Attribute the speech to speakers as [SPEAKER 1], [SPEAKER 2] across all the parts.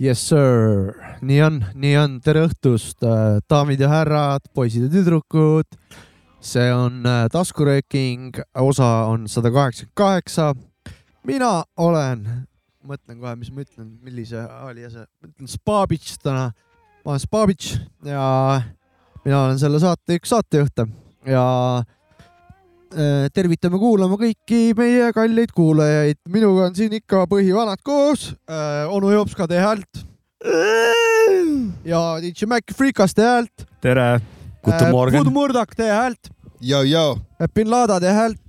[SPEAKER 1] Yes sir , nii on , nii on , tere õhtust , daamid ja härrad , poisid ja tüdrukud . see on äh, taskurööking , osa on sada kaheksakümmend kaheksa . mina olen , mõtlen kohe , mis ma ütlen , millise aliase , ma ütlen Spabitš täna . ma olen Spabitš ja mina olen selle saate üks saatejuhte ja äh, tervitame kuulama kõiki meie kalleid kuulajaid , minuga on siin ikka põhivanad koos , onu Jops ka teie häält . ja DJ Mac Freekas teie häält .
[SPEAKER 2] tere .
[SPEAKER 1] Äh,
[SPEAKER 2] Guten Morgen.
[SPEAKER 1] Good Murdoch teie häält ,
[SPEAKER 3] Yo , yo .
[SPEAKER 1] bin Lada teie häält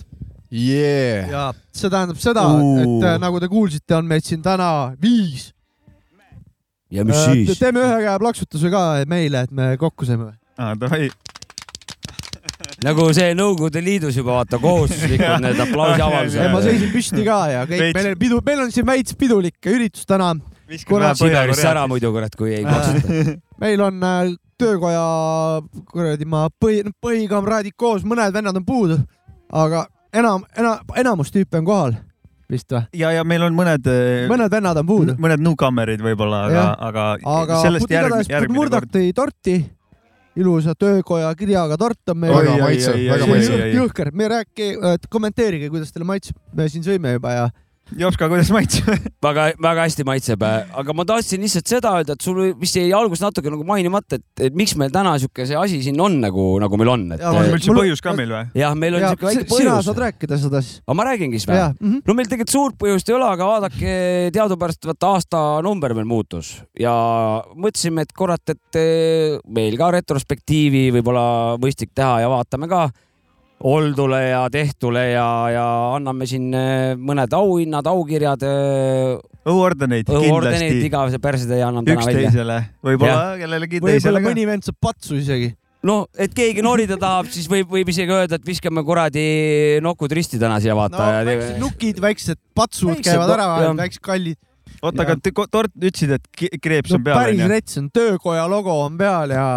[SPEAKER 3] Yeah .
[SPEAKER 1] ja see tähendab seda ,
[SPEAKER 2] Uu.
[SPEAKER 1] et äh, nagu te kuulsite , on meid siin täna viis .
[SPEAKER 2] ja mis siis ?
[SPEAKER 1] Äh, teeme ühe käe plaksutuse ka meile , et me kokku saime .
[SPEAKER 2] aa , Ah, davai .
[SPEAKER 4] nagu see Nõukogude Liidus juba vaata
[SPEAKER 2] Jah.
[SPEAKER 4] kohustuslikud need
[SPEAKER 1] ei , ma
[SPEAKER 4] aplausiavaldused .
[SPEAKER 1] seisin püsti ka ja kõik ,
[SPEAKER 2] Veits.
[SPEAKER 1] meil on pidu , meil on siin veits pidulik üritus täna . Kurat,
[SPEAKER 4] Siberisse ära . muidu kurat , kui ei katsuta .
[SPEAKER 1] meil on äh, töökoja kuradi ma põhi , põhikamraadid koos , mõned vennad on puudu , aga enam , enam , enamus tüüpe on kohal vist või ?
[SPEAKER 2] ja , ja meil on mõned ,
[SPEAKER 1] mõned vennad on puudu ,
[SPEAKER 2] mõned newcomer'id võib-olla , aga
[SPEAKER 1] Jah. ,
[SPEAKER 2] aga,
[SPEAKER 1] aga
[SPEAKER 2] sellest järg, järgmine
[SPEAKER 1] Murdak
[SPEAKER 2] kord .
[SPEAKER 1] tõi torti , ilusa töökoja kirjaga tort on meil .
[SPEAKER 2] Oi,
[SPEAKER 3] Väga
[SPEAKER 2] oi,
[SPEAKER 3] maitsev ,
[SPEAKER 2] oi,
[SPEAKER 3] väga
[SPEAKER 2] oi,
[SPEAKER 3] maitsev .
[SPEAKER 2] oi.
[SPEAKER 1] jõhker , me rääki- , kommenteerige , kuidas teile maitseb , me siin sõime juba ja
[SPEAKER 2] Jopska , kuidas maitseb ?
[SPEAKER 4] väga , väga hästi maitseb , aga ma tahtsin lihtsalt seda öelda , et sul vist jäi alguses natuke nagu mainimata , et , et miks meil täna siuke see asi siin on nagu , nagu meil on , et
[SPEAKER 1] Jaa,
[SPEAKER 2] on
[SPEAKER 4] eh,
[SPEAKER 2] meil
[SPEAKER 1] Eh,
[SPEAKER 2] üldse
[SPEAKER 1] mul-
[SPEAKER 2] põhjus ka meil või ?
[SPEAKER 4] jah , meil on
[SPEAKER 1] ja
[SPEAKER 4] siuke väike
[SPEAKER 1] si- sina
[SPEAKER 4] põhjus
[SPEAKER 1] saad . rääkida seda siis .
[SPEAKER 4] aga ma räägingi siis või ?
[SPEAKER 1] jaa ,
[SPEAKER 2] mhm.
[SPEAKER 4] no meil tegelikult suurt põhjust ei ole , aga vaadake , teadupärast vaata aastanumber meil muutus ja mõtlesime , et kurat , et eh, meil ka retrospektiivi võib-olla mõistlik teha ja vaatame ka oldule ja tehtule ja , ja anname siin eh, mõned auhinnad , aukirjad ,
[SPEAKER 2] õuordeneid
[SPEAKER 4] õhuordenid ,
[SPEAKER 2] kindlasti .
[SPEAKER 4] igavese persede ja annan täna välja .
[SPEAKER 2] üksteisele , võib-olla kellelegi
[SPEAKER 1] võib-olla
[SPEAKER 2] teisele ka .
[SPEAKER 1] mõni vend saab patsu isegi .
[SPEAKER 4] no et keegi norida tahab , siis võib , võib isegi öelda , et viskame kuradi nokud risti täna siia
[SPEAKER 1] no
[SPEAKER 4] vaata ja
[SPEAKER 1] väiksed
[SPEAKER 4] teeme .
[SPEAKER 1] nukid , väiksed patsud
[SPEAKER 4] Väiksed
[SPEAKER 1] käivad
[SPEAKER 4] no-
[SPEAKER 1] ära
[SPEAKER 4] jah. ,
[SPEAKER 1] väiksed kallid .
[SPEAKER 2] oota , aga te ko- tort , ütlesid , et ki- kreeps
[SPEAKER 1] no
[SPEAKER 2] on peal
[SPEAKER 1] päris
[SPEAKER 2] onju .
[SPEAKER 1] rets on , töökoja logo on peal ja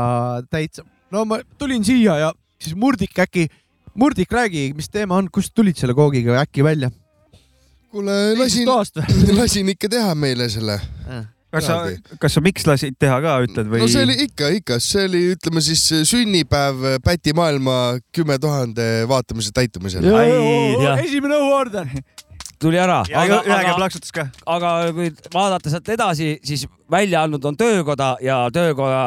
[SPEAKER 1] täitsa . no ma tulin siia ja siis Murdik äkki , Murdik , räägi , mis teema on , kust tulid selle koogiga äkki välja ?
[SPEAKER 3] kuule , lasin ,
[SPEAKER 1] toast või ?
[SPEAKER 3] lasin ikka teha meile selle .
[SPEAKER 2] kas sa
[SPEAKER 3] Eraldi. ,
[SPEAKER 2] kas sa miks lasid teha ka , ütled või ?
[SPEAKER 3] no see oli ikka , ikka , see oli , ütleme siis sünnipäev Päti maailma kümme tuhande vaatamise täitumisel .
[SPEAKER 2] Ai, jah.
[SPEAKER 1] esimene õhuorden .
[SPEAKER 4] tuli ära .
[SPEAKER 2] ja aga, ühe käe plaksutas ka .
[SPEAKER 4] aga kui vaadata sealt edasi , siis välja andnud on töökoda ja töökoja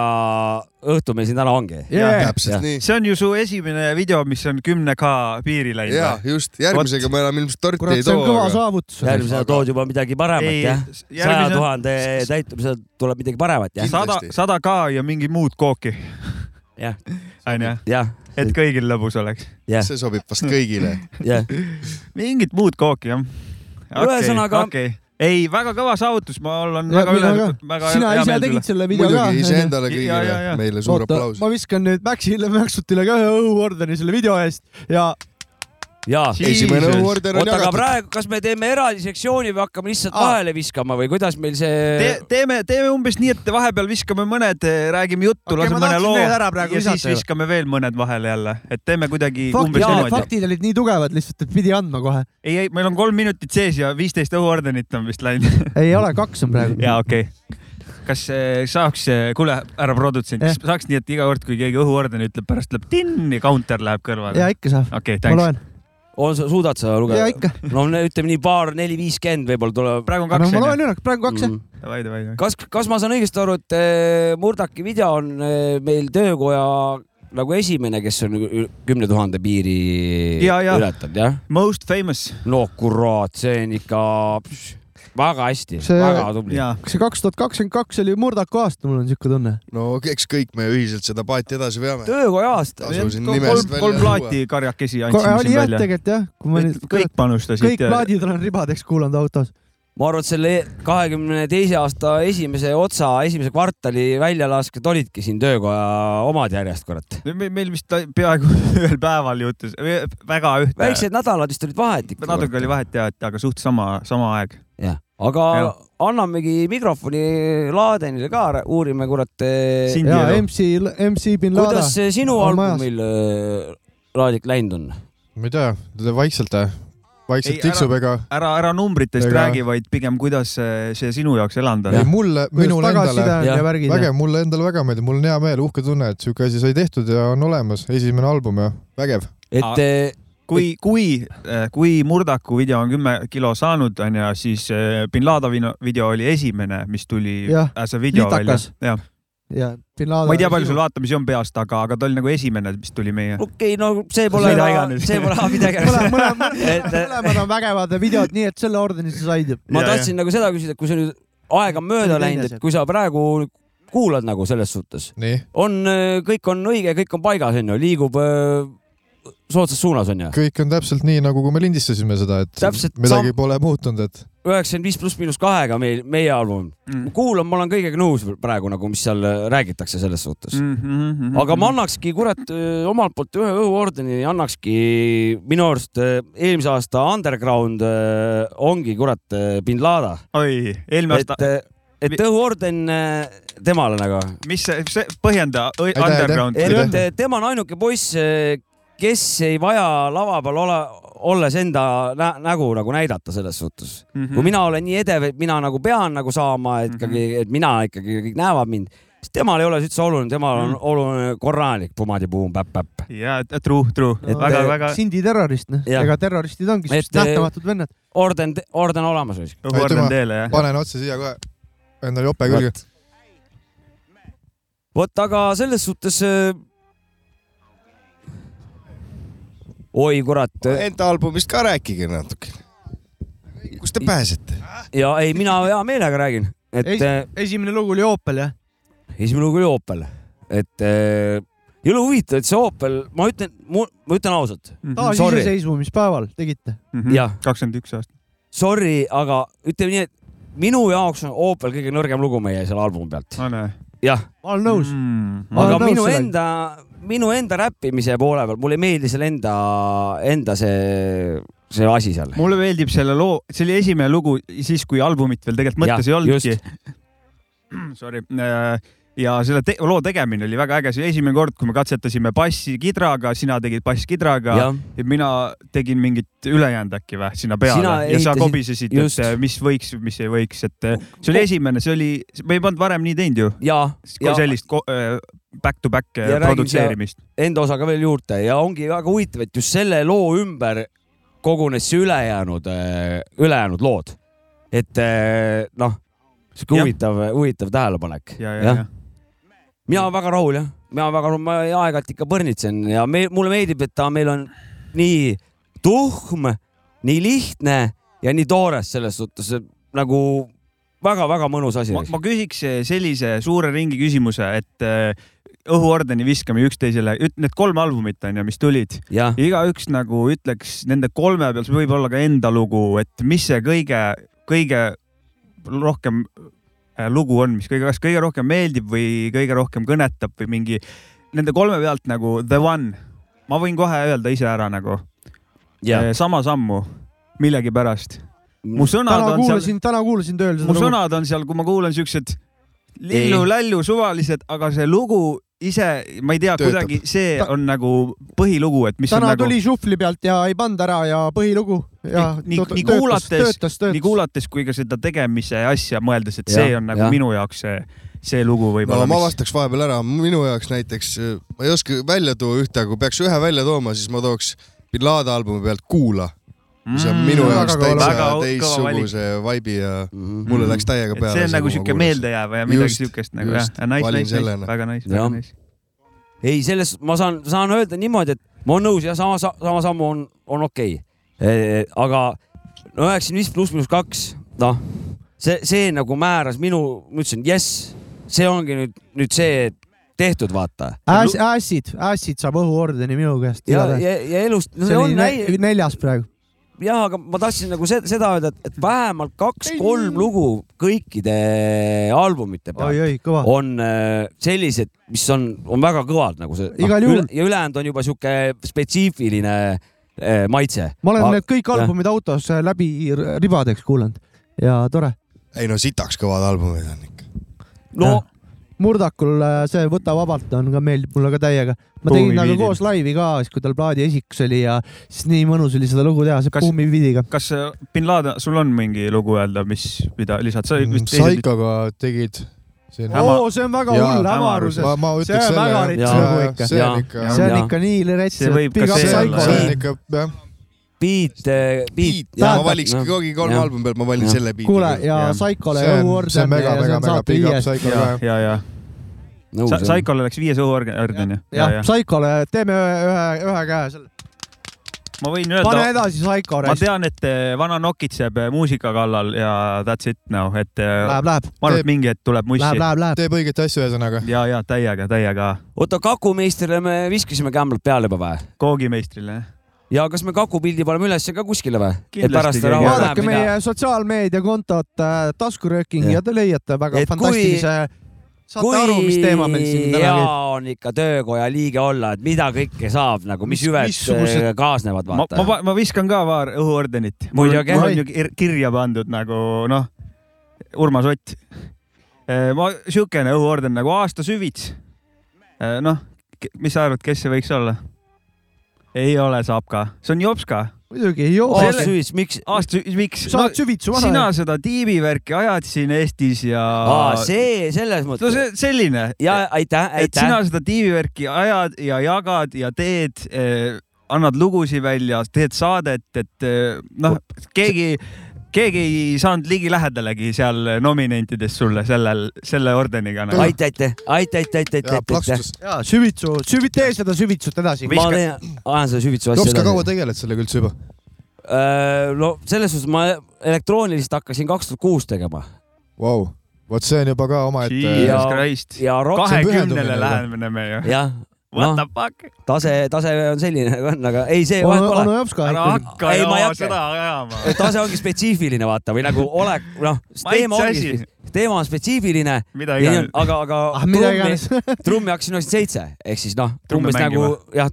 [SPEAKER 4] õhtu meil siin täna ongi .
[SPEAKER 1] jaa ,
[SPEAKER 4] jah.
[SPEAKER 3] täpselt nii .
[SPEAKER 2] see on ju su esimene video , mis on kümne K piiri läinud
[SPEAKER 3] ja
[SPEAKER 2] või ?
[SPEAKER 3] just , järgmisega me enam ilmselt torti
[SPEAKER 1] kurat ,
[SPEAKER 3] ei
[SPEAKER 1] see on kõva
[SPEAKER 3] too .
[SPEAKER 1] saavutus .
[SPEAKER 4] järgmisena tood juba midagi paremat jah . saja
[SPEAKER 2] järgmisel
[SPEAKER 4] tuhande täitumisel tuleb midagi paremat jah ,
[SPEAKER 2] sada ,
[SPEAKER 3] kindlasti.
[SPEAKER 2] sada K ja mingi muud kooki ,
[SPEAKER 4] jah ,
[SPEAKER 2] onju ,
[SPEAKER 4] jah ,
[SPEAKER 2] et kõigil lõbus oleks .
[SPEAKER 4] jah ,
[SPEAKER 3] see sobib vast kõigile .
[SPEAKER 4] jah .
[SPEAKER 2] mingit muud kooki jah .
[SPEAKER 4] Ühesõnaga-
[SPEAKER 2] okay. . ei , väga kõva saavutus , ma olen
[SPEAKER 1] Ja,
[SPEAKER 2] väga
[SPEAKER 1] mina
[SPEAKER 2] üle
[SPEAKER 1] ka. ,
[SPEAKER 2] väga
[SPEAKER 1] sina
[SPEAKER 2] hea
[SPEAKER 1] ise
[SPEAKER 2] meel
[SPEAKER 1] tegid
[SPEAKER 2] tulla .
[SPEAKER 1] selle video ka .
[SPEAKER 3] muidugi iseendale
[SPEAKER 2] Ja, ja, ja.
[SPEAKER 3] kõigile , meile suur
[SPEAKER 1] Oota,
[SPEAKER 3] aplaus .
[SPEAKER 1] ma viskan nüüd Maxile , Maxutile ka ühe õhuordeni selle video eest ja
[SPEAKER 4] ja ,
[SPEAKER 3] esimene õhuorden on
[SPEAKER 4] oota , aga
[SPEAKER 3] jagatud .
[SPEAKER 4] praegu , kas me teeme eraldi sektsiooni või hakkame lihtsalt
[SPEAKER 1] Aa.
[SPEAKER 4] vahele viskama või kuidas meil see
[SPEAKER 2] Te, ? teeme , teeme umbes nii , et vahepeal viskame mõned , räägime juttu
[SPEAKER 1] Okei,
[SPEAKER 2] okay, , laseme
[SPEAKER 1] ma
[SPEAKER 2] mõne
[SPEAKER 1] tahtsin
[SPEAKER 2] loo
[SPEAKER 1] need ära praegu
[SPEAKER 2] ja siis
[SPEAKER 1] visata juba.
[SPEAKER 2] viskame veel mõned vahele jälle , et teeme kuidagi Fakt,
[SPEAKER 1] faktid,
[SPEAKER 2] umbes
[SPEAKER 1] jaa,
[SPEAKER 2] niimoodi .
[SPEAKER 1] faktid olid nii tugevad lihtsalt , et pidi andma kohe .
[SPEAKER 2] ei , ei , meil on kolm minutit sees ja viisteist õhuordenit on vist läinud .
[SPEAKER 1] ei ole , kaks on praegu .
[SPEAKER 2] jaa , okei okay. . kas eh, saaks , kuule , härra produtsent , kas saaks nii , et iga kord , kui keegi õhuordeni ütleb , pärast lööb tinn ja counter läheb
[SPEAKER 1] ja
[SPEAKER 2] kõrvale ?
[SPEAKER 1] ikka saab ,
[SPEAKER 2] okei ,
[SPEAKER 1] ma
[SPEAKER 2] thanks .
[SPEAKER 1] loen .
[SPEAKER 4] on , suudad sa
[SPEAKER 1] ja
[SPEAKER 4] lugeda ?
[SPEAKER 1] ikka .
[SPEAKER 4] no ne- ütleme nii paar , neli , viiskümmend võib-olla tuleb . Mm.
[SPEAKER 2] praegu on
[SPEAKER 1] no
[SPEAKER 2] kaks
[SPEAKER 1] ma
[SPEAKER 2] onju .
[SPEAKER 1] loen üle , praegu kaks jah .
[SPEAKER 2] davai , davai , davai .
[SPEAKER 4] kas , kas ma saan õigesti aru , et eh, Murdaki video on eh, meil töökoja nagu esimene , kes on ü- kümne tuhande piiri
[SPEAKER 2] Ja, ja.
[SPEAKER 4] ületanud , jah ?
[SPEAKER 2] Most famous .
[SPEAKER 4] no kurat , see on ikka pš, väga hästi
[SPEAKER 1] See-
[SPEAKER 4] see... , väga tubli .
[SPEAKER 2] jaa .
[SPEAKER 1] kas see kaks tuhat kakskümmend kaks oli Murdaku aasta , mul on siuke tunne .
[SPEAKER 3] no eks kõik me ühiselt seda paati edasi veame .
[SPEAKER 4] töökoja aasta .
[SPEAKER 3] tasusin
[SPEAKER 2] kolm
[SPEAKER 3] nimest , välja
[SPEAKER 2] kolm
[SPEAKER 3] tuua.
[SPEAKER 2] plaati karjakesi
[SPEAKER 1] oli
[SPEAKER 2] andsime siin
[SPEAKER 1] jah ,
[SPEAKER 2] välja .
[SPEAKER 1] tegelikult jah , kui ma nüüd ,
[SPEAKER 2] kõik panustasid
[SPEAKER 1] kõik . plaadid olen ribadeks kuulanud autos .
[SPEAKER 4] ma arvan , et selle kahekümne teise aasta esimese otsa , esimese kvartali väljalasked olidki siin töökoja omad järjest , kurat .
[SPEAKER 2] meil meil vist ta- peaaegu ühel päeval juhtus , väga ühte .
[SPEAKER 4] väiksed nädalad vist olid vahet ikka .
[SPEAKER 2] natuke oli vahet ja , aga suht sama , sama aeg .
[SPEAKER 4] jah , aga
[SPEAKER 2] Jah.
[SPEAKER 4] annamegi mikrofoni Laadenile ka , uurime , kurat . eh,
[SPEAKER 2] Sindi
[SPEAKER 1] ja
[SPEAKER 2] elu .
[SPEAKER 1] MC , MC bin Laden .
[SPEAKER 4] kuidas see sinu
[SPEAKER 1] on majas.
[SPEAKER 4] albumil , Raadik , läinud on ?
[SPEAKER 5] ma ei tea , vaikselt ,
[SPEAKER 2] Ei,
[SPEAKER 5] vaikselt
[SPEAKER 2] ära-
[SPEAKER 5] tiksub , ega
[SPEAKER 2] ära , ära numbritest
[SPEAKER 5] Ega-
[SPEAKER 2] räägi , vaid pigem , kuidas see see sinu jaoks elanud
[SPEAKER 5] ei,
[SPEAKER 2] on .
[SPEAKER 5] mulle , minule
[SPEAKER 1] minul
[SPEAKER 5] endale
[SPEAKER 1] endale .
[SPEAKER 4] Jah.
[SPEAKER 1] ja värgid .
[SPEAKER 5] vägev , mulle endale väga meeldib , mul on hea meel , uhke tunne , et siuke asi sai tehtud ja on olemas , esimene album ja vägev .
[SPEAKER 2] Ah.
[SPEAKER 4] et eh,
[SPEAKER 2] kui , kui , kui Murdaku video on kümme kilo saanud , onju , siis eh, bin Ladeni video oli esimene , mis tuli
[SPEAKER 1] Jah,
[SPEAKER 2] as a video välja
[SPEAKER 1] litakas. .
[SPEAKER 2] jah ,
[SPEAKER 1] ja bin Laden .
[SPEAKER 2] ma ei tea , palju sul vaatamisi on peast , aga , aga ta oli nagu esimene , mis tuli meie .
[SPEAKER 4] okei okay, , no see pole
[SPEAKER 2] Mida iganes. ,
[SPEAKER 4] see pole midagi .
[SPEAKER 1] mõlemad ,
[SPEAKER 4] Et-
[SPEAKER 1] mõlemad on vägevad videod , nii et selle ordeni sa said ju .
[SPEAKER 4] ma
[SPEAKER 2] Jaa,
[SPEAKER 4] tahtsin nagu seda küsida , et kui see nüüd aeg on mööda
[SPEAKER 1] See on teine
[SPEAKER 4] läinud , et
[SPEAKER 1] asi.
[SPEAKER 4] kui sa praegu kuulad nagu selles suhtes ,
[SPEAKER 5] nii ,
[SPEAKER 4] on , kõik on õige , kõik on paigas , onju , liigub öö, soodsas suunas , onju .
[SPEAKER 5] kõik on täpselt nii , nagu kui me lindistasime seda , et
[SPEAKER 4] Täpselt
[SPEAKER 5] midagi pole muutunud , et
[SPEAKER 4] üheksakümmend viis pluss miinus kahega meil , meie album . kuulan , ma olen kõigega nõus praegu nagu , mis seal räägitakse selles suhtes .
[SPEAKER 2] Mhm,
[SPEAKER 4] aga ma annakski , kurat , omalt poolt ühe õhuordeni annakski minu arust öö, eelmise aasta Underground öö, ongi , kurat , bin Lada .
[SPEAKER 2] oi , eelmine aasta
[SPEAKER 4] et , et õhuorden öö, temale nagu
[SPEAKER 2] mis see , see , põhjenda ,
[SPEAKER 5] Aitäh,
[SPEAKER 2] underground .
[SPEAKER 5] aitäh.
[SPEAKER 4] et et tema on ainuke poiss , kes ei vaja lava peal ole , olles enda nä nägu nagu näidata selles suhtes mm .
[SPEAKER 2] Mhm.
[SPEAKER 4] -hmm. kui mina olen nii edev , et mina nagu pean nagu saama et ikkagi ,
[SPEAKER 2] Mhm.
[SPEAKER 4] et mina ikkagi , kõik näevad mind , siis temal ei ole see üldse oluline , temal on
[SPEAKER 2] Mhm.
[SPEAKER 4] mm. oluline korralik pumaadipuum päpp-päpp .
[SPEAKER 2] jaa , true , true ,
[SPEAKER 4] Et- eh,
[SPEAKER 2] väga-väga
[SPEAKER 1] Sindi terrorist , noh .
[SPEAKER 4] Jah.
[SPEAKER 1] ega terroristid ongi
[SPEAKER 4] Et- eh,
[SPEAKER 1] siuksed nähtamatud vennad .
[SPEAKER 4] orden , orden olemas või ?
[SPEAKER 2] õhuorden teele , jah .
[SPEAKER 5] panen otse siia kohe endale jope külge .
[SPEAKER 4] vot aga selles suhtes . äh, oi kurat , äh,
[SPEAKER 3] Enda albumist ka rääkige natuke . kust te pääsete ?
[SPEAKER 4] ja ei , mina hea meelega räägin , et
[SPEAKER 1] Ei-
[SPEAKER 4] eh,
[SPEAKER 1] esimene lugu oli Opel , jah ?
[SPEAKER 4] esimene lugu oli Opel , et äh, jõle huvitav , et see Opel , ma ütlen , ma ütlen ausalt ,
[SPEAKER 2] Mhm.
[SPEAKER 4] Sorry.
[SPEAKER 1] taasiseseisvumispäeval tegite .
[SPEAKER 4] Jah.
[SPEAKER 2] kakskümmend üks aastat .
[SPEAKER 4] sorry , aga ütleme nii , et minu jaoks on Opel kõige nõrgem lugu meie selle albumi pealt ,
[SPEAKER 2] ma olen
[SPEAKER 4] jah ,
[SPEAKER 1] ma olen nõus .
[SPEAKER 2] Mm.
[SPEAKER 1] Ma
[SPEAKER 4] aga
[SPEAKER 1] olen nõus
[SPEAKER 4] minu
[SPEAKER 1] sellega.
[SPEAKER 4] enda , minu enda räppimise poole peal , mulle ei meeldi selle enda , enda see , see asi seal .
[SPEAKER 2] mulle meeldib selle loo , see oli esimene lugu siis , kui albumit veel tegelikult mõttes
[SPEAKER 4] Jah,
[SPEAKER 2] ei olnudki . Sorry . ja selle te loo tegemine oli väga äge , see oli esimene kord , kui me katsetasime bassi kidraga , sina tegid bass kidraga ja.
[SPEAKER 4] jah ,
[SPEAKER 2] ja mina tegin mingit ülejäänud äkki või sinna peale
[SPEAKER 4] Sina
[SPEAKER 2] ja sa
[SPEAKER 4] ehitasid-
[SPEAKER 2] kobisesid ,
[SPEAKER 4] just.
[SPEAKER 2] et eh, mis võiks , mis ei võiks , et eh, see oli esimene , see oli , me ei pannud varem nii teinud ju ,
[SPEAKER 4] ja , ja
[SPEAKER 2] sellist ko- eh, back to back eh,
[SPEAKER 4] Ja räägime siia-
[SPEAKER 2] produtseerimist .
[SPEAKER 4] enda osa ka veel juurde ja ongi väga huvitav , et just selle loo ümber kogunes see ülejäänud , ülejäänud lood . et äh, noh , sihuke
[SPEAKER 2] Jah.
[SPEAKER 4] huvitav , huvitav tähelepanek .
[SPEAKER 2] ja , ja , ja .
[SPEAKER 4] mina olen väga rahul jah , mina olen väga rahul , ma aeg-ajalt ikka põrnitsen ja me, mulle meeldib , et ta meil on nii tuhm , nii lihtne ja nii toores selles suhtes et nagu väga-väga mõnus asi
[SPEAKER 2] ma , ma küsiks eh, sellise suure ringi küsimuse , et äh, õhuordeni viskame üksteisele , need kolm albumit on ju , mis tulid ,
[SPEAKER 4] jah .
[SPEAKER 2] igaüks nagu ütleks nende kolme peal , see võib olla ka enda lugu , et mis see kõige , kõige rohkem äh, lugu on , mis kõige , kas kõige rohkem meeldib või kõige rohkem kõnetab või mingi nende kolme pealt nagu the one . ma võin kohe öelda ise ära nagu
[SPEAKER 4] ja
[SPEAKER 2] Eh, sama sammu millegipärast . mu sõnad
[SPEAKER 1] täna
[SPEAKER 2] on seal
[SPEAKER 1] kuulasin , täna kuulasin tööl
[SPEAKER 2] mu
[SPEAKER 1] seda lugu .
[SPEAKER 2] sõnad on seal , kui ma kuulan siuksed lillu-lällu suvalised , aga see lugu ise , ma ei tea ,
[SPEAKER 5] Töötab.
[SPEAKER 2] kuidagi see
[SPEAKER 1] Ta-
[SPEAKER 2] on nagu põhilugu , et mis on
[SPEAKER 1] täna
[SPEAKER 2] nagu
[SPEAKER 1] tuli šufli pealt ja ei pannud ära ja põhilugu ja
[SPEAKER 2] Nii-
[SPEAKER 1] töötas-
[SPEAKER 2] nii kuulates-
[SPEAKER 1] töötas ,
[SPEAKER 2] nii
[SPEAKER 1] töötas .
[SPEAKER 2] kuulates kui ka seda tegemise asja mõeldes , et
[SPEAKER 4] Jah,
[SPEAKER 2] see on nagu
[SPEAKER 4] jah.
[SPEAKER 2] minu jaoks see , see lugu
[SPEAKER 3] no
[SPEAKER 2] võib-olla
[SPEAKER 3] ma
[SPEAKER 2] mis... .
[SPEAKER 3] vastaks vahepeal ära , minu jaoks näiteks , ma ei oska välja tuua ühte , aga kui peaks ühe välja tooma , siis ma tooks bin Laden albumi pealt Kuula , see on minu
[SPEAKER 1] Mm,
[SPEAKER 3] jaoks
[SPEAKER 1] väga kõva
[SPEAKER 3] täitsa
[SPEAKER 2] valik.
[SPEAKER 3] teistsuguse vibe'i ja
[SPEAKER 1] Mhm.
[SPEAKER 4] mm .
[SPEAKER 3] mulle
[SPEAKER 2] Mm.
[SPEAKER 3] läks täiega
[SPEAKER 2] et
[SPEAKER 3] peale .
[SPEAKER 2] see on nagu siuke . meeldejääv ja midagi
[SPEAKER 3] Just,
[SPEAKER 2] siukest nagu jah
[SPEAKER 3] just. ,
[SPEAKER 2] nice ,
[SPEAKER 3] Valin
[SPEAKER 2] nice ,
[SPEAKER 3] selle,
[SPEAKER 2] nice ,
[SPEAKER 3] noh.
[SPEAKER 2] väga nice ,
[SPEAKER 4] Jah.
[SPEAKER 2] väga nice .
[SPEAKER 4] ei , selles ma saan , saan öelda niimoodi , et ma olen nõus ja sama , sama sammu on , on okei okay. . aga no üheksakümmend viis pluss miinus kaks , noh , see , see nagu määras minu , ma ütlesin jess , see ongi nüüd , nüüd see tehtud , vaata .
[SPEAKER 1] Ass , Acid , Acid saab õhuordeni minu käest .
[SPEAKER 4] ja ,
[SPEAKER 1] see
[SPEAKER 4] ja , ja elust , no see on
[SPEAKER 1] oli
[SPEAKER 4] näi-
[SPEAKER 1] ne- neljas praegu .
[SPEAKER 4] jah , aga ma tahtsin nagu se- seda öelda , et vähemalt kaks-kolm lugu kõikide albumite peal
[SPEAKER 1] oi-oi , kõva .
[SPEAKER 4] on äh, sellised , mis on , on väga kõvad nagu see .
[SPEAKER 1] Igal juhul.
[SPEAKER 4] ja ülejäänud on juba sihuke spetsiifiline äh, maitse .
[SPEAKER 1] ma olen need kõik albumid autos äh, läbi r- ribadeks kuulanud ja tore .
[SPEAKER 3] ei no sitaks kõvad albumid on ikka .
[SPEAKER 4] no
[SPEAKER 1] jah. Murdakul äh, see Võta vabalt on ka meeldib mulle ka täiega . ma
[SPEAKER 2] Buumi
[SPEAKER 1] tegin nagu temaga
[SPEAKER 2] Viidil.
[SPEAKER 1] koos laivi ka , siis kui tal plaadi esikus oli ja siis nii mõnus oli seda lugu teha , see
[SPEAKER 2] Kas-
[SPEAKER 1] Buumi Vidiga .
[SPEAKER 2] kas äh, bin Laden , sul on mingi lugu öelda , mis , mida lisad , sa vist teised ,
[SPEAKER 5] Saikaga tegid siin .
[SPEAKER 2] Häma-
[SPEAKER 1] oo , see on väga
[SPEAKER 5] Jaa,
[SPEAKER 1] hull
[SPEAKER 2] hämaruses.
[SPEAKER 1] hämaruses .
[SPEAKER 5] ma , ma
[SPEAKER 1] see on
[SPEAKER 5] ütleks selle
[SPEAKER 1] väga . rets lugu ikka .
[SPEAKER 5] see on
[SPEAKER 4] Jaa.
[SPEAKER 5] ikka ,
[SPEAKER 1] see on
[SPEAKER 4] Jaa.
[SPEAKER 1] ikka nii rets
[SPEAKER 2] See , võib
[SPEAKER 1] et
[SPEAKER 2] ka
[SPEAKER 1] big up
[SPEAKER 2] see
[SPEAKER 5] see
[SPEAKER 2] olla,
[SPEAKER 1] Saiko
[SPEAKER 5] on
[SPEAKER 2] jah. .
[SPEAKER 5] ikka jah ,
[SPEAKER 4] beat , beat .
[SPEAKER 3] Beat , ma valiks
[SPEAKER 2] noh,
[SPEAKER 3] kogu kolme
[SPEAKER 4] jah.
[SPEAKER 3] albumi pealt , ma valin
[SPEAKER 4] Jah.
[SPEAKER 3] selle beat'i .
[SPEAKER 1] kuule ja
[SPEAKER 2] Jah.
[SPEAKER 1] Saikole
[SPEAKER 5] see on , see on
[SPEAKER 1] õhuorden ja
[SPEAKER 5] mega ,
[SPEAKER 1] see
[SPEAKER 5] mega ,
[SPEAKER 1] on
[SPEAKER 5] mega
[SPEAKER 1] saate
[SPEAKER 5] big up
[SPEAKER 1] viies .
[SPEAKER 5] Saikole
[SPEAKER 2] ja , ja , ja Sa- , Saikole läks viies õhuorden ju . ja ,
[SPEAKER 1] jah ,
[SPEAKER 2] ja
[SPEAKER 1] Saikole , teeme ühe , ühe , ühe käe selle .
[SPEAKER 2] ma võin öelda ,
[SPEAKER 1] pane edasi , Saiko ,
[SPEAKER 2] ma tean , et eh, vana nokitseb eh, muusika kallal ja that's it now , et eh,
[SPEAKER 1] läheb , läheb ,
[SPEAKER 2] ma arvan ,
[SPEAKER 5] teeb-
[SPEAKER 2] et mingi hetk tuleb
[SPEAKER 1] läheb ,
[SPEAKER 2] mussi .
[SPEAKER 1] läheb , läheb .
[SPEAKER 5] teeb õiget asja , ühesõnaga .
[SPEAKER 2] ja , ja täiega , täiega .
[SPEAKER 4] oota , kakumeistrile me viskasime kämblad peale juba või ?
[SPEAKER 2] koogimeistrile .
[SPEAKER 4] ja kas me kakupildi paneme ülesse ka kuskile või ? et
[SPEAKER 2] Kindlasti
[SPEAKER 4] pärast
[SPEAKER 2] keegi
[SPEAKER 4] rahu
[SPEAKER 2] Jaa,
[SPEAKER 1] vaadake meie sotsiaalmeediakontot äh, Taskurööking
[SPEAKER 4] Jah.
[SPEAKER 1] ja te leiate väga
[SPEAKER 4] Et kui-
[SPEAKER 1] fantastilise , saate
[SPEAKER 4] kui
[SPEAKER 1] aru , mis teema meil siin
[SPEAKER 4] hea
[SPEAKER 1] täna oli .
[SPEAKER 4] on ikka töökoja liige olla , et mida kõike saab nagu , mis
[SPEAKER 2] Mis-
[SPEAKER 4] hüved
[SPEAKER 2] missugused-
[SPEAKER 4] eh, kaasnevad ,
[SPEAKER 2] ma ,
[SPEAKER 4] vaata .
[SPEAKER 2] ma , ma viskan ka paar õhuordenit . mul
[SPEAKER 4] Muidugi.
[SPEAKER 2] mul on ju kir- kirja pandud nagu noh , Urmas Ott . ma , siukene õhuorden nagu aasta süvits . noh , mis sa arvad , kes see võiks olla ? ei ole Sapka , see on Jopska .
[SPEAKER 1] muidugi , joo ,
[SPEAKER 4] aasta süvis , miks ?
[SPEAKER 2] aasta , miks ?
[SPEAKER 1] sa oled süvitsu
[SPEAKER 2] sina
[SPEAKER 1] vana .
[SPEAKER 2] seda tiibivärki ajad siin Eestis ja .
[SPEAKER 4] aa , see selles
[SPEAKER 2] no
[SPEAKER 4] mõttes .
[SPEAKER 2] see selline .
[SPEAKER 4] ja aitäh ,
[SPEAKER 2] et
[SPEAKER 4] aitäh
[SPEAKER 2] sina . seda tiivivärki ajad ja jagad ja teed eh, , annad lugusid välja , teed saadet , et eh, noh , keegi , keegi ei saanud ligilähedalegi seal nominentidest sulle sellel , selle ordeniga nagu. .
[SPEAKER 4] aitäh , aitäh , aitäh , aitäh , aitäh ,
[SPEAKER 5] ja
[SPEAKER 4] aitäh , aitäh .
[SPEAKER 5] plaksutas .
[SPEAKER 1] jaa , süvitsu , süvi- , tee seda süvitsut edasi .
[SPEAKER 4] ma teen- ajan selle süvitsu asja
[SPEAKER 5] Jopska , kaua
[SPEAKER 4] edasi .
[SPEAKER 5] tegeled sellega üldse juba ?
[SPEAKER 4] no selles suhtes ma elektrooniliselt hakkasin kaks tuhat kuus tegema
[SPEAKER 5] Vau , vot see on juba ka omaette
[SPEAKER 4] Ja-
[SPEAKER 2] Jesus Christ .
[SPEAKER 4] ja rock ,
[SPEAKER 5] pühendumine
[SPEAKER 2] kahekümnele
[SPEAKER 5] juba.
[SPEAKER 2] läheme me ju .
[SPEAKER 4] jah , noh.
[SPEAKER 2] What the fuck ?
[SPEAKER 4] tase , tase on selline nagu on , aga ei , see vahet pole
[SPEAKER 1] onu . Jopska
[SPEAKER 2] ära
[SPEAKER 1] ikkagi .
[SPEAKER 2] hakka
[SPEAKER 4] Ei, ma ei
[SPEAKER 2] joo
[SPEAKER 4] hakka.
[SPEAKER 2] seda ajama .
[SPEAKER 4] tase ongi spetsiifiline , vaata , või nagu olek , noh , teema
[SPEAKER 2] Maitse
[SPEAKER 4] ongi , teema on spetsiifiline ,
[SPEAKER 2] mida iganes .
[SPEAKER 4] aga , aga
[SPEAKER 1] ah , mida
[SPEAKER 4] trummi ,
[SPEAKER 1] iganes .
[SPEAKER 4] trummi hakkasin ostma seitse , ehk siis noh ,
[SPEAKER 2] Trumme
[SPEAKER 4] umbes nagu
[SPEAKER 2] mängima.
[SPEAKER 4] jah ,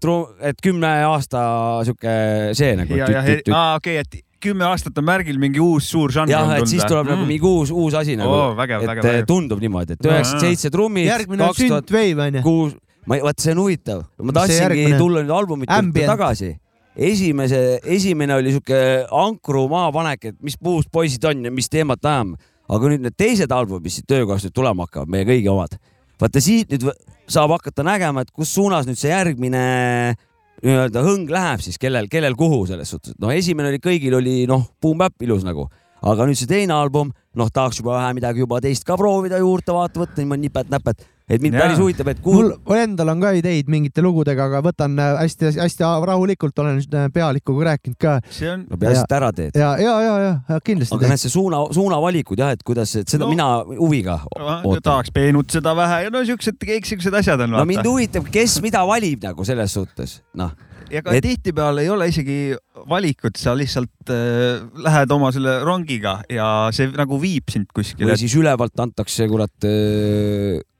[SPEAKER 4] et kümne aasta sihuke see nagu .
[SPEAKER 2] ja , ja , aa okei , et kümme aastat on märgil mingi uus suur žanr .
[SPEAKER 4] jah , et siis tuleb nagu mingi uus , uus asi nagu
[SPEAKER 2] Mm. Oo, vägev,
[SPEAKER 4] et
[SPEAKER 2] vägev,
[SPEAKER 4] eh,
[SPEAKER 2] vägev.
[SPEAKER 4] tundub niimoodi , et
[SPEAKER 2] Jaa,
[SPEAKER 4] üheksakümmend seitse trummi ,
[SPEAKER 1] järgmine on
[SPEAKER 4] kaks tuhat
[SPEAKER 1] Synthwave onju .
[SPEAKER 4] kuus , ma , vot see on huvitav , ma
[SPEAKER 1] Mis see
[SPEAKER 4] tahtsingi
[SPEAKER 1] järgmine?
[SPEAKER 4] tulla nüüd albumite juurde
[SPEAKER 1] Ambient.
[SPEAKER 4] tagasi . esimese , esimene oli sihuke ankru maapanek , et mis puust poisid on ja mis teemat ajame . aga nüüd need teised albumid , mis siit töökohast nüüd tulema hakkavad , meie kõigi omad . vaata siit nüüd võ- saab hakata nägema , et kus suunas nüüd see järgmine nii-öelda hõng läheb siis , kellel , kellel kuhu selles suhtes , et noh , esimene oli kõigil oli noh , Boom Bap ilus nagu , aga nüüd see teine album , noh , tahaks juba vähe midagi juba teist ka proovida juurde vaata , võtta niimoodi nipet-näpet , et mind
[SPEAKER 2] Jaa.
[SPEAKER 4] päris huvitab , et kuhu
[SPEAKER 1] mul endal on ka ideid mingite lugudega , aga võtan äh, hästi-hästi rahulikult , olen äh, pealikuga rääkinud ka
[SPEAKER 2] see on ,
[SPEAKER 4] no peaasi , et ära teed .
[SPEAKER 1] ja , ja , ja , ja kindlasti
[SPEAKER 4] aga . näed , see suuna , suunavalikud jah , et kuidas , et seda no.
[SPEAKER 2] No.
[SPEAKER 4] mina huviga ootan .
[SPEAKER 2] tahaks peenutseda vähe ja no siuksed , kõik siuksed asjad on .
[SPEAKER 4] no mind huvitab , kes mida valib nagu selles suhtes , noh .
[SPEAKER 2] ja ka
[SPEAKER 4] Et-
[SPEAKER 2] et... tihtipeale ei ole isegi valikut , sa lihtsalt äh, lähed oma selle rongiga ja see nagu viib sind kuskile
[SPEAKER 4] või . siis ülevalt antakse , kurat ,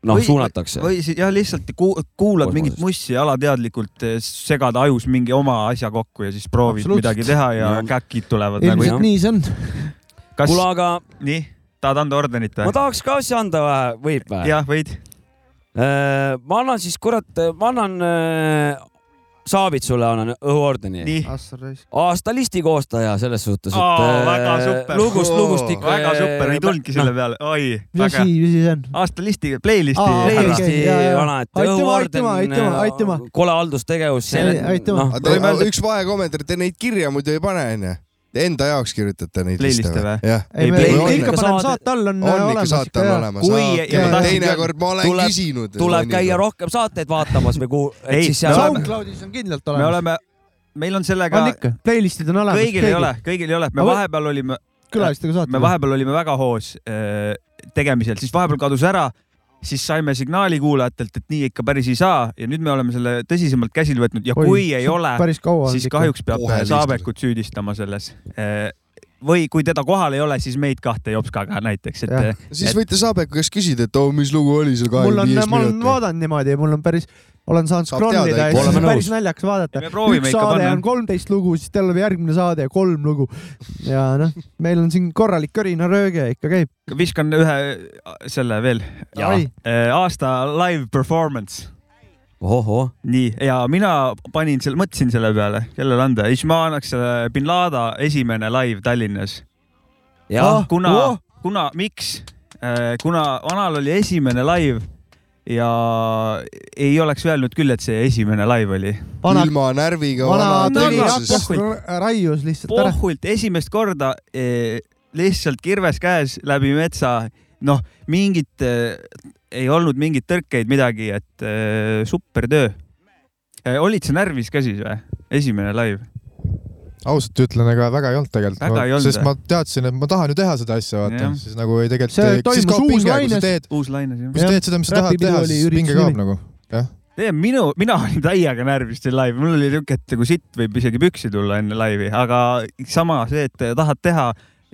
[SPEAKER 4] noh ,
[SPEAKER 2] Või-
[SPEAKER 4] suunatakse .
[SPEAKER 2] või siis jah , lihtsalt ku- kuulad
[SPEAKER 4] Kosmoses.
[SPEAKER 2] mingit mussi ja alateadlikult äh, segad ajus mingi oma asja kokku ja siis proovid
[SPEAKER 1] Absoluutselt.
[SPEAKER 2] midagi teha ja
[SPEAKER 4] Jah.
[SPEAKER 2] käkid tulevad nagu .
[SPEAKER 4] jah.
[SPEAKER 1] ilmselt nii see on .
[SPEAKER 2] kas
[SPEAKER 4] kuule , aga
[SPEAKER 2] nii , tahad anda ordenit
[SPEAKER 4] ma
[SPEAKER 2] või ?
[SPEAKER 4] tahaks ka asja anda vähe , võib või ?
[SPEAKER 2] jah , võid .
[SPEAKER 4] ma annan siis , kurat , ma annan , Saavit sulle annan õhuordeni .
[SPEAKER 2] nii ,
[SPEAKER 4] aasta listi koostaja selles suhtes , et
[SPEAKER 2] Aa, väga
[SPEAKER 4] eh,
[SPEAKER 2] super.
[SPEAKER 4] lugust , äh,
[SPEAKER 3] Oo,
[SPEAKER 4] lugustik .
[SPEAKER 2] väga super , ei tulnudki
[SPEAKER 4] Noh.
[SPEAKER 2] selle peale , oi ,
[SPEAKER 1] mis
[SPEAKER 2] väga
[SPEAKER 1] asi , mis asi see on ?
[SPEAKER 2] aastalisti , playlisti
[SPEAKER 1] Aa,
[SPEAKER 2] ära.
[SPEAKER 1] playlist.
[SPEAKER 4] täiesti
[SPEAKER 1] Jaa, jaa.
[SPEAKER 4] vana , et äh,
[SPEAKER 1] Aitüma,
[SPEAKER 4] õhuorden
[SPEAKER 1] aitüma, , aitüma, aitüma.
[SPEAKER 4] kole haldustegevus .
[SPEAKER 1] Ei, aitüma.
[SPEAKER 4] noh ,
[SPEAKER 3] aga
[SPEAKER 2] Võime öelda-
[SPEAKER 3] te , üks vahekommentaar , te neid kirja muidu ei pane , onju . Te enda jaoks kirjutate neid
[SPEAKER 2] Playliste
[SPEAKER 3] liste
[SPEAKER 2] või?
[SPEAKER 3] või ? jah .
[SPEAKER 1] ei , me
[SPEAKER 4] Ei,
[SPEAKER 1] ikka-
[SPEAKER 4] ikka
[SPEAKER 1] ikka paneme
[SPEAKER 4] saade-
[SPEAKER 1] saate all on,
[SPEAKER 3] on
[SPEAKER 1] äh,
[SPEAKER 3] ikka
[SPEAKER 1] olemas
[SPEAKER 3] saate all olemas .
[SPEAKER 2] Kui- ja ma tahtsin-
[SPEAKER 3] teinekord ma olen
[SPEAKER 4] tuleb-
[SPEAKER 3] küsinud .
[SPEAKER 4] tuleb käia . rohkem saateid vaatamas või kuhu , et
[SPEAKER 2] Ei,
[SPEAKER 4] siis
[SPEAKER 2] me
[SPEAKER 4] seal on
[SPEAKER 2] oleme-
[SPEAKER 1] SoundCloudis on kindlalt
[SPEAKER 2] me
[SPEAKER 1] olemas .
[SPEAKER 2] oleme , meil on sellega
[SPEAKER 1] on , ikka , playlist'id on olemas .
[SPEAKER 2] kõigil ei ole , kõigil ei ole , me
[SPEAKER 1] Aga-
[SPEAKER 2] vahepeal olime ,
[SPEAKER 1] külalistega saate .
[SPEAKER 2] me vahepeal olime väga hoos äh, tegemisel , siis vahepeal kadus ära , siis saime signaali kuulajatelt , et nii ikka päris ei saa ja nüüd me oleme selle tõsisemalt käsile võtnud ja Oi, kui ei ole ,
[SPEAKER 1] päris kaua on
[SPEAKER 2] siis kahjuks peab
[SPEAKER 3] Kohe
[SPEAKER 2] Saabekut süüdistama selles . või kui teda kohal ei ole , siis meid kahte jopskaga näiteks , et
[SPEAKER 1] Jah.
[SPEAKER 2] eh,
[SPEAKER 3] siis võite Saabeku käest küsida , et oo , mis lugu oli seal
[SPEAKER 1] mul on
[SPEAKER 3] kahekümne , viies
[SPEAKER 1] ma olen
[SPEAKER 3] minut .
[SPEAKER 1] vaadanud niimoodi ja mul on päris , olen saanud
[SPEAKER 3] Saab teada
[SPEAKER 1] scroll ida ja
[SPEAKER 3] ikka.
[SPEAKER 1] siis on
[SPEAKER 4] Oleme
[SPEAKER 1] päris
[SPEAKER 4] nõus.
[SPEAKER 1] naljakas vaadata
[SPEAKER 2] me . proovime
[SPEAKER 1] üks
[SPEAKER 2] ikka
[SPEAKER 1] saade
[SPEAKER 2] panna
[SPEAKER 1] on . kolmteist lugu , siis tal on järgmine saade kolm lugu ja noh , meil on siin korralik körinarööge ikka käib .
[SPEAKER 2] viskan ühe selle veel . aasta live performance .
[SPEAKER 4] ohoh ,
[SPEAKER 2] nii , ja mina panin selle , mõtlesin selle peale , kellele anda ja siis ma annaks selle bin Lada esimene live Tallinnas .
[SPEAKER 4] jah ,
[SPEAKER 2] kuna oh. , kuna , miks ? kuna vanal oli esimene live ja ei oleks öelnud küll , et see esimene live oli .
[SPEAKER 1] vana ,
[SPEAKER 3] ilma närviga ,
[SPEAKER 1] vana
[SPEAKER 3] vana
[SPEAKER 1] tegi
[SPEAKER 3] tegevuses .
[SPEAKER 1] rakkust ra- raius lihtsalt ära .
[SPEAKER 2] pohhult esimest korda eh, lihtsalt kirves käes läbi metsa , noh , mingit , ei olnud mingeid tõrkeid , midagi , et eh, super töö . olid sa närvis ka siis või ? esimene live ?
[SPEAKER 5] ausalt ütlen , ega väga ei olnud tegelikult
[SPEAKER 2] Väga ei , olnud,
[SPEAKER 5] sest
[SPEAKER 2] jah.
[SPEAKER 5] ma teadsin , et ma tahan ju teha seda asja , vaata
[SPEAKER 2] Jah. ,
[SPEAKER 5] siis nagu ei
[SPEAKER 1] See
[SPEAKER 5] tegelikult .
[SPEAKER 1] toimus
[SPEAKER 5] siis kaob
[SPEAKER 1] uus
[SPEAKER 5] pinge , kui sa
[SPEAKER 1] laines.
[SPEAKER 5] teed ,
[SPEAKER 2] uus laine siin .
[SPEAKER 5] kui sa teed seda , mis sa tahad
[SPEAKER 1] Räpipidu
[SPEAKER 5] teha ,
[SPEAKER 1] oli
[SPEAKER 5] siis pinge
[SPEAKER 1] ürituse
[SPEAKER 5] kaob
[SPEAKER 1] nimi.
[SPEAKER 5] nagu .
[SPEAKER 2] tee minu , mina olin täiega närvis seal live , mul oli niuke , et nagu sitt võib isegi püksi tulla enne laivi , aga sama see , et tahad teha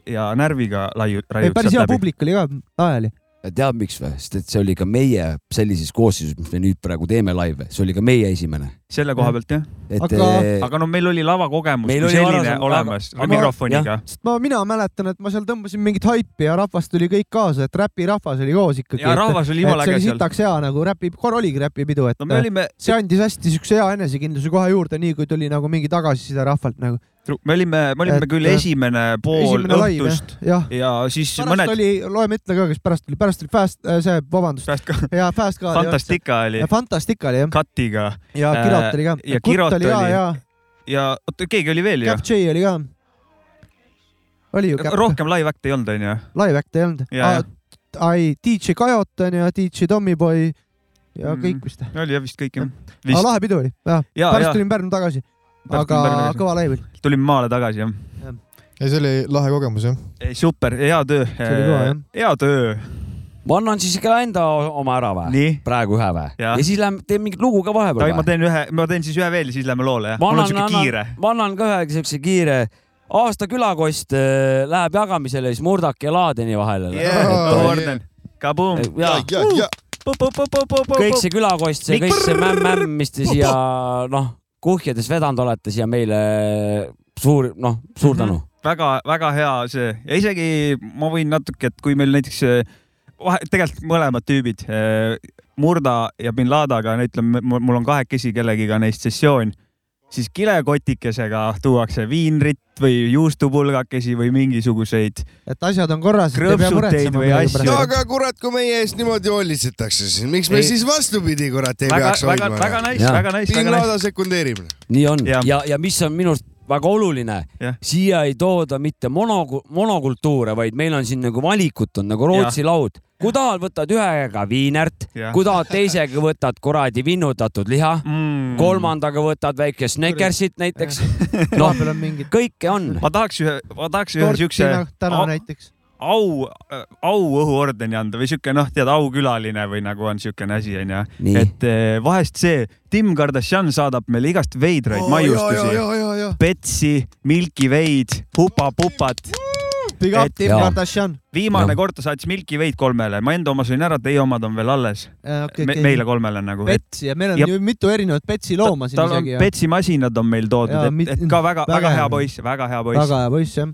[SPEAKER 2] ja närviga laiu- , raiud
[SPEAKER 1] päris hea . publik oli ka , ajali .
[SPEAKER 4] tead miks või , sest et see oli ka meie sellises koosseisus , mis me nüüd praegu teeme laive , see oli ka meie esimene .
[SPEAKER 2] selle koha pealt jah ,
[SPEAKER 4] et
[SPEAKER 1] Aga-
[SPEAKER 4] eh,
[SPEAKER 2] aga no meil oli lavakogemus
[SPEAKER 4] Meil
[SPEAKER 2] kui
[SPEAKER 4] oli
[SPEAKER 2] selline
[SPEAKER 4] varasem-
[SPEAKER 2] olemas
[SPEAKER 4] aga-
[SPEAKER 2] mikrofoniga .
[SPEAKER 1] sest ma , mina mäletan , et ma seal tõmbasin mingit haipi ja rahvas tuli kõik kaasa , et räpirahvas oli koos ikkagi .
[SPEAKER 2] ja rahvas oli jumala
[SPEAKER 1] et see
[SPEAKER 2] äge
[SPEAKER 1] oli
[SPEAKER 2] seal .
[SPEAKER 1] sitaks hea nagu räpi , korra oligi räpipidu , et
[SPEAKER 2] no me olime ,
[SPEAKER 1] see andis hästi siukse hea enesekindluse kohe juurde , nii kui tuli nagu mingi tagasiside rahvalt nagu .
[SPEAKER 2] me olime , me olime
[SPEAKER 1] Et,
[SPEAKER 2] küll
[SPEAKER 1] äh,
[SPEAKER 2] esimene pool
[SPEAKER 1] esimene laiv
[SPEAKER 2] õhtust ,
[SPEAKER 1] jah . Ah.
[SPEAKER 2] ja siis
[SPEAKER 1] pärast mõned...
[SPEAKER 2] mõned
[SPEAKER 1] oli , loeme ette ka , kes pärast oli , pärast oli Fast , see , vabandust ,
[SPEAKER 2] pärast ka
[SPEAKER 1] ja Fast ka .
[SPEAKER 2] Fantastica oli ,
[SPEAKER 1] Fantastica oli jah ,
[SPEAKER 2] Katiga
[SPEAKER 1] ja
[SPEAKER 2] Äh,
[SPEAKER 1] Kirot oli ka .
[SPEAKER 2] ja Kirot
[SPEAKER 1] oli ka
[SPEAKER 2] oli-
[SPEAKER 1] ja
[SPEAKER 2] ja oota , keegi oli veel ju ,
[SPEAKER 1] Cap J oli ka . oli ju Cap , Ah,
[SPEAKER 2] rohkem live act'e ei olnud , onju .
[SPEAKER 1] live act ei olnud
[SPEAKER 2] Ja, . ja.
[SPEAKER 1] ai , DJ Kajot on ju , DJ Tommyboy ja
[SPEAKER 2] Mm.
[SPEAKER 1] mm. kõik vist .
[SPEAKER 2] oli jah vist kõik jah .
[SPEAKER 1] aga
[SPEAKER 2] Vist.
[SPEAKER 1] lahe pidu oli , jah .
[SPEAKER 2] ja ,
[SPEAKER 1] pärast
[SPEAKER 2] ja
[SPEAKER 1] tulin Pärnu tagasi ,
[SPEAKER 2] Pärast
[SPEAKER 1] aga
[SPEAKER 2] tulin Pärnu tagasi.
[SPEAKER 1] kõva laiv oli .
[SPEAKER 2] tulime maale tagasi jah .
[SPEAKER 5] ei , see oli lahe kogemus jah .
[SPEAKER 2] Ei, super , hea töö .
[SPEAKER 1] oli kõva, jah.
[SPEAKER 2] hea töö ,
[SPEAKER 4] ma annan siis ka enda oma ära või ?
[SPEAKER 2] nii .
[SPEAKER 4] praegu ühe või ?
[SPEAKER 2] Jah.
[SPEAKER 4] ja siis lähme , teeme mingit lugu ka
[SPEAKER 2] Tavi ,
[SPEAKER 4] vahepeal
[SPEAKER 2] ma
[SPEAKER 4] või ?
[SPEAKER 2] teen ühe , ma teen siis ühe veel , siis lähme loole , jah .
[SPEAKER 4] Ma
[SPEAKER 2] mul on
[SPEAKER 4] annan-
[SPEAKER 2] siuke
[SPEAKER 4] annan-
[SPEAKER 2] kiire .
[SPEAKER 4] ma annan ka ühe siukse kiire , aasta külakost äh, läheb jagamisele siis Murdaki ja Laadeni vahele
[SPEAKER 5] Jaa.
[SPEAKER 2] Yeah, orden , kabuum .
[SPEAKER 4] ja
[SPEAKER 3] ja , ja ,
[SPEAKER 4] kõik see külakost , see kõik see mämm-mämm , mis te siia noh , kuhjades vedanud olete siia meile suur noh , suur
[SPEAKER 1] Mhm.
[SPEAKER 4] tänu .
[SPEAKER 2] väga-väga hea see ja isegi ma võin natuke , et kui meil näiteks eh, vahe , tegelikult mõlemad tüübid , Murda ja bin Ladaga , ütleme , mul on kahekesi kellegiga neist sessioon , siis kilekotikesega tuuakse viinrit või juustupulgakesi või mingisuguseid
[SPEAKER 1] et asjad on korras , et ei pea
[SPEAKER 2] Krõpsuteid
[SPEAKER 1] muretsema
[SPEAKER 2] või
[SPEAKER 1] millegi
[SPEAKER 2] asju.
[SPEAKER 1] pärast.
[SPEAKER 3] ja , aga kurat , kui meie eest niimoodi hoolitsetakse , siis miks me
[SPEAKER 2] Ei.
[SPEAKER 3] siis vastupidi , kurat , ei
[SPEAKER 2] väga ,
[SPEAKER 3] peaks
[SPEAKER 2] väga , väga
[SPEAKER 3] hoidma .
[SPEAKER 2] nice ,
[SPEAKER 4] Jaa.
[SPEAKER 2] väga nice ,
[SPEAKER 3] Bin
[SPEAKER 2] väga nice .
[SPEAKER 3] Laden sekundeerib .
[SPEAKER 4] nii on
[SPEAKER 2] Ja.
[SPEAKER 4] ja , ja, ja mis on minu arust väga oluline
[SPEAKER 2] Jah. ,
[SPEAKER 4] siia ei tooda mitte mono , monokultuure , vaid meil on siin nagu valikut on nagu Rootsi laud . kui tahad , võtad ühe käega viinert ,
[SPEAKER 2] Jah.
[SPEAKER 4] kui tahad teisega , võtad kuradi vinnutatud liha ,
[SPEAKER 2] mm. .
[SPEAKER 4] kolmandaga võtad väike snäkersit näiteks . noh ,
[SPEAKER 1] vahepeal on mingid .
[SPEAKER 4] kõike on .
[SPEAKER 2] ma tahaks ühe , ma tahaks ühe siukse
[SPEAKER 1] noh, täna
[SPEAKER 2] au ,
[SPEAKER 1] näiteks .
[SPEAKER 2] au , auõhuordeni anda või siuke noh , tead aukülaline või nagu on siukene asi onju ,
[SPEAKER 4] Nii.
[SPEAKER 2] et eh, vahest see Tim Kardashian saadab meile igast veidraid oh, maiustusi . Betsi , Milky Way'd , Hupa-Pupat .
[SPEAKER 1] Big up
[SPEAKER 2] Et-
[SPEAKER 1] Tim
[SPEAKER 4] jaa.
[SPEAKER 1] Kardashian .
[SPEAKER 2] viimane
[SPEAKER 4] Jah.
[SPEAKER 2] kord ta saatis Milky Way'd kolmele , ma enda oma sõin ära , teie omad on veel alles
[SPEAKER 1] Äh, okei ,
[SPEAKER 2] okay, . Me, meile . kolmele nagu .
[SPEAKER 1] Petsi ja meil on
[SPEAKER 2] ja-
[SPEAKER 1] ju mitu erinevat Petsi looma siin
[SPEAKER 2] tal on
[SPEAKER 1] isegi ja
[SPEAKER 2] Betsi masinad on meil
[SPEAKER 1] Jaa,
[SPEAKER 2] toodud ,
[SPEAKER 1] mit-
[SPEAKER 2] et , et ka väga ,
[SPEAKER 1] väga
[SPEAKER 2] väga hea
[SPEAKER 1] hea.
[SPEAKER 2] poiss , väga hea poiss ,
[SPEAKER 1] väga hea poiss jah .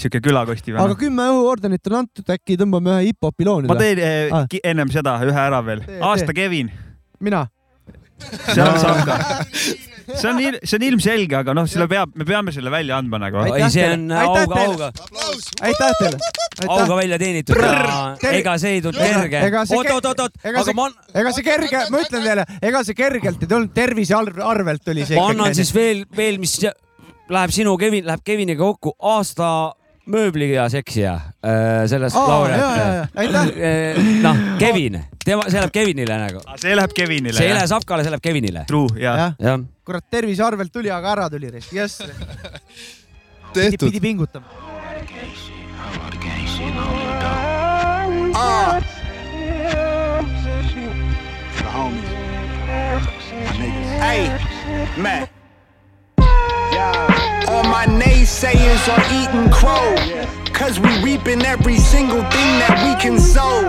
[SPEAKER 2] siuke külakosti
[SPEAKER 1] aga
[SPEAKER 4] noh.
[SPEAKER 2] vana .
[SPEAKER 1] kümme õhuordenit on antud , äkki tõmbame ühe hip-hopi loo nüüd
[SPEAKER 2] ma
[SPEAKER 1] või ?
[SPEAKER 2] teen eh,
[SPEAKER 1] Ah.
[SPEAKER 2] ki- ennem seda ühe ära veel
[SPEAKER 1] Tee, , tee.
[SPEAKER 2] aasta Kevin .
[SPEAKER 1] mina .
[SPEAKER 2] see on Sanka . see on , see on ilmselge , aga noh , selle peab , me peame selle välja andma nagu .
[SPEAKER 1] Aitäh
[SPEAKER 4] ei , see
[SPEAKER 1] teile!
[SPEAKER 4] on Ah,
[SPEAKER 1] Aitäh
[SPEAKER 4] auga ,
[SPEAKER 1] teile!
[SPEAKER 4] auga ,
[SPEAKER 1] aitäh teile .
[SPEAKER 4] auga välja teenitud ja
[SPEAKER 1] Tervi-
[SPEAKER 4] ega see ei tulnud
[SPEAKER 1] Ega-
[SPEAKER 4] kerge .
[SPEAKER 1] ega see
[SPEAKER 4] oot ,
[SPEAKER 1] ke-
[SPEAKER 4] oot , oot , oot ,
[SPEAKER 1] ega see-
[SPEAKER 4] aga ma annan
[SPEAKER 1] ega see kerge , ma ütlen teile , ega see kergelt ei tulnud , tervise arv- arvelt tuli see
[SPEAKER 4] ma annan siis . veel , veel , mis ja- läheb sinu , Kevin , läheb Keviniga kokku aasta mööbliga seksija äh, sellest
[SPEAKER 1] Aa, jaa, jaa, jaa.
[SPEAKER 4] laureaat .
[SPEAKER 1] Aitäh.
[SPEAKER 4] noh , Kevin , tema , see läheb Kevinile nagu ,
[SPEAKER 2] see läheb Kevinile .
[SPEAKER 4] see ei lähe Sapkale , see läheb Kevinile .
[SPEAKER 2] True , jaa .
[SPEAKER 1] jah ,
[SPEAKER 4] jah ,
[SPEAKER 1] kurat , tervise arvelt tuli , aga ära tuli . jess ,
[SPEAKER 3] tehtud .
[SPEAKER 1] pidi pingutama .
[SPEAKER 6] Ah. homies. My niggas. Hey, man. All my naysayers are eating crow. Cause we reaping every single thing that we can sow.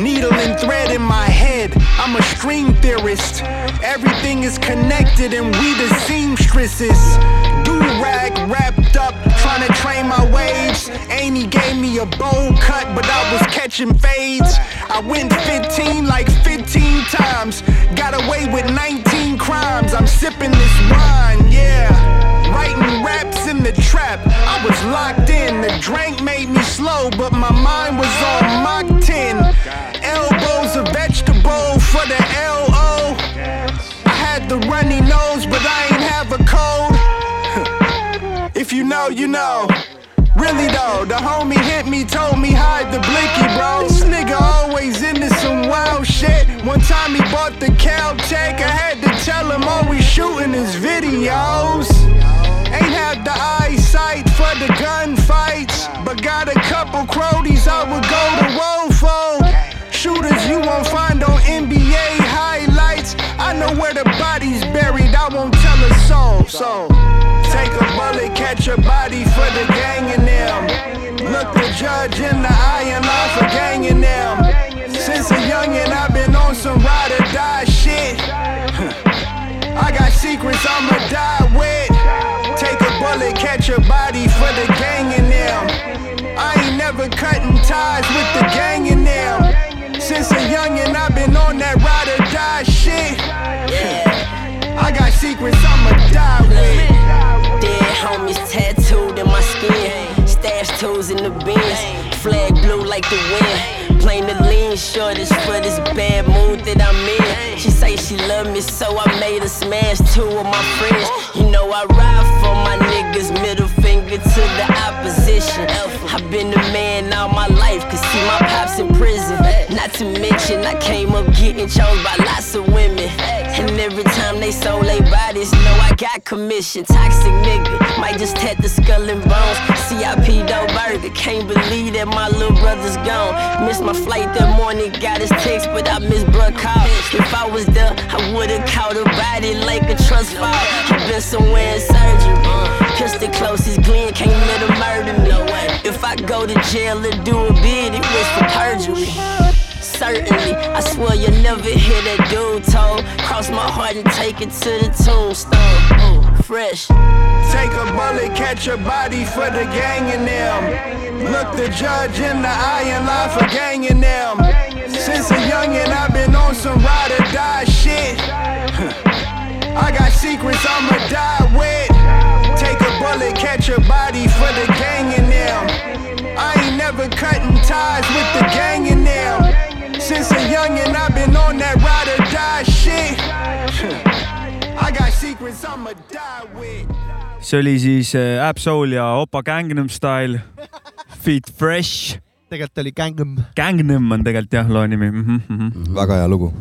[SPEAKER 6] Needle and thread in my head, I'm a string theorist. Everything is connected and we the seamstresses. Do rag wrapped up, trying to train my waves. Amy gave me a bowl cut, but I was catching fades. I went 15 like 15 times. Got away with 19 crimes. I'm sipping this wine, yeah. Writing raps in the trap, I was locked in. The drink made me slow, but my mind was on Mach 10. Elbows a vegetable for the LO. I had the runny nose, but I ain't have a cold. if you know, you know. Really though, the homie hit me, told me hide the blicky, bro. This nigga always into some wild shit. One time he bought the Caltech, I had to tell him always shooting his videos. Ain't had the eyesight for the gunfights, but got a couple cronies I would go to roll for. Shooters you won't find on NBA highlights. I know where the body's buried, I won't tell a soul. So. Take a bullet, catch a body for the gang in them. Look the judge in the eye and lie for ganging them. Since a youngin', I've been on some ride or die shit. I got secrets I'ma die with. Take a bullet, catch a body for the gang in them. I ain't never cutting ties with the gang in them. Since a youngin', I've been on that ride or die shit. I got secrets I'ma die with.
[SPEAKER 7] Dead homies tattooed in my skin. Stash toes in the bins. Flag blue like the wind. Plain the lean shortest for this bad mood that I'm in. She say she love me, so I made her smash two of my friends. You know I ride for my niggas, middle finger to the opposition. I've been the man all my life, could see my pops in prison. Not to mention, I came up getting chose by lots of women. And every time they sold their bodies, know I got commission. Toxic nigga, might just tat the skull and bones. CIP dough burger, can't believe that my little brother's gone. Missed my flight that morning, got his text, but I missed bruh call. If I was there, I would've caught a body like a trust fall. I've been somewhere in surgery. Pistol closest Glenn, can't let him murder me. If I go to jail and do a bid, it was for perjury. Certainly, I swear you'll never hear that dude tone. Cross my heart and take it to the tombstone. Ooh, fresh.
[SPEAKER 6] Take a bullet, catch a body for the gang in them. Look the judge in the eye and lie for ganging them. Since a youngin', I've been on some ride or die shit. I got secrets I'ma die with. Take a bullet, catch a body for the gang in them. I ain't never cutting ties with the gang in them. Since a youngin', I've been on that ride or die shit. I got secrets I'ma die with.
[SPEAKER 2] see oli siis äh, Absol ja Opa Gangnam Style Feet Fresh .
[SPEAKER 1] tegelikult oli Gangnam .
[SPEAKER 2] Gangnam on tegelikult jah , loo nimi mm . -hmm.
[SPEAKER 3] väga hea lugu ,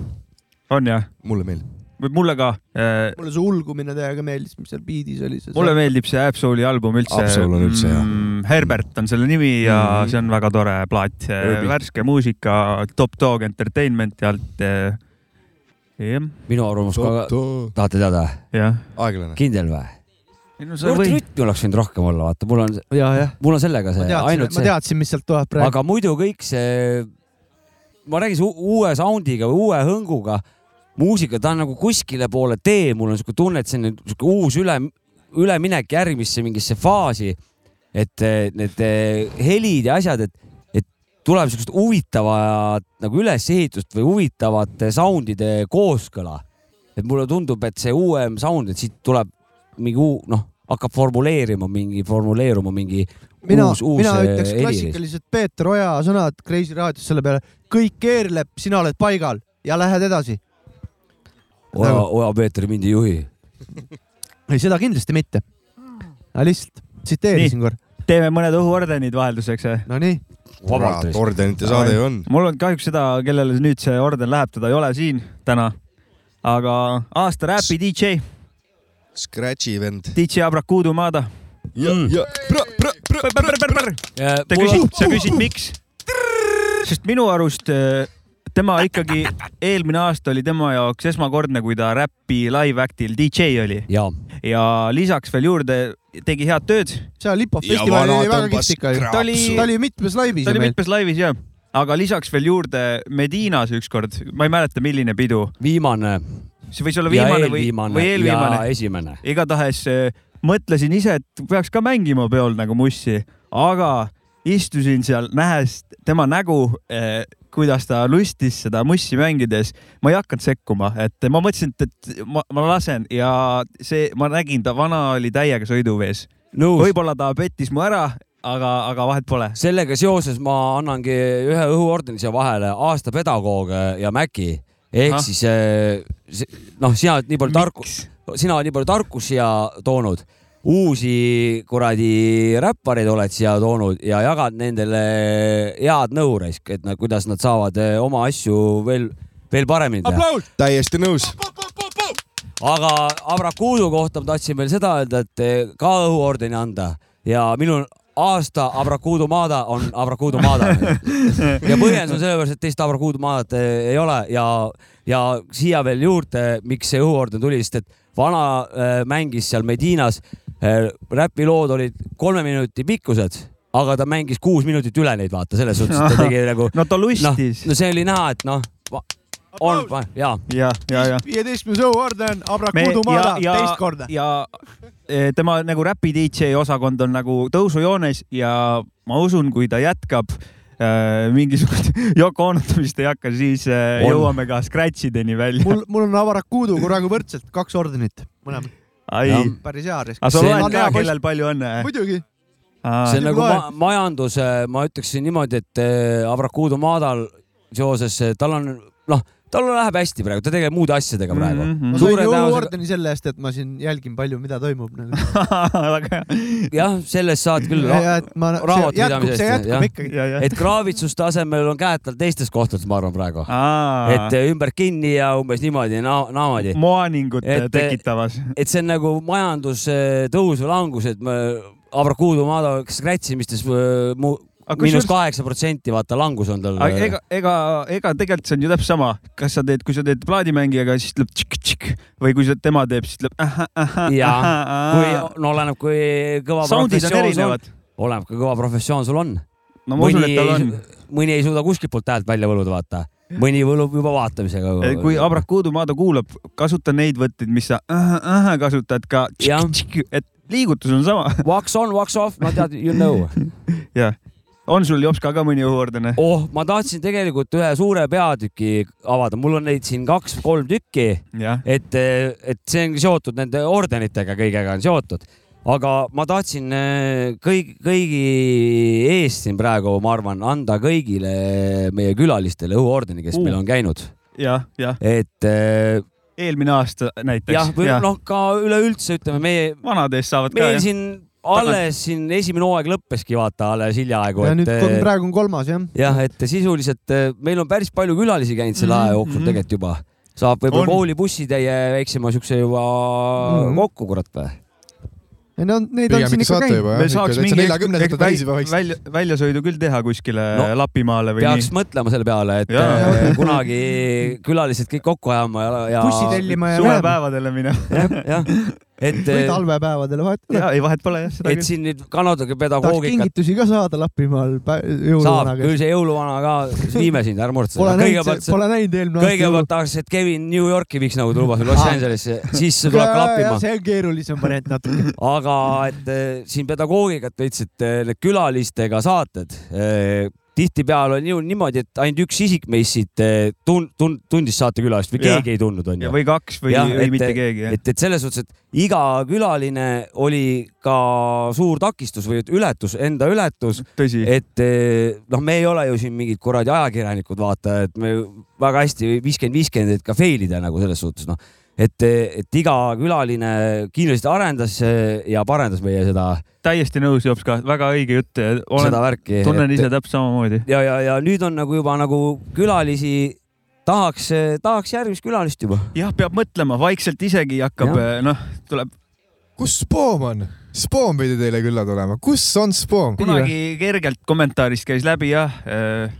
[SPEAKER 2] on jah ,
[SPEAKER 3] mulle meeldib .
[SPEAKER 2] või mulle ka
[SPEAKER 4] eh,
[SPEAKER 2] äh, .
[SPEAKER 1] mulle see ulgumine täiega meeldis , mis seal biidis oli .
[SPEAKER 2] mulle meeldib see Absoli album üldse .
[SPEAKER 3] Absol on üldse hea.
[SPEAKER 2] Herbert on selle nimi ja mm -hmm. see on väga tore plaat , värske muusika Top Dog Entertainmenti alt . jah ,
[SPEAKER 4] minu arvamus ka , tahate teada ,
[SPEAKER 2] jah .
[SPEAKER 3] aeglane .
[SPEAKER 4] kindel või ? kurat , rütmi oleks võinud rohkem olla , vaata , mul on ,
[SPEAKER 1] ja , jah .
[SPEAKER 4] mul on sellega
[SPEAKER 1] ma
[SPEAKER 4] see ,
[SPEAKER 1] teadsin ,
[SPEAKER 4] ainult
[SPEAKER 1] ma
[SPEAKER 4] see ,
[SPEAKER 1] teadsin , mis sealt tuleb praegu .
[SPEAKER 4] aga muidu kõik see , ma räägin see uue sound'iga või uue hõnguga , muusika , ta on nagu kuskile poole tee , mul on siuke tunne , et see on nüüd siuke uus üle , üleminek järgmisse mingisse faasi . et eh, need eh, helid ja asjad , et , et tuleb siukest huvitavat nagu ülesehitust või huvitavat eh, sound'ide kooskõla . et mulle tundub , et see uuem sound , et siit tuleb mingi uu- , noh , hakkab formuleerima mingi , formuleeruma mingi
[SPEAKER 1] mina ,
[SPEAKER 4] uus , uus
[SPEAKER 1] mina
[SPEAKER 4] eh,
[SPEAKER 1] ütleks
[SPEAKER 4] heli .
[SPEAKER 1] klassikalised Peeter Oja sõnad Kreisi raadios selle peale . kõik keerleb , sina oled paigal ja lähed edasi .
[SPEAKER 4] Oja ,
[SPEAKER 2] Nagu-
[SPEAKER 4] Oja-Peeter Mindi juhi .
[SPEAKER 1] ei , seda kindlasti mitte . ma lihtsalt tsiteerisin korra .
[SPEAKER 2] teeme mõned õhuordenid vahelduseks . eh?
[SPEAKER 1] Nonii ,
[SPEAKER 4] Vabalt vist.
[SPEAKER 3] ordenite saade ju on .
[SPEAKER 2] mul on kahjuks seda , kellele nüüd see orden läheb , teda ei ole siin täna . aga aasta räpi DJ ,
[SPEAKER 3] Scratchi vend .
[SPEAKER 2] DJ Abrakuudu Maada .
[SPEAKER 3] ja , ja . Uhuh,
[SPEAKER 2] ta küsib , sa küsid , miks ? sest minu arust äh, tema ikkagi eelmine aasta oli tema jaoks esmakordne , kui ta räppi live act'il DJ oli
[SPEAKER 4] ja
[SPEAKER 2] ja lisaks veel juurde tegi head tööd .
[SPEAKER 1] seal Lipa
[SPEAKER 3] Ja
[SPEAKER 1] festivalil
[SPEAKER 3] vana
[SPEAKER 1] oli väga
[SPEAKER 3] tõmbas
[SPEAKER 1] kihvt ikka ju .
[SPEAKER 3] krapsu.
[SPEAKER 1] ta oli , ta oli mitmes laivis
[SPEAKER 2] ta
[SPEAKER 1] ju
[SPEAKER 2] oli
[SPEAKER 1] meil .
[SPEAKER 2] mitmes laivis ja , aga lisaks veel juurde Medinas ükskord , ma ei mäleta , milline pidu ,
[SPEAKER 4] viimane,
[SPEAKER 2] see võis
[SPEAKER 4] ja
[SPEAKER 2] olla viimane või ,
[SPEAKER 4] eelviimane
[SPEAKER 2] või eelviimane
[SPEAKER 4] ja . esimene .
[SPEAKER 2] igatahes eh, mõtlesin ise , et peaks ka mängima peol nagu mussi , aga istusin seal , nähes tema nägu , kuidas ta lustis seda mussi mängides , ma ei hakanud sekkuma , et ma mõtlesin , et , et ma, ma lasen ja see , ma nägin , ta vana oli täiega sõiduvees .
[SPEAKER 4] nõus ,
[SPEAKER 2] võib-olla ta pettis mu ära , aga , aga vahet pole .
[SPEAKER 4] sellega seoses ma annangi ühe õhuordeni siia vahele , aasta pedagoog ja Mäki ehk ah.
[SPEAKER 2] Ahah.
[SPEAKER 4] siis eh, si- noh , sina oled nii palju tarku- , sina oled nii palju tarkust siia toonud , uusi kuradi räppareid oled siia toonud ja jagad nendele head nõu raisk , et nad , kuidas nad saavad eh, oma asju veel , veel paremini teha .
[SPEAKER 3] täiesti nõus .
[SPEAKER 4] aga Abrakuudu kohta ma tahtsin veel seda öelda , et eh, ka õhuordeni anda ja minul aasta Abrakuudu maada on Abrakuudu maada . ja põhjendus on sellepärast , et teist Abrakuudu maadat eh, ei ole ja , ja siia veel juurde , miks see õhuorden tuli , sest et vana eh, mängis seal Medinas , räpilood olid kolme minuti pikkused , aga ta mängis kuus minutit üle neid , vaata , selles suhtes , et ta tegi nagu
[SPEAKER 2] no ta
[SPEAKER 4] noh ,
[SPEAKER 2] lustis no,
[SPEAKER 4] no see oli näha , et noh , on , jaa
[SPEAKER 2] no. ja , ja , ja .
[SPEAKER 1] viieteistkümnes õhuorden , Abrakuudu maada , teist korda .
[SPEAKER 2] ja eh, tema nagu räpi DJ osakond on nagu tõusujoones ja ma usun , kui ta jätkab eh, mingisugust Yoko Onotamist ei hakka , siis eh,
[SPEAKER 4] On.
[SPEAKER 2] jõuame ka scratchideni välja .
[SPEAKER 1] mul , mul on Abrakuuduga praegu võrdselt kaks ordenit , mõlemad .
[SPEAKER 2] ai
[SPEAKER 4] Jah. ,
[SPEAKER 1] päris hea risk .
[SPEAKER 2] aga sa
[SPEAKER 4] See
[SPEAKER 2] loed
[SPEAKER 1] on
[SPEAKER 2] ka
[SPEAKER 1] hea , poiss.
[SPEAKER 2] kellel palju äh. õnne ?
[SPEAKER 1] muidugi ,
[SPEAKER 4] see on
[SPEAKER 1] Siin
[SPEAKER 4] nagu
[SPEAKER 1] loe-
[SPEAKER 4] ma majanduse , ma ütleksin niimoodi , et eh, Abrakuudu maadal seoses , tal on noh , tal läheb hästi praegu , ta tegeleb muude asjadega praegu mm .
[SPEAKER 1] ma
[SPEAKER 4] -hmm.
[SPEAKER 1] sain
[SPEAKER 4] suure tõenäosusega ,
[SPEAKER 1] õhuordeni selle eest , et ma siin jälgin palju , mida toimub nagu .
[SPEAKER 2] väga hea .
[SPEAKER 4] jah , sellest saad küll ,
[SPEAKER 1] ja , et ma , see
[SPEAKER 4] raamatu
[SPEAKER 1] jätkub ,
[SPEAKER 4] pidamise
[SPEAKER 1] see
[SPEAKER 4] eest, jah.
[SPEAKER 1] jätkub ikkagi .
[SPEAKER 2] ja , ja .
[SPEAKER 4] et kraavitsustasemel on käed tal teistes kohtades , ma arvan praegu , et eh, ümber kinni ja umbes niimoodi na , naamoodi ,
[SPEAKER 2] moaningut eh,
[SPEAKER 4] et-
[SPEAKER 2] tekitavas .
[SPEAKER 4] et see on nagu majandustõus või langus , et me Abrakuudu maada skrätsimistes eh, mu,
[SPEAKER 2] Aga
[SPEAKER 4] miinus
[SPEAKER 2] kusjuures-
[SPEAKER 4] kaheksa protsenti , vaata langus on tal . eh,
[SPEAKER 2] aga ega , ega , ega tegelikult see on ju täpselt sama , kas sa teed , kui sa teed plaadimängijaga , siis tuleb tšikk-tšikk või kui sa tema teeb , siis tuleb ahah-ahah .
[SPEAKER 4] Jaa. kui , no oleneb , kui kõva
[SPEAKER 2] Soundid on
[SPEAKER 4] professioon sul on
[SPEAKER 2] erinevad ..
[SPEAKER 4] oleneb , kui kõva professioon sul on .
[SPEAKER 2] no ma usun , et tal on .
[SPEAKER 4] mõni ei suuda kuskilt poolt häält välja võluda , vaata . mõni võlub juba vaatamisega .
[SPEAKER 2] kui . Abrakuudu Maado kuulab , kasuta neid võtteid , mis sa ahah-ahah kasutad ka ,
[SPEAKER 4] Jah.
[SPEAKER 2] et liigutus on sama .
[SPEAKER 4] Wax on , wax off , no tead , you know .
[SPEAKER 2] jah . on sul jops ka ka mõni õhuordene ?
[SPEAKER 4] oh , ma tahtsin tegelikult ühe suure peatüki avada , mul on neid siin kaks-kolm tükki
[SPEAKER 2] jah .
[SPEAKER 4] et , et see on seotud nende ordenitega , kõigega on seotud . aga ma tahtsin eh, kõigi , kõigi eest siin praegu , ma arvan , anda kõigile meie külalistele õhuordeni , kes
[SPEAKER 2] Uh.
[SPEAKER 4] uh. meil on käinud ,
[SPEAKER 2] jah , jah .
[SPEAKER 4] et eh,
[SPEAKER 2] eelmine aasta
[SPEAKER 4] jah ,
[SPEAKER 2] näiteks .
[SPEAKER 4] või noh , ka üleüldse ütleme , meie ,
[SPEAKER 2] vanad eest saavad ka
[SPEAKER 4] meil . siin alles siin esimene hooaeg lõppeski , vaata alles hiljaaegu ,
[SPEAKER 1] ja
[SPEAKER 4] et
[SPEAKER 1] nüüd
[SPEAKER 4] eh,
[SPEAKER 1] on praegu on kolmas jah .
[SPEAKER 4] jah , et sisuliselt eh, meil on päris palju külalisi käinud selle aja jooksul
[SPEAKER 2] mhm.
[SPEAKER 4] tegelikult juba . saab võib-olla
[SPEAKER 2] On.
[SPEAKER 4] koolibussitäie väiksema siukse juba
[SPEAKER 1] Mhm.
[SPEAKER 4] kokku , kurat või ?
[SPEAKER 1] ja no neid on
[SPEAKER 5] pigem
[SPEAKER 1] siin
[SPEAKER 5] ikka
[SPEAKER 1] ikka
[SPEAKER 5] saate
[SPEAKER 1] käinud .
[SPEAKER 5] juba
[SPEAKER 2] me
[SPEAKER 5] jah ,
[SPEAKER 2] saaks
[SPEAKER 5] täitsa
[SPEAKER 2] mingi
[SPEAKER 5] neljakümnendate täis juba võiks .
[SPEAKER 2] välja , väljasõidu küll teha kuskile no,
[SPEAKER 4] No,
[SPEAKER 2] Lapimaale või
[SPEAKER 4] peaks mõtlema selle peale , et
[SPEAKER 2] Jaa.
[SPEAKER 4] äh, kunagi külalised kõik kokku ajama ja , ja .
[SPEAKER 1] bussi tellima
[SPEAKER 2] nii .
[SPEAKER 1] ja minema.
[SPEAKER 2] suvepäevadele minema .
[SPEAKER 4] jah , jah , et ,
[SPEAKER 1] või talvepäevadel vahet ei ole .
[SPEAKER 2] ja ei , vahet pole jah , seda
[SPEAKER 4] et
[SPEAKER 2] küll .
[SPEAKER 4] siin nüüd kannatage
[SPEAKER 1] tahaks
[SPEAKER 4] pedagoogikat ,
[SPEAKER 1] kingitusi ka saada Lapimaal pä-
[SPEAKER 4] saab
[SPEAKER 1] jõuluvana
[SPEAKER 4] küll
[SPEAKER 1] käest .
[SPEAKER 4] see jõuluvana ka , viime sind , ära muretse .
[SPEAKER 1] Pole
[SPEAKER 4] kõigepealt
[SPEAKER 1] näinud ,
[SPEAKER 4] see ,
[SPEAKER 1] pole näinud eelmine
[SPEAKER 4] kõigepealt tahaks , et Kevin New Yorki viiks nagu tuba sul Los
[SPEAKER 1] Ah.
[SPEAKER 4] Angelesse , siis see tuleb klappima .
[SPEAKER 1] see on keerulisem variant natuke .
[SPEAKER 4] aga et eh, siin pedagoogikat veits , et eh, need külalistega saated eh, tihtipeale on ju niimoodi , et ainult üks isik meist siit eh, tun- , tun- , tundis saatekülalist või
[SPEAKER 2] Jah.
[SPEAKER 4] keegi ei tundnud , onju .
[SPEAKER 2] või kaks või ,
[SPEAKER 4] Jah,
[SPEAKER 2] või
[SPEAKER 4] et-
[SPEAKER 2] mitte keegi jah .
[SPEAKER 4] et , et selles suhtes , et iga külaline oli ka suur takistus või ületus , enda ületus ,
[SPEAKER 2] tõsi .
[SPEAKER 4] et eh, noh , me ei ole ju siin mingid kuradi ajakirjanikud , vaata , et me väga hästi viiskümmend , viiskümmend , et ka fail ida nagu selles suhtes noh , et , et iga külaline kindlasti arendas eh, ja parendas meie seda ,
[SPEAKER 2] täiesti nõus , Jops ka , väga õige jutt . olen
[SPEAKER 4] seda , värki .
[SPEAKER 2] tunnen ise täpselt samamoodi .
[SPEAKER 4] ja , ja , ja nüüd on nagu juba nagu külalisi tahaks , tahaks järgmist külalist juba .
[SPEAKER 2] jah , peab mõtlema , vaikselt isegi hakkab , noh , eh, tuleb
[SPEAKER 5] kus Spoom on ? Spoom pidi teile külla tulema , kus on Spoom ?
[SPEAKER 2] kunagi kergelt kommentaarist käis läbi jah ,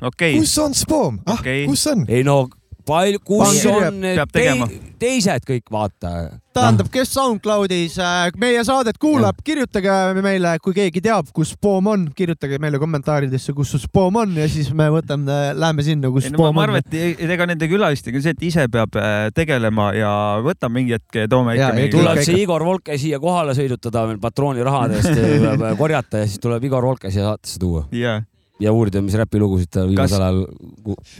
[SPEAKER 2] okei ,
[SPEAKER 5] kus on Spoom ? ah
[SPEAKER 2] Okei.
[SPEAKER 5] okay. , kus on ?
[SPEAKER 4] ei no , palju , kus
[SPEAKER 1] Pange
[SPEAKER 4] on
[SPEAKER 2] kirja, peab
[SPEAKER 4] tei-
[SPEAKER 2] tegema.
[SPEAKER 4] teised kõik , vaata .
[SPEAKER 1] tähendab , kes SoundCloudis äh, meie saadet kuulab , kirjutage meile , kui keegi teab , kus Spoom on , kirjutage meile kommentaaridesse , kus see Spoom on ja siis me võtame , läheme sinna , kus
[SPEAKER 2] ei no ma-
[SPEAKER 1] Spoom
[SPEAKER 2] ma
[SPEAKER 1] on
[SPEAKER 2] arvan ,. et e- et ega nende külalistega on see , et ise peab äh, tegelema ja võtab mingi hetk ja toome
[SPEAKER 1] Jaa,
[SPEAKER 2] ikka
[SPEAKER 1] ei
[SPEAKER 2] mingi
[SPEAKER 1] tule-
[SPEAKER 4] tuleb
[SPEAKER 1] ikka-
[SPEAKER 4] see Igor Volke siia kohale sõidutada veel patrooni rahadest tuleb äh, korjata ja siis tuleb Igor Volke siia saatesse tuua
[SPEAKER 2] ja
[SPEAKER 4] ja uurida , mis räpilugusid ta
[SPEAKER 2] Kas-
[SPEAKER 4] viimasel ajal .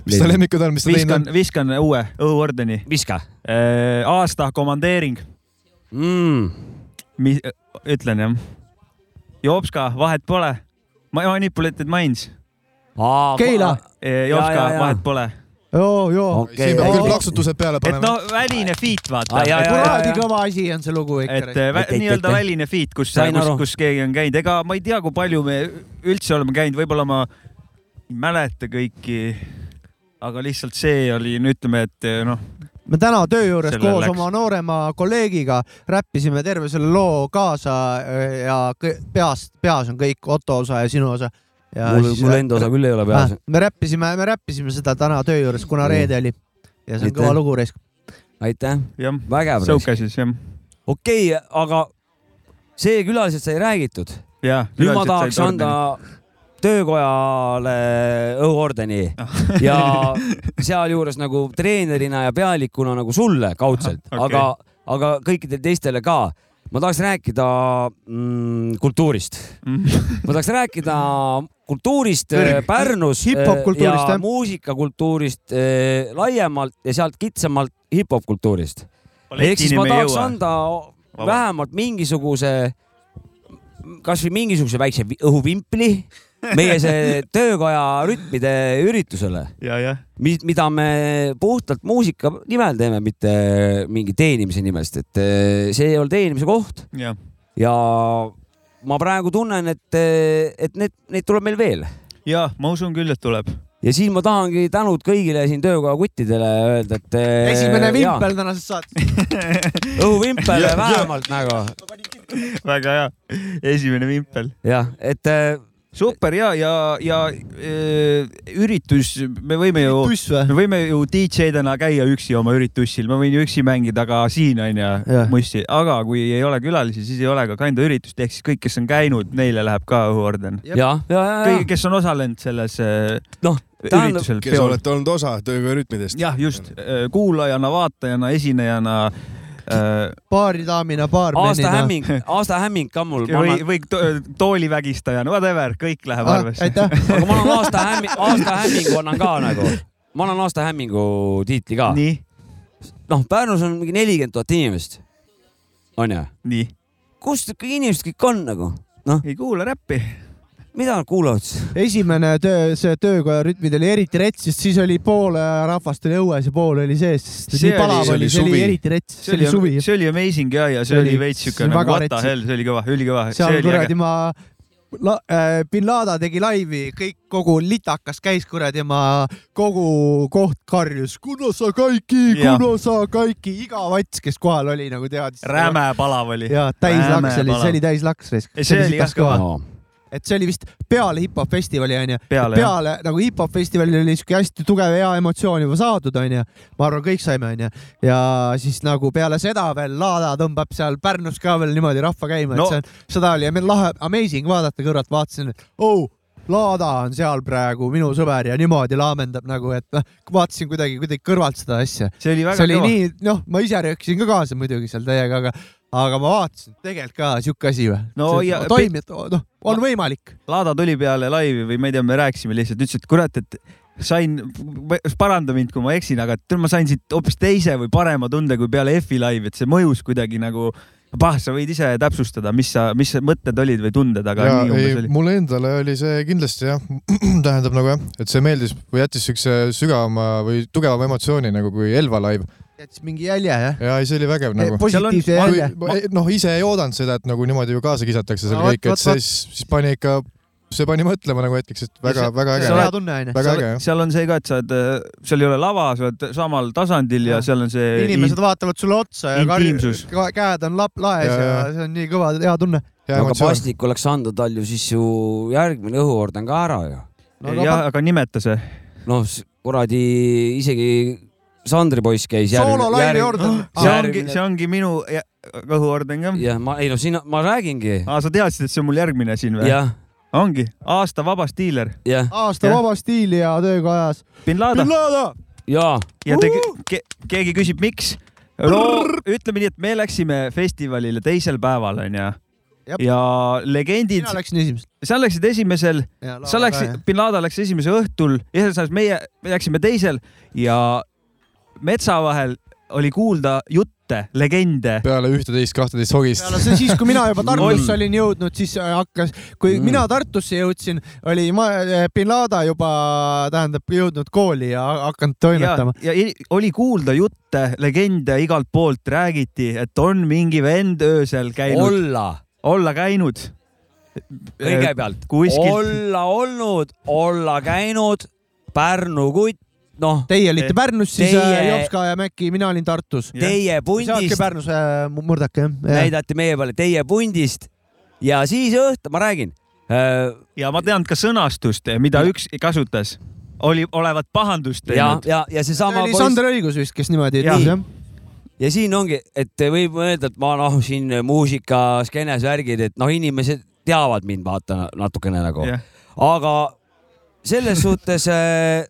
[SPEAKER 5] mis ta ? lemmikud on , mis ta teinud on
[SPEAKER 2] viskan ,? viskan uue õhuordeni .
[SPEAKER 4] viska
[SPEAKER 2] aasta komandeering ,
[SPEAKER 4] mm. .
[SPEAKER 2] mis , ütlen jah . Jopska , vahet pole . ma manipuleeritud minds .
[SPEAKER 1] Keila.
[SPEAKER 4] Jaa,
[SPEAKER 2] Jopska
[SPEAKER 4] jaa, , jaa.
[SPEAKER 2] vahet pole .
[SPEAKER 1] joo , joo ,
[SPEAKER 4] okei
[SPEAKER 5] siin , peab küll
[SPEAKER 1] Ei,
[SPEAKER 5] plaksutused peale
[SPEAKER 2] et
[SPEAKER 5] panema .
[SPEAKER 2] noh , väline feat
[SPEAKER 4] Aa, jaa,
[SPEAKER 2] vaata .
[SPEAKER 4] jaa.
[SPEAKER 1] kuradi kõva asi on see lugu
[SPEAKER 2] et
[SPEAKER 1] ikka .
[SPEAKER 2] äh, vä-
[SPEAKER 4] Et- et-
[SPEAKER 2] nii-öelda
[SPEAKER 4] et-
[SPEAKER 2] väline feat , kus ,
[SPEAKER 4] Sain
[SPEAKER 2] kus
[SPEAKER 4] aru. ,
[SPEAKER 2] kus keegi on käinud , ega ma ei tea , kui palju me üldse oleme käinud , võib-olla ma ei mäleta kõiki , aga lihtsalt see oli , no ütleme , et eh, noh ,
[SPEAKER 1] me täna töö juures
[SPEAKER 2] Sellele
[SPEAKER 1] koos
[SPEAKER 2] läks.
[SPEAKER 1] oma noorema kolleegiga räppisime terve selle loo kaasa äh, ja kõ- peast , peas on kõik Otto osa ja sinu osa .
[SPEAKER 4] mul , mul enda osa küll ei ole peas .
[SPEAKER 1] me räppisime , me räppisime seda täna töö juures , kuna
[SPEAKER 4] Nii.
[SPEAKER 1] reede oli ja see on
[SPEAKER 4] Aitäh.
[SPEAKER 1] kõva lugu raisk .
[SPEAKER 4] aitäh ,
[SPEAKER 2] jah ,
[SPEAKER 4] vägev .
[SPEAKER 2] sõuke siis jah ,
[SPEAKER 4] okei , aga see külalised sai räägitud .
[SPEAKER 2] ja .
[SPEAKER 4] nüüd ma tahaks anda . töökojale õhuordeni ja sealjuures nagu treenerina ja pealikuna nagu sulle kaudselt ,
[SPEAKER 2] Okei.
[SPEAKER 4] aga , aga kõikidele teistele ka . ma tahaks rääkida mm, kultuurist , ma tahaks rääkida kultuurist eh,
[SPEAKER 1] Kõrg-
[SPEAKER 4] Pärnus eh,
[SPEAKER 1] hip-hop kultuurist,
[SPEAKER 4] ja
[SPEAKER 1] jah.
[SPEAKER 4] muusikakultuurist eh, laiemalt ja sealt kitsamalt hip-hop kultuurist . ehk siis ma tahaks anda vähemalt mingisuguse , kasvõi mingisuguse väikse vi- õhuvimpli meie see töökoja rütmide üritusele ,
[SPEAKER 2] ja , jah ,
[SPEAKER 4] mida me puhtalt muusika nimel teeme , mitte mingi teenimise nimest , et eh, see ei ole teenimise koht
[SPEAKER 2] jah .
[SPEAKER 4] ja ma praegu tunnen , et , et need , neid tuleb meil veel
[SPEAKER 2] ja ma usun küll , et tuleb .
[SPEAKER 4] ja siin ma tahangi tänud kõigile siin töökoja kuttidele öelda , et . eh,
[SPEAKER 1] esimene . vimpel tänases saates .
[SPEAKER 4] õhuvimpel vähemalt nagu
[SPEAKER 2] väga hea , esimene vimpel .
[SPEAKER 4] jah , et eh,
[SPEAKER 2] super ja , ja , ja eh, üritus , me võime ju ,
[SPEAKER 1] tuss või ?
[SPEAKER 2] me võime ju DJ-dena käia üksi oma üritussil , ma võin ju üksi mängida ka siin onju
[SPEAKER 1] Jah. ,
[SPEAKER 2] musti , aga kui ei ole külalisi , siis ei ole ka kanda üritust , ehk siis kõik , kes on käinud , neile läheb ka õhuorden .
[SPEAKER 1] Jep.
[SPEAKER 4] ja , ja , ja ,
[SPEAKER 2] kõik , kes on osalenud selles eh,
[SPEAKER 4] Noh, tähendab-
[SPEAKER 2] üritusel .
[SPEAKER 3] kes olete olnud osa tööga rütmidest .
[SPEAKER 2] jah , just , kuulajana , vaatajana , esinejana eh,
[SPEAKER 1] baaridaamina ,
[SPEAKER 4] ja aasta
[SPEAKER 1] baarmenina .
[SPEAKER 4] hämming , aasta hämming ka mul , ma
[SPEAKER 2] või ,
[SPEAKER 4] annan ,
[SPEAKER 2] või to- toolivägistajana , whatever , kõik läheb arvesse .
[SPEAKER 1] aitäh ,
[SPEAKER 4] aga ma annan aasta hämming , aasta hämmingu annan ka nagu , ma annan aasta hämmingu tiitli ka .
[SPEAKER 2] nii ,
[SPEAKER 4] noh , Pärnus on mingi nelikümmend tuhat inimest , onju ,
[SPEAKER 2] nii ,
[SPEAKER 4] kus kõik inimesed kõik on nagu , noh ,
[SPEAKER 2] ei kuula räppi .
[SPEAKER 4] mida nad kuulavad siis ?
[SPEAKER 1] esimene töö , see töökoja rütmid oli eriti rets , sest siis oli pool äh, rahvast oli õues ja pool oli sees , sest
[SPEAKER 2] See
[SPEAKER 1] nii palav
[SPEAKER 3] oli-
[SPEAKER 1] oli ,
[SPEAKER 3] see
[SPEAKER 1] see
[SPEAKER 3] oli
[SPEAKER 1] oli
[SPEAKER 3] suvi.
[SPEAKER 1] eriti rets , see oli suvi .
[SPEAKER 2] see oli amazing ja , ja see,
[SPEAKER 1] See
[SPEAKER 2] see oli
[SPEAKER 1] oli-
[SPEAKER 2] veits
[SPEAKER 1] see oli
[SPEAKER 2] siuke nagu
[SPEAKER 1] väga
[SPEAKER 2] what the
[SPEAKER 1] retsi.
[SPEAKER 2] hell , see oli kõva , ülikõva . Ah, see
[SPEAKER 1] seal
[SPEAKER 2] oli
[SPEAKER 1] kuradi ma , äh, bin Lada tegi laivi , kõik kogu litakas käis kuradi ma , kogu koht karjus , kuna sa kaiki ,
[SPEAKER 2] Jah.
[SPEAKER 1] kuna sa kaiki , iga vats , kes kohal oli nagu teadis .
[SPEAKER 2] räme palav oli .
[SPEAKER 1] ja täis
[SPEAKER 2] Räme
[SPEAKER 1] laks oli ,
[SPEAKER 2] palav.
[SPEAKER 1] see oli täis laks .
[SPEAKER 2] Ei, see oli jah kõva.
[SPEAKER 1] et see oli vist peale hip-hop festivali onju ,
[SPEAKER 2] Peale,
[SPEAKER 1] peale, peale nagu hip-hop festivalil oli siuke hästi tugev hea emotsioon juba saadud onju , ma arvan , kõik saime onju ja siis nagu peale seda veel Laada tõmbab seal Pärnus ka veel niimoodi rahva käima
[SPEAKER 2] No.
[SPEAKER 1] no. , et see on , seda oli ja meil lahe , amazing vaadata kõrvalt , vaatasin , et oh , Laada on seal praegu minu sõber ja niimoodi laamendab nagu , et noh , vaatasin kuidagi kuidagi kõrvalt seda asja
[SPEAKER 2] see oli
[SPEAKER 1] see
[SPEAKER 2] väga
[SPEAKER 1] oli
[SPEAKER 2] kõva .
[SPEAKER 1] nii , noh , ma ise röökisin ka kaasa muidugi seal teiega , aga , aga ma vaatasin , tegelikult ka sihuke asi või
[SPEAKER 2] No ja-
[SPEAKER 1] toimib , noh , on võimalik .
[SPEAKER 2] Laada tuli peale laivi või ma ei tea , me rääkisime lihtsalt , ütles , et kurat , et sain , paranda mind , kui ma eksin , aga et ma sain siit hoopis teise või parema tunde kui peale F-i laivi , et see mõjus kuidagi nagu , pah , sa võid ise täpsustada , mis sa , mis mõtted olid või tunded , aga ja,
[SPEAKER 5] ja
[SPEAKER 2] nii umbes
[SPEAKER 5] ei ,
[SPEAKER 2] oli .
[SPEAKER 5] mulle endale oli see kindlasti jah , tähendab nagu jah , et see meeldis või jättis siukse sügavama või tugevama emotsiooni nagu kui Elva live
[SPEAKER 1] jättis mingi jälje jah ?
[SPEAKER 5] ja ei, see oli vägev nagu .
[SPEAKER 1] positiivse
[SPEAKER 5] Ma- eh,
[SPEAKER 1] jälje .
[SPEAKER 5] ma- noh , ise ei oodanud seda , et nagu niimoodi ju kaasa kisatakse seal
[SPEAKER 1] No vot,
[SPEAKER 5] kõik ,
[SPEAKER 1] vot,
[SPEAKER 5] et siis , siis pani ikka see pani mõtlema nagu hetkeks , et väga-väga
[SPEAKER 1] see
[SPEAKER 5] äge
[SPEAKER 1] on hea
[SPEAKER 5] väga, ,
[SPEAKER 1] tunne onju .
[SPEAKER 5] väga
[SPEAKER 2] seal,
[SPEAKER 5] äge jah .
[SPEAKER 2] seal on see ka , et sa oled , seal ei ole lava , sa oled samal tasandil ja,
[SPEAKER 1] Jah.
[SPEAKER 2] ja seal on see
[SPEAKER 1] inimesed vaatavad sulle otsa ja
[SPEAKER 2] Äh, Intiimsus.
[SPEAKER 1] kar- käed on lap- laes ja,
[SPEAKER 5] Ja,
[SPEAKER 1] ja
[SPEAKER 5] ja.
[SPEAKER 1] see on nii kõva hea tunne .
[SPEAKER 5] hea
[SPEAKER 4] aga
[SPEAKER 5] emotsioon .
[SPEAKER 4] pasnik oleks andnud Alju siis ju järgmine õhuord on ka ära ju .
[SPEAKER 1] No
[SPEAKER 2] no, ,
[SPEAKER 1] aga
[SPEAKER 2] ja,
[SPEAKER 1] pa-
[SPEAKER 2] aga nimeta see .
[SPEAKER 4] noh , kuradi isegi Sandri poiss käis järg- .
[SPEAKER 1] soololaine Jordan .
[SPEAKER 2] see
[SPEAKER 4] järgmine-
[SPEAKER 2] ongi , see ongi minu jä- kõhuorden ka .
[SPEAKER 4] jah , ma ei no siin ma räägingi ,
[SPEAKER 2] aa , sa teadsid , et see on mul järgmine siin või ?
[SPEAKER 4] jah ,
[SPEAKER 2] ongi , aasta vabas diiler ,
[SPEAKER 4] jah ,
[SPEAKER 1] aasta
[SPEAKER 2] Jah.
[SPEAKER 1] vaba stiili ja tööga ajas .
[SPEAKER 2] bin Laden
[SPEAKER 1] Lada .
[SPEAKER 4] jaa ,
[SPEAKER 2] ja te, ke, keegi küsib , miks . no ütleme nii , et me läksime festivalile teisel päeval onju
[SPEAKER 1] Jep.
[SPEAKER 2] ja legendid
[SPEAKER 1] mina , läksin esimest .
[SPEAKER 2] sa läksid esimesel , sa läksid , bin Laden läks esimese õhtul , ühesõnaga meie me läksime teisel ja metsa vahel oli kuulda jutte , legende .
[SPEAKER 5] peale ühteteist , kahteteist hogist .
[SPEAKER 1] peale see siis , kui mina juba Tartusse
[SPEAKER 2] Oi.
[SPEAKER 1] olin jõudnud , siis äh, hakkas , kui
[SPEAKER 4] Mm.
[SPEAKER 1] mm. mina Tartusse jõudsin , oli ma , bin Laden juba tähendab jõudnud kooli ja hakanud
[SPEAKER 2] ja,
[SPEAKER 1] toimetama .
[SPEAKER 2] ja i- oli kuulda jutte , legende igalt poolt räägiti , et on mingi vend öösel käinud ,
[SPEAKER 4] olla
[SPEAKER 2] olla käinud .
[SPEAKER 4] kõigepealt ,
[SPEAKER 2] kuskilt-
[SPEAKER 4] olla olnud , olla käinud , Pärnu kutt , noh ,
[SPEAKER 1] Teie olite Pärnus siis
[SPEAKER 4] Teie-
[SPEAKER 1] Teie... Jopska ja Mäkki , mina olin Tartus .
[SPEAKER 4] teie
[SPEAKER 1] sa oledki
[SPEAKER 4] pundist
[SPEAKER 1] Pärnus äh, mu- murdake jah ja. ?
[SPEAKER 4] näidati meie peale , teie pundist ja siis õhtu , ma räägin , Äh,
[SPEAKER 2] ja ma tean ka sõnastust , mida üks kasutas , oli , olevat pahandust
[SPEAKER 4] ja ,
[SPEAKER 2] teinud .
[SPEAKER 4] ja , ja
[SPEAKER 1] see
[SPEAKER 4] seesama
[SPEAKER 1] oli Sander Õigus vist , kes niimoodi
[SPEAKER 2] Jah.
[SPEAKER 1] ütles jah ?
[SPEAKER 4] ja siin ongi , et võib öelda , et ma noh , siin muusikaskenes värgid , et noh , inimesed teavad mind vaata natukene nagu , aga selles suhtes äh,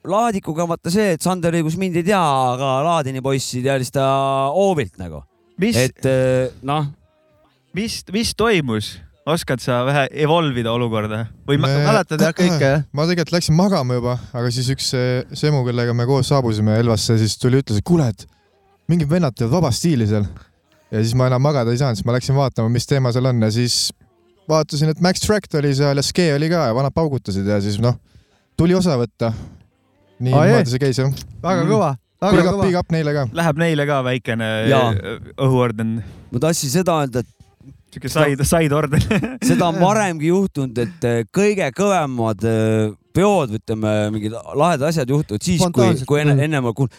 [SPEAKER 4] Laadikuga on vaata see , et Sander õigus mind ei tea , aga Laadini poissi teadis ta hoovilt nagu ,
[SPEAKER 2] mis ,
[SPEAKER 4] et äh, noh ,
[SPEAKER 2] mis , mis toimus ? oskad sa vähe evolve ida olukorda või ma... ?
[SPEAKER 1] mäletad jah kõike jah ?
[SPEAKER 5] ma tegelikult läksin magama juba , aga siis üks eh, Semu , kellega me koos saabusime Elvasse , siis tuli , ütles , et kuule , et mingid vennad teevad vaba stiili seal . ja siis ma enam magada ei saanud , siis ma läksin vaatama , mis teema seal on ja siis vaatasin , et Max Tract oli seal ja Ske oli ka ja vanad paugutasid ja siis noh , tuli osa võtta .
[SPEAKER 1] Aa,
[SPEAKER 5] niimoodi see käis jah .
[SPEAKER 1] väga
[SPEAKER 2] Mm.
[SPEAKER 1] kõva , väga
[SPEAKER 5] Big up ,
[SPEAKER 1] kõva
[SPEAKER 5] big . up neile ka .
[SPEAKER 2] Läheb neile ka väikene
[SPEAKER 4] Jaa.
[SPEAKER 2] õhuorden ,
[SPEAKER 4] ma tahtsin seda öelda , et
[SPEAKER 2] siuke side , side orden .
[SPEAKER 4] seda on varemgi juhtunud , et äh, kõige kõvemad äh, peod , ütleme mingid lahedad asjad juhtuvad siis , kui ,
[SPEAKER 1] Spontaanselt,
[SPEAKER 4] kui enne ,
[SPEAKER 1] jah.
[SPEAKER 4] enne ma kuul- ,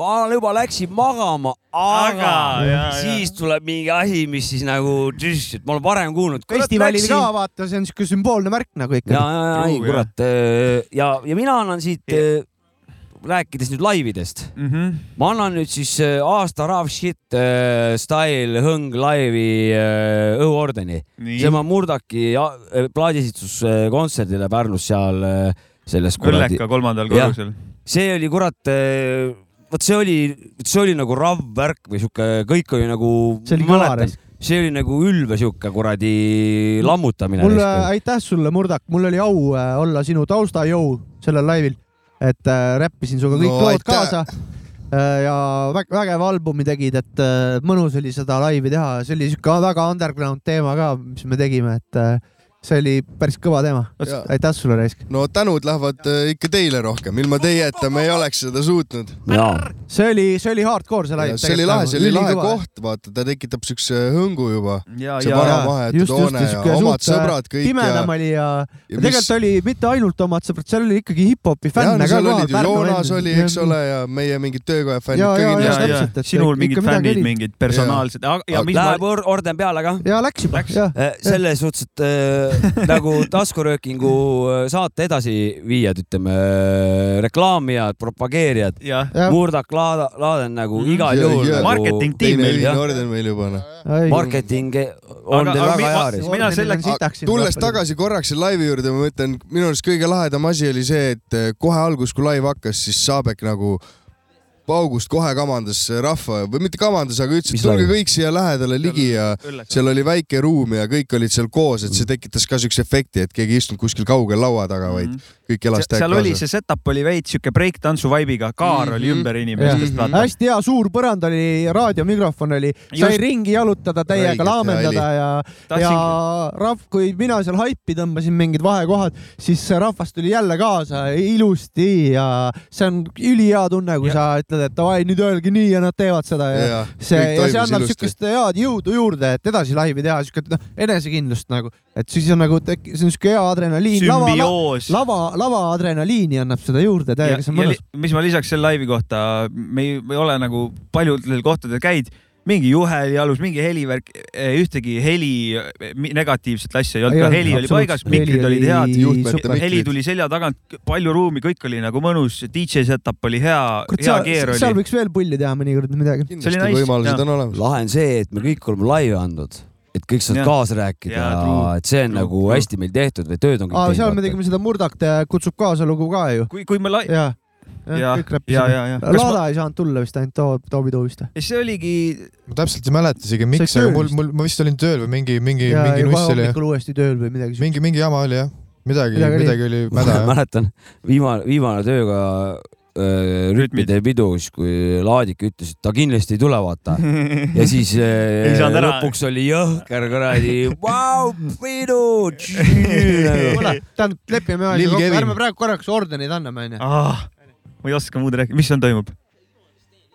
[SPEAKER 4] ma juba läksin magama , aga
[SPEAKER 2] Aga, jaa, jaa.
[SPEAKER 4] siis tuleb mingi asi , mis siis nagu , et ma olen varem kuulnud .
[SPEAKER 1] festivalil ka vaata , see on siuke sümboolne märk nagu
[SPEAKER 4] ja ,
[SPEAKER 1] ikka .
[SPEAKER 4] ja , ja , ei
[SPEAKER 2] True,
[SPEAKER 4] kurat äh, ja , ja mina annan siit äh, rääkides nüüd laividest , ma annan nüüd siis äh, aasta Rav Shit äh, Style Hõng Live'i äh, õhuordeni .
[SPEAKER 2] nii ,
[SPEAKER 4] see ma Murdaki ja- äh, plaadisituskontserdile Pärnus seal äh, selles kuradi ,
[SPEAKER 2] õlleka kolmandal
[SPEAKER 4] Jah.
[SPEAKER 2] korrusel .
[SPEAKER 4] see oli kurat , vot see oli , see oli nagu rav värk või sihuke , kõik oli nagu .
[SPEAKER 1] See oli kõva raisk.
[SPEAKER 4] see oli nagu ülbe sihuke kuradi lammutamine .
[SPEAKER 2] äh,
[SPEAKER 1] mul , aitäh sulle , Murdak , mul oli au äh, olla sinu taustajõu sellel laivil , et äh, räppisin sinuga kõik
[SPEAKER 3] No,
[SPEAKER 1] no, lood
[SPEAKER 3] aitäh.
[SPEAKER 1] kaasa äh, ja vä- vägeva albumi tegid , et äh, mõnus oli seda laivi teha , see oli siuke väga underground teema ka , mis me tegime , et äh, see oli päris kõva teema .
[SPEAKER 3] Jaa.
[SPEAKER 1] aitäh sulle , Reisk .
[SPEAKER 3] no tänud lähevad äh, ikka teile rohkem , ilma teieta me ei oleks seda suutnud .
[SPEAKER 4] jaa ,
[SPEAKER 1] see oli , see oli hardcore see laiv .
[SPEAKER 3] see oli lahe , see oli lahe . koht , vaata , ta tekitab siukse hõngu juba .
[SPEAKER 2] ja ,
[SPEAKER 3] see
[SPEAKER 2] ja ,
[SPEAKER 3] vana
[SPEAKER 1] jaa.
[SPEAKER 3] vahetu
[SPEAKER 1] Just, just,
[SPEAKER 3] toone
[SPEAKER 1] just,
[SPEAKER 3] ja
[SPEAKER 1] sihuke
[SPEAKER 3] omad
[SPEAKER 1] suht, äh,
[SPEAKER 3] sõbrad kõik ja
[SPEAKER 1] pimedam . oli ja, ja
[SPEAKER 3] ja
[SPEAKER 1] mis... tegelikult oli mitte ainult omad sõbrad , seal oli ikkagi hip-hopi
[SPEAKER 3] jah,
[SPEAKER 1] fänne
[SPEAKER 3] no
[SPEAKER 1] ka
[SPEAKER 3] seal olid ju
[SPEAKER 1] Pärnu
[SPEAKER 3] Joonas
[SPEAKER 1] vend-
[SPEAKER 3] oli , eks ole , ja meie mingid töökoja fännid
[SPEAKER 1] Jaa,
[SPEAKER 3] ka
[SPEAKER 2] ja
[SPEAKER 1] jaa, jaa,
[SPEAKER 3] kindlasti . ,
[SPEAKER 2] ja
[SPEAKER 1] täpselt, et
[SPEAKER 2] sinul
[SPEAKER 1] ikka
[SPEAKER 2] mingid
[SPEAKER 1] midagi
[SPEAKER 2] fännid ,
[SPEAKER 1] oli.
[SPEAKER 2] mingid personaalsed , ja
[SPEAKER 3] Aga-
[SPEAKER 2] mis ma
[SPEAKER 4] läheb or- orden peale ka
[SPEAKER 1] ja läks juba ,
[SPEAKER 2] Läks.
[SPEAKER 1] jah .
[SPEAKER 4] Eh, selles suhtes , et eh, nagu taskuröökingu eh, saate edasiviijad , ütleme eh, reklaamijad , propageerijad ,
[SPEAKER 2] jah ,
[SPEAKER 4] Murdak , Laada , Laaden nagu
[SPEAKER 2] Mhm.
[SPEAKER 4] igal
[SPEAKER 3] Ja-
[SPEAKER 4] juhul
[SPEAKER 3] ja-
[SPEAKER 4] nagu
[SPEAKER 2] marketing tiim
[SPEAKER 3] teine
[SPEAKER 2] meil
[SPEAKER 4] jah.
[SPEAKER 3] ühine orden meil juba noh .
[SPEAKER 4] marketing on
[SPEAKER 2] Aga-
[SPEAKER 4] teil
[SPEAKER 2] aga
[SPEAKER 4] väga
[SPEAKER 2] mi-
[SPEAKER 4] hea
[SPEAKER 2] ma-
[SPEAKER 4] risk .
[SPEAKER 2] mina selleks-
[SPEAKER 3] tulles tagasi korraks selle laivi juurde , ma ütlen , minu arust kõige lahedam asi oli see , et eh, kohe alguses , kui laiv hakkas , siis Saabek nagu paugust kohe kamandas rahva või mitte kamandas , aga ütles ,
[SPEAKER 4] Mis
[SPEAKER 3] et tulge
[SPEAKER 4] laiv?
[SPEAKER 3] kõik siia lähedale ligi ja
[SPEAKER 2] õlleks .
[SPEAKER 3] seal oli väike ruum ja kõik olid seal koos , et see tekitas ka siukse efekti , et keegi ei istunud kuskil kaugel laua taga , vaid kõik
[SPEAKER 2] seal
[SPEAKER 3] elas
[SPEAKER 2] seal oli
[SPEAKER 3] täiega
[SPEAKER 2] see setup oli veits siuke breaktantsu vibe'iga , kaar oli
[SPEAKER 3] Mhm.
[SPEAKER 2] ümber inimestest ,
[SPEAKER 3] Jah.
[SPEAKER 2] vaata .
[SPEAKER 1] hästi hea suur põrand oli , raadiomikrofon oli , sai
[SPEAKER 2] Just.
[SPEAKER 1] ringi jalutada täiega ,
[SPEAKER 3] Õigelt
[SPEAKER 1] laamendada ja , ja rahv- , kui mina seal haipi tõmbasin mingid vahekohad , siis see rahvas tuli jälle kaasa ilusti ja see on ülihea tunne , kui
[SPEAKER 2] Ja-
[SPEAKER 1] sa ütled , teada , et davai , nüüd öelge nii ja nad teevad seda ja, ja
[SPEAKER 3] Jaa,
[SPEAKER 1] see ,
[SPEAKER 3] kõik
[SPEAKER 1] ja see
[SPEAKER 3] toimis
[SPEAKER 1] annab
[SPEAKER 3] ilusti.
[SPEAKER 1] siukest head jõudu juurde , et edasi laivi teha , siuke noh , enesekindlust nagu , et siis on nagu tekib , see on siuke hea adrenaliin , lava ,
[SPEAKER 2] sümbioos .
[SPEAKER 1] lava , lava adrenaliini annab seda juurde
[SPEAKER 2] ja,
[SPEAKER 1] täiega , see on
[SPEAKER 2] ja li-
[SPEAKER 1] mõnus .
[SPEAKER 2] mis ma lisaks selle laivi kohta , me ei, me ei ole nagu paljudel kohtadel käid , mingi juhe oli alus , mingi helivärk , ühtegi heli eh, mi- negatiivset asja ei olnud ,
[SPEAKER 1] Ei
[SPEAKER 2] ka
[SPEAKER 1] olnud,
[SPEAKER 2] heli oli paigas ,
[SPEAKER 1] absoluutselt.
[SPEAKER 2] mikrid
[SPEAKER 1] Heli
[SPEAKER 2] olid
[SPEAKER 1] oli-
[SPEAKER 2] head ,
[SPEAKER 3] juhtmete
[SPEAKER 1] super.
[SPEAKER 3] mikrid.
[SPEAKER 2] heli tuli selja tagant , palju ruumi , kõik oli nagu mõnus , DJ setup oli hea , hea keer
[SPEAKER 1] seal
[SPEAKER 2] oli .
[SPEAKER 1] võiks veel pulli teha mõnikord midagi .
[SPEAKER 2] See oli
[SPEAKER 3] kindlasti
[SPEAKER 2] nice,
[SPEAKER 3] võimalused
[SPEAKER 2] jah.
[SPEAKER 3] on olemas .
[SPEAKER 4] lahe on see , et me kõik oleme laive andnud , et kõik saavad
[SPEAKER 2] Jah.
[SPEAKER 4] kaasa rääkida
[SPEAKER 2] Jaa,
[SPEAKER 4] ja,
[SPEAKER 2] true.
[SPEAKER 4] et see on
[SPEAKER 2] True,
[SPEAKER 4] nagu
[SPEAKER 2] true.
[SPEAKER 4] hästi meil tehtud või tööd on
[SPEAKER 1] aa ,
[SPEAKER 4] kõik
[SPEAKER 1] seal me tegime seda Murdakt ja kutsub kaasa lugu ka ju .
[SPEAKER 2] kui , kui me lai- ,
[SPEAKER 1] ja ,
[SPEAKER 2] ja ,
[SPEAKER 1] kõik
[SPEAKER 2] ja ,
[SPEAKER 1] räppisime .
[SPEAKER 2] ja , ja .
[SPEAKER 1] Laada ei saanud tulla vist , ainult Toob , Toobi Too vist või ?
[SPEAKER 2] ja see oligi ,
[SPEAKER 5] ma täpselt ei mäleta isegi ,
[SPEAKER 1] olid
[SPEAKER 5] miks , aga
[SPEAKER 1] tööl
[SPEAKER 5] mul ,
[SPEAKER 1] vist?
[SPEAKER 5] mul , ma vist olin tööl või mingi , mingi ,
[SPEAKER 1] ja , ja
[SPEAKER 5] mingi
[SPEAKER 1] kohe
[SPEAKER 5] nuss oli jah .
[SPEAKER 1] hommikul uuesti tööl või midagi siukest .
[SPEAKER 5] mingi , mingi jama oli jah . midagi ,
[SPEAKER 1] Midagi oli.
[SPEAKER 5] midagi oli
[SPEAKER 4] ma
[SPEAKER 5] mäda jah .
[SPEAKER 4] mäletan , viimane , viimane tööga äh, rütmide pidu , siis kui Laadik ütles , et ta kindlasti ei tule , vaata . ja siis äh,
[SPEAKER 2] Ei saanud ära.
[SPEAKER 4] lõpuks oli jõhker kuradi , vau , pidu .
[SPEAKER 1] kuule , tähendab , lepime
[SPEAKER 5] Lil
[SPEAKER 1] asja kokku ,
[SPEAKER 5] Kevin.
[SPEAKER 1] ärme praegu korraks ordeneid anname , onju .
[SPEAKER 2] ah, ma ei oska muud rääkida , mis seal toimub ?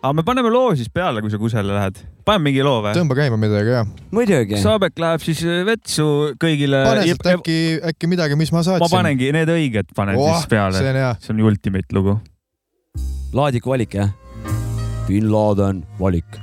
[SPEAKER 2] aga me paneme loo siis peale , kui sa kusagile lähed , paneme mingi loo või ?
[SPEAKER 5] tõmba käima midagi jah .
[SPEAKER 4] muidugi .
[SPEAKER 2] Saabek läheb siis vetsu kõigile .
[SPEAKER 5] pane sealt äkki , äkki midagi , mis ma
[SPEAKER 2] Äh, ma
[SPEAKER 5] saatsin .
[SPEAKER 2] panengi need õiged , panen oh, siis
[SPEAKER 5] see
[SPEAKER 2] peale .
[SPEAKER 5] on hea .
[SPEAKER 2] see on ultimate lugu .
[SPEAKER 4] Laadiku valik jah ? bin Laden valik .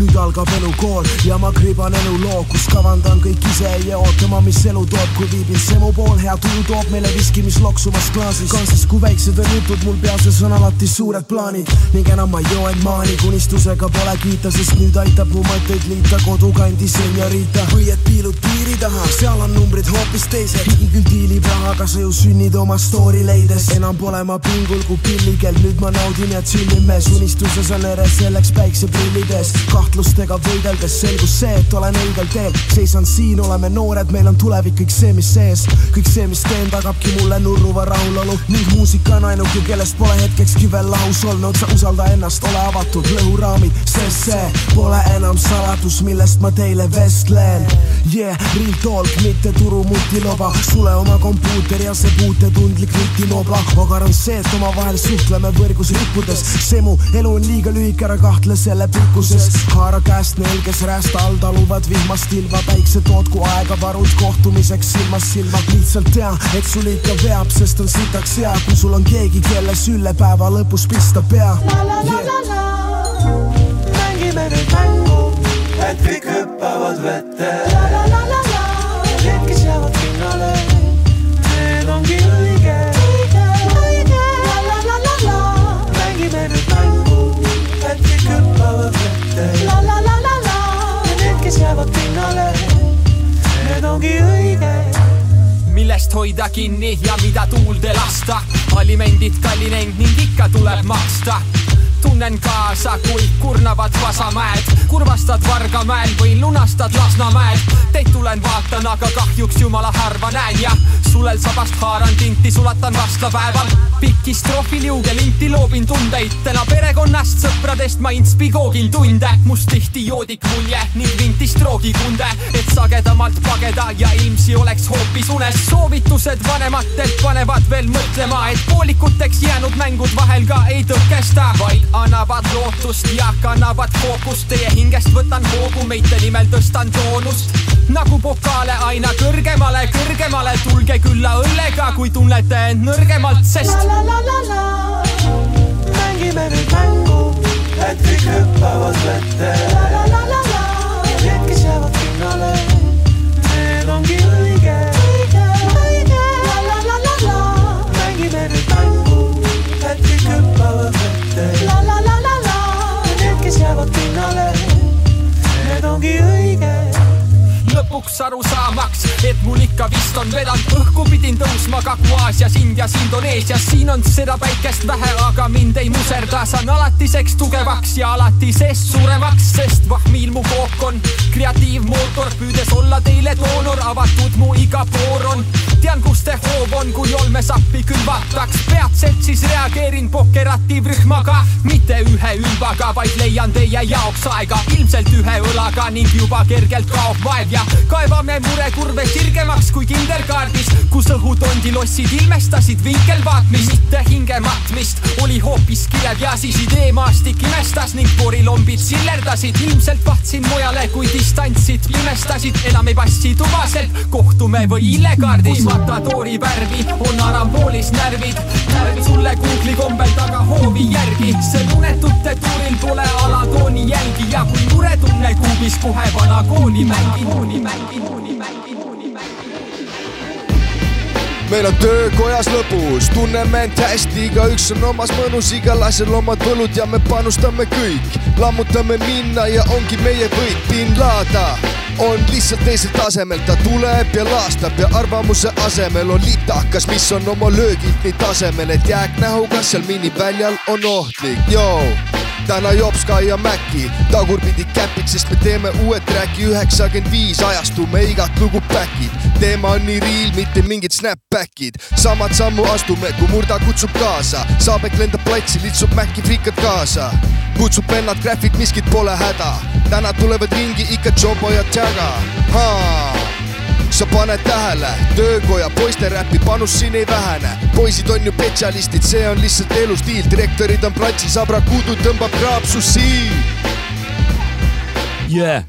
[SPEAKER 8] nüüd algab elukool ja ma kriban eluloo , kus kavandan kõik ise ja ootama , mis elu toob , kui viibin semu pool , hea tuju toob meile viski , mis loksuvas klaasis , kaasis kui väiksed on jutud , mul peases on alati suured plaanid ning enam ma ei joo end maani , unistusega pole kiita , sest nüüd aitab mu mõtteid liita kodukandi senjoriita või et piilud piiri taha , seal on numbrid hoopis teised , ligi küll diilib rahaga , sa ju sünnid oma story leides , enam pole ma pingul kui pillikel , nüüd ma naudin ja tšillin mees , unistuses on ere selleks päikseprillid ees , kahtlustega võideldes selgus see , et olen õigel teel , seisan siin , oleme noored , meil on tulevik , kõik see , mis sees , kõik see , mis teen , tagabki mulle nurruva rahulolu ning muusika on ainuke , kellest pole hetkekski veel lahus olnud , sa usalda ennast , ole avatud , lõhuraamid , sest see pole enam saladus , millest ma teile vestlen yeah, . Real talk , mitte turumutiloba , sule oma kompuuter ja see puutetundlik nutinobla , ogar on see , et omavahel suhtleme võrgus rippudes , see mu elu on liiga lühike , ära kahtle selle pikkuses . haara käest neil , kes räästa all taluvad vihmast ilma , päiksetoodu aega varud kohtumiseks silmast silma . lihtsalt tea , et sul ikka veab , sest on sitaks hea , kui sul on keegi , kelle sülle päeva lõpus pista pea yeah. .
[SPEAKER 9] mängime nüüd mängu , et kõik hüppavad vette . Need , kes jäävad pinnale , need ongi õiged . mängime nüüd mängu , et kõik hüppavad vette . Need , kes jäävad pinnale , need ongi õiged .
[SPEAKER 10] millest hoida kinni ja mida tuulde lasta . alimendid kallinenud ning ikka tuleb maksta . tunnen kaasa , kui kurnavad Vasamäed , kurvastad Vargamäel või lunastad Lasnamäel . Teid tulen vaatan , aga kahjuks jumala harva näen ja sulel sabast haaran tinti , sulatan vastlapäeval . pikist rohvi liuge linti loobin tundeid , täna perekonnast , sõpradest ma inspigoogin tunde . must tihti joodik mulje ning vintist roogikunde , et sagedamalt pageda ja ilmsi oleks hoopis unes . soovitused vanematelt panevad veel mõtlema , et poolikuteks jäänud mängud vahel ka ei tõkesta , vaid annavad lootust ja kannavad fookust . Teie hingest võtan hoogu , meite nimel tõstan toonust nagu pokaale aina kõrgemale , kõrgemale . tulge külla õllega , kui tunnete end nõrgemalt , sest
[SPEAKER 9] mängime nüüd mängu , et kõik hüppavad vette . Need , kes jäävad pinnale , need ongi õiged . mängime nüüd mängu , et kõik hüppavad vette . Need , kes jäävad pinnale , need ongi õiged .
[SPEAKER 10] lõpuks aru saamaks , et mul ikka vist on vedanud õhku , pidin tõusma Kagu-Aasias , Indias , Indoneesias , siin on seda päikest vähe , aga mind ei muserda , saan alatiseks tugevaks ja alati seest suuremaks , sest vahmil mu kook on kreatiivmootor , püüdes olla teile doonor , avatud mu iga voor on . tean , kui kuste hoov on , kui olmesappi külvataks . peatselt siis reageerin pokkeratiivrühmaga , mitte ühe ülbaga , vaid leian teie jaoks aega ilmselt ühe õlaga ning juba kergelt kaob vaev ja kaevame murekurve sirgemaks kui kinderkaardis , kus õhutondi lossid ilmestasid vinkelvaatmist , mitte hingematmist . oli hoopis kirev ja siis ideemaastik imestas ning porilombid sillerdasid . ilmselt vahtsin mujale , kui distantsid pimestasid , enam ei passi tubaselt , kohtume või illekaardis . matadoori värvi on aramboolis närvid , närvid sulle Google'i kombel taga hoovi järgi , sel unetute tuuril pole alatooni jälgi ja kui muretunne kuubis kohe vana kooli mängin .
[SPEAKER 11] meil on töökojas lõbus , tunneme end hästi , igaüks on omas mõnus , igal asjal omad võlud ja me panustame kõik . lammutame minna ja ongi meie võit , bin Lada on lihtsalt teisel tasemel , ta tuleb ja laastab ja arvamuse asemel on litakas , mis on oma löögilt nii tasemel , et jääknähuga seal miniväljal on ohtlik , joo täna joob Sky ja Maci , tagurpidi käpid , sest me teeme uue track'i üheksakümmend viis , ajastume igat lugu back'id . teema on nii real , mitte mingid snapback'id , samad sammu astume , kui murda kutsub kaasa , Saabek lendab platsi , litsub Maci friikad kaasa . kutsub vennad Graphic , miskit pole häda , täna tulevad ringi ikka Jumbo ja Jaga , haa sa paned tähele , töökoja poiste räpi panus siin ei vähene . poisid on ju spetsialistid , see on lihtsalt elustiil , direktorid on platsis , Abrakudu tõmbab kraapsu siin .
[SPEAKER 4] yeah. .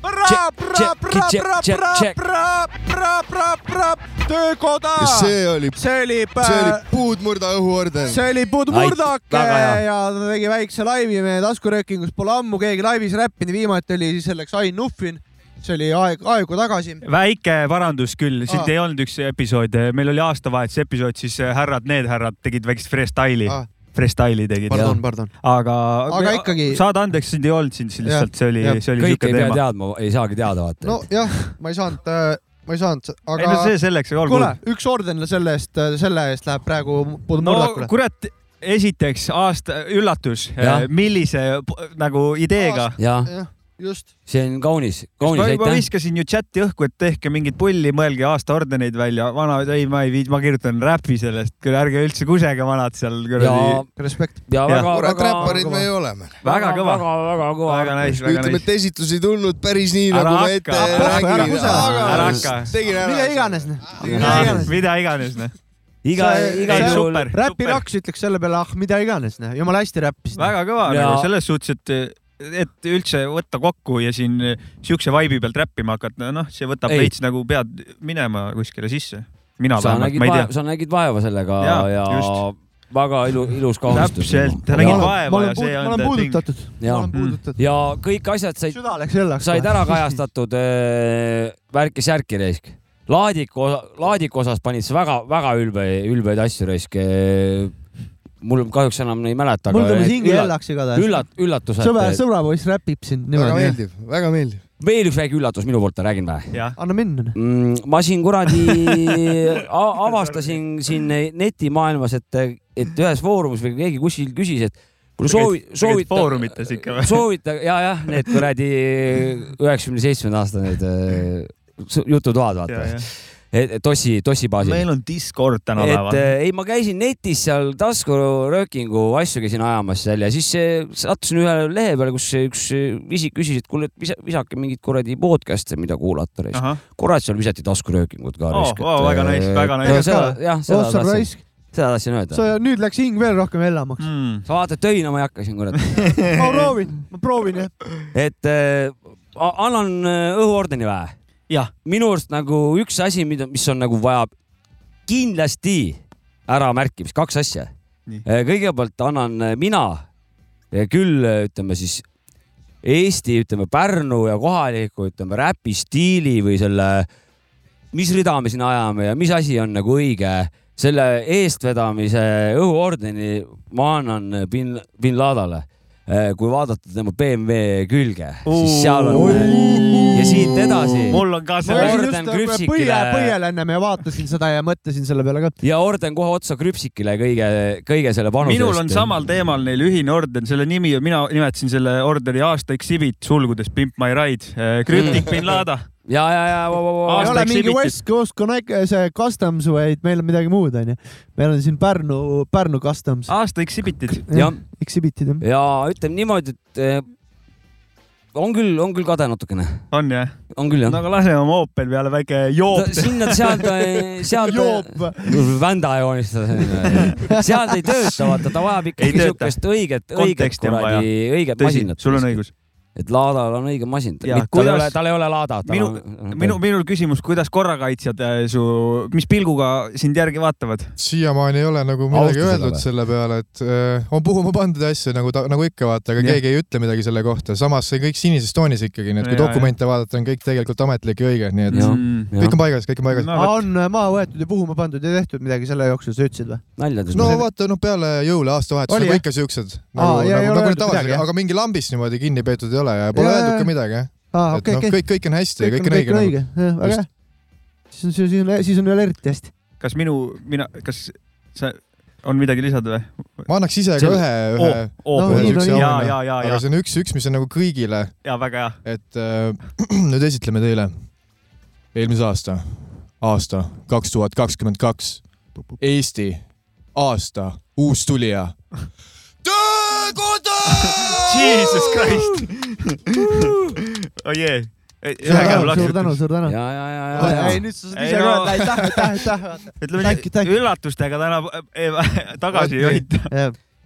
[SPEAKER 1] töökoda
[SPEAKER 11] Ja see oli-
[SPEAKER 1] see oli ,
[SPEAKER 11] see oli puudmurda õhuorden .
[SPEAKER 1] see oli
[SPEAKER 4] Ait-
[SPEAKER 1] Budmurdake
[SPEAKER 4] väga hea.
[SPEAKER 1] ja ta tegi väikse laivi meie taskuröökingus , pole ammu keegi laivis räppinud , viimati oli selleks Ain Nuffin , see oli aeg , aegu tagasi .
[SPEAKER 2] väike parandus küll , siit
[SPEAKER 1] Aa.
[SPEAKER 2] ei olnud üks episood , meil oli aastavahetuse episood , siis härrad , need härrad tegid väikest freestyle'i
[SPEAKER 1] Aa.
[SPEAKER 2] ah. , freestyle'i tegid .
[SPEAKER 12] pardon , pardon .
[SPEAKER 2] aga,
[SPEAKER 1] Aga ikkagi-
[SPEAKER 2] saad andeks , sind ei olnud siin siin lihtsalt , see oli , see oli
[SPEAKER 4] kõik
[SPEAKER 2] siuke
[SPEAKER 4] ei pea
[SPEAKER 2] teema .
[SPEAKER 4] teadma , ei saagi teada vaata no. .
[SPEAKER 1] nojah , ma ei saanud , ma ei saanud ,
[SPEAKER 2] ei no
[SPEAKER 1] aga
[SPEAKER 2] see selleks , aga
[SPEAKER 1] kuule
[SPEAKER 2] olgu .,
[SPEAKER 1] üks orden selle eest , selle eest läheb praegu
[SPEAKER 2] no
[SPEAKER 1] Budmurdakule .
[SPEAKER 2] kurat , esiteks aasta üllatus eh,
[SPEAKER 4] Jah. ,
[SPEAKER 2] millise p- nagu ideega .
[SPEAKER 4] ja
[SPEAKER 1] just ,
[SPEAKER 4] see on kaunis , kaunis
[SPEAKER 2] ma juba
[SPEAKER 4] aitäh .
[SPEAKER 2] viskasin ju chati õhku , et tehke mingit pulli , mõelge aastaordeneid välja , vana , ei , ma ei viitsi , ma kirjutan räpi sellest , küll ärge üldse kusege vanad seal
[SPEAKER 4] ja ,
[SPEAKER 2] kuradi .
[SPEAKER 1] respekt .
[SPEAKER 4] ja väga ,
[SPEAKER 11] kurat ,
[SPEAKER 4] väga ,
[SPEAKER 11] räpparid me ju oleme .
[SPEAKER 2] väga kõva ,
[SPEAKER 4] väga , väga
[SPEAKER 2] väga
[SPEAKER 4] kõva .
[SPEAKER 2] nice , väga
[SPEAKER 11] ütleme ,
[SPEAKER 2] nice .
[SPEAKER 11] et esitlus ei tulnud päris nii ,
[SPEAKER 2] Ära
[SPEAKER 11] nagu me
[SPEAKER 2] hakka,
[SPEAKER 11] ette
[SPEAKER 2] ära
[SPEAKER 1] hakka, ära
[SPEAKER 11] räägime
[SPEAKER 1] kusa, .
[SPEAKER 2] ära hakka.
[SPEAKER 11] tegin ära .
[SPEAKER 1] mida iganes , mida
[SPEAKER 2] Ah,
[SPEAKER 1] iganes .
[SPEAKER 2] mida iganes , noh .
[SPEAKER 4] iga ,
[SPEAKER 1] See-
[SPEAKER 4] igal
[SPEAKER 1] see-
[SPEAKER 4] juhul .
[SPEAKER 2] super ,
[SPEAKER 1] räpi
[SPEAKER 2] super ,
[SPEAKER 1] raks ütleks selle peale , ah mida iganes , jumala hästi räppisid .
[SPEAKER 2] väga kõva
[SPEAKER 4] Ja-
[SPEAKER 2] nagu selles suhtes , et , et üldse võtta kokku ja siin eh, siukse vaibi pealt räppima hakata , noh , see võtab
[SPEAKER 4] Ei.
[SPEAKER 2] veits nagu pead minema kuskile sisse . mina
[SPEAKER 4] sa
[SPEAKER 2] vähemalt ,
[SPEAKER 4] nägid
[SPEAKER 2] ma ei
[SPEAKER 4] vaeva ,
[SPEAKER 2] tea .
[SPEAKER 4] sa nägid vaeva sellega ja,
[SPEAKER 2] Jaa,
[SPEAKER 4] ja
[SPEAKER 2] just.
[SPEAKER 4] väga ilu , ilus kaunistus .
[SPEAKER 2] Täpselt, sa nägid vaeva ja see on
[SPEAKER 1] ma olen
[SPEAKER 2] the
[SPEAKER 1] puudutatud , ma
[SPEAKER 4] Jaa.
[SPEAKER 11] Mm.
[SPEAKER 1] olen puudutatud .
[SPEAKER 4] ja kõik asjad said ,
[SPEAKER 1] süda läks õllaks .
[SPEAKER 4] said ära . kajastatud äh, värki-särki reisk . laadiku , laadiku osas panid sa väga-väga ülbe , ülbeid asju reisk . mul kahjuks enam ei mäleta .
[SPEAKER 1] mul tõmbas hinge õllaks igatahes .
[SPEAKER 4] üllat- , üllatused .
[SPEAKER 1] sõber , sõbrapoiss räpib siin
[SPEAKER 11] väga
[SPEAKER 1] niimoodi .
[SPEAKER 11] meeldib , väga meeldib .
[SPEAKER 4] veel üks väike üllatus minu poolt , räägin või ?
[SPEAKER 2] jah ,
[SPEAKER 1] anna minna . noh.
[SPEAKER 4] mm, . ma siin kuradi a- avastasin siin netimaailmas , et , et ühes foorumis või keegi kuskil küsis , et kuule soovi , soovita .
[SPEAKER 2] foorumites ikka või ?
[SPEAKER 4] soovita ja , jah , need kuradi üheksakümne seitsmenda aasta need äh, su- jututoad , vaata . et et Tossi , Tossi baasil .
[SPEAKER 2] meil on Discord
[SPEAKER 4] et
[SPEAKER 2] tänapäeval .
[SPEAKER 4] äh, ei , ma käisin netis seal taskuröökingu asju käisin ajamas seal ja siis äh, sattusin ühele lehe peale , kus üks äh, isik küsis , et kuule , et visa- visake mingeid kuradi podcast'e , mida kuulata .
[SPEAKER 2] ahah ,
[SPEAKER 4] kurat , seal visati taskuröökingut ka
[SPEAKER 2] Oo, oo, väga nice, väga nice.
[SPEAKER 4] jah , seda
[SPEAKER 1] Ossar
[SPEAKER 4] tahtsin ,
[SPEAKER 1] raisk ,
[SPEAKER 4] seda tahtsin öelda .
[SPEAKER 1] sa nüüd läks hing veel rohkem hellamaks .
[SPEAKER 2] Mm.
[SPEAKER 4] sa vaatad , töina ma ei hakka siin , kurat .
[SPEAKER 1] ma proovin , ma proovin jah .
[SPEAKER 4] et äh, a- annan äh, õhuordeni vähe .
[SPEAKER 2] Jah.
[SPEAKER 4] minu arust nagu üks asi , mida , mis on nagu vajab kindlasti äramärkimist , kaks asja
[SPEAKER 2] Nii. .
[SPEAKER 4] kõigepealt annan äh, mina äh, küll äh, ütleme siis Eesti , ütleme Pärnu ja kohaliku , ütleme räpi stiili või selle , mis rida me siin ajame ja mis asi on nagu õige , selle eestvedamise õhuordeni ma annan bin , bin Ladale . kui vaadata tema BMW külge , siis seal on ja siit edasi
[SPEAKER 2] mul on ka
[SPEAKER 1] ma
[SPEAKER 2] selle ,
[SPEAKER 4] Orden
[SPEAKER 1] käisin just nagu
[SPEAKER 4] Krüpsikile-
[SPEAKER 1] põie , põiele ennem ja vaatasin seda ja mõtlesin selle peale ka .
[SPEAKER 4] ja orden kohe otsa krüpsikile kõige , kõige selle panuse
[SPEAKER 2] minul on . samal teemal neil ühine orden , selle nimi , mina nimetasin selle ordeni aasta exhibit sulgudes Pimp my ride , krüptik Eh, bin Lada
[SPEAKER 4] Mm. ja , ja , ja .
[SPEAKER 1] ei ole mingi West Coast Connect , see customs , vaid meil on midagi muud , onju . meil on siin Pärnu , Pärnu customs .
[SPEAKER 2] aasta exhibit'id .
[SPEAKER 4] Jah. .
[SPEAKER 1] Exhibit'id jah .
[SPEAKER 4] ja ütleme niimoodi , et eh, on küll , on küll kade natukene .
[SPEAKER 2] on jah ?
[SPEAKER 4] on küll jah
[SPEAKER 2] no . aga laseme oma Opel peale väike joop .
[SPEAKER 4] sinna-sealt , sealt . vända joonistada . sealt ei tööta , vaata , ta vajab
[SPEAKER 2] Ei
[SPEAKER 4] ikkagi
[SPEAKER 2] tööta.
[SPEAKER 4] siukest õiget , õiget
[SPEAKER 2] Konteksti on
[SPEAKER 4] kuradi ,
[SPEAKER 2] vaja.
[SPEAKER 4] õiget
[SPEAKER 2] Tõsi,
[SPEAKER 4] masinat .
[SPEAKER 2] sul on õigus. .
[SPEAKER 4] et laadal on õige masin .
[SPEAKER 2] Jaa,
[SPEAKER 4] tal ei
[SPEAKER 2] kuidas-
[SPEAKER 4] ole , tal ei ole laada .
[SPEAKER 2] minu , minu , minul küsimus , kuidas korrakaitsjad äh, su , mis pilguga sind järgi vaatavad ?
[SPEAKER 5] siiamaani ei ole nagu
[SPEAKER 2] Austa
[SPEAKER 5] midagi
[SPEAKER 2] seda
[SPEAKER 5] öeldud
[SPEAKER 2] või?
[SPEAKER 5] selle peale , et äh, on puhuma pandud ja asju nagu , nagu ikka vaata , aga
[SPEAKER 2] Jah.
[SPEAKER 5] keegi ei ütle midagi selle kohta , samas see kõik sinises toonis ikkagi , nii et kui
[SPEAKER 2] Ja, ja.
[SPEAKER 5] dokumente vaadata , on kõik tegelikult ametlik ja õige , nii et
[SPEAKER 4] Jah,
[SPEAKER 2] Mm.
[SPEAKER 4] jah.
[SPEAKER 5] kõik on paigas , kõik on paigas .
[SPEAKER 1] on maha võetud ja puhuma pandud ja tehtud midagi selle jooksul , sa ütlesid või ?
[SPEAKER 4] naljad
[SPEAKER 5] no vaata , noh , peale jõule , aastavahetus
[SPEAKER 1] Oli,
[SPEAKER 5] nagu
[SPEAKER 1] jah?
[SPEAKER 5] ikka siuksed
[SPEAKER 1] Aa,
[SPEAKER 5] nagu ,
[SPEAKER 1] ja ei
[SPEAKER 5] nagu,
[SPEAKER 1] ole
[SPEAKER 5] nagu
[SPEAKER 1] öeldud midagi,
[SPEAKER 5] tavaliselt ,
[SPEAKER 1] jah?
[SPEAKER 5] aga mingi lambist niimoodi kinni peetud ei ole ja pole
[SPEAKER 1] Jaa,
[SPEAKER 5] öeldud
[SPEAKER 1] jaa.
[SPEAKER 5] ka midagi , jah .
[SPEAKER 1] Aa, okei, okei.
[SPEAKER 5] kõik , kõik on hästi ja kõik on
[SPEAKER 1] kõik on õige
[SPEAKER 5] õige . noh.
[SPEAKER 1] jah , väga hea . siis on , siis on , siis on jälle eriti hästi .
[SPEAKER 2] kas minu , mina , kas sa , on midagi lisada või ?
[SPEAKER 5] ma annaks ise ka
[SPEAKER 2] See-
[SPEAKER 5] ühe , ühe
[SPEAKER 2] Oo- . oo-
[SPEAKER 1] No, nii ta oli.
[SPEAKER 2] Jaa, jaa, jaa, jaa.
[SPEAKER 5] aga see on üks , üks , mis on nagu kõigile ,
[SPEAKER 2] jaa , väga hea .
[SPEAKER 5] et äh, nüüd esitleme teile eelmise aasta , aasta kaks tuhat kakskümmend kaks , Eesti aasta uustulija .
[SPEAKER 2] Jesus Christ oh, . Yeah. ühe käe
[SPEAKER 1] suur tänu , suur tänu .
[SPEAKER 4] ja , ja , ja , ja , ja
[SPEAKER 1] ei , nüüd sa saad
[SPEAKER 2] Ei,
[SPEAKER 1] ise ka
[SPEAKER 2] no.
[SPEAKER 1] öelda aitäh , aitäh , aitäh .
[SPEAKER 2] ütleme
[SPEAKER 1] Thank you, thank
[SPEAKER 2] nii ,
[SPEAKER 1] you.
[SPEAKER 2] üllatustega täna eh, tagasi ei hoita .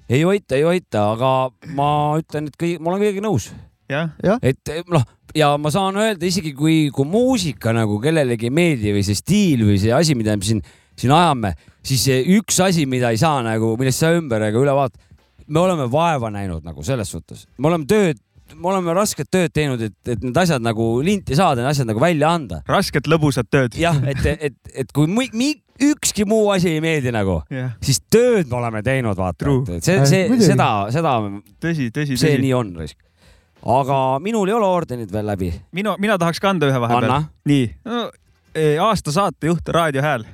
[SPEAKER 4] ei hoita , ei hoita , aga ma ütlen , et kõik , ma olen kõigiga nõus ,
[SPEAKER 2] jah ,
[SPEAKER 4] et eh, noh , ja ma saan öelda isegi kui , kui muusika nagu kellelegi ei meeldi või see stiil või see asi , mida me siin , siin ajame , siis see üks asi , mida ei saa nagu , millest sa ümber ega üle vaadata , me oleme vaeva näinud nagu selles suhtes , me oleme tööd , me oleme rasket tööd teinud , et , et need asjad nagu linti saada , need asjad nagu välja anda .
[SPEAKER 2] rasket lõbusat tööd .
[SPEAKER 4] jah , et , et , et kui mi, mi, ükski muu asi ei meeldi nagu ,
[SPEAKER 2] jah ,
[SPEAKER 4] siis tööd me oleme teinud , vaata
[SPEAKER 2] True. ,
[SPEAKER 4] et see ,
[SPEAKER 1] Äh,
[SPEAKER 4] see ,
[SPEAKER 1] muidugi.
[SPEAKER 4] seda , seda
[SPEAKER 2] tõsi , tõsi ,
[SPEAKER 4] see
[SPEAKER 2] tõsi .
[SPEAKER 4] nii on risk . aga minul ei ole ordenid veel läbi .
[SPEAKER 2] minu , mina tahaks kanda ühe vahepeal
[SPEAKER 4] Anna. .
[SPEAKER 2] nii no, , aasta saatejuht Raadio Hääl .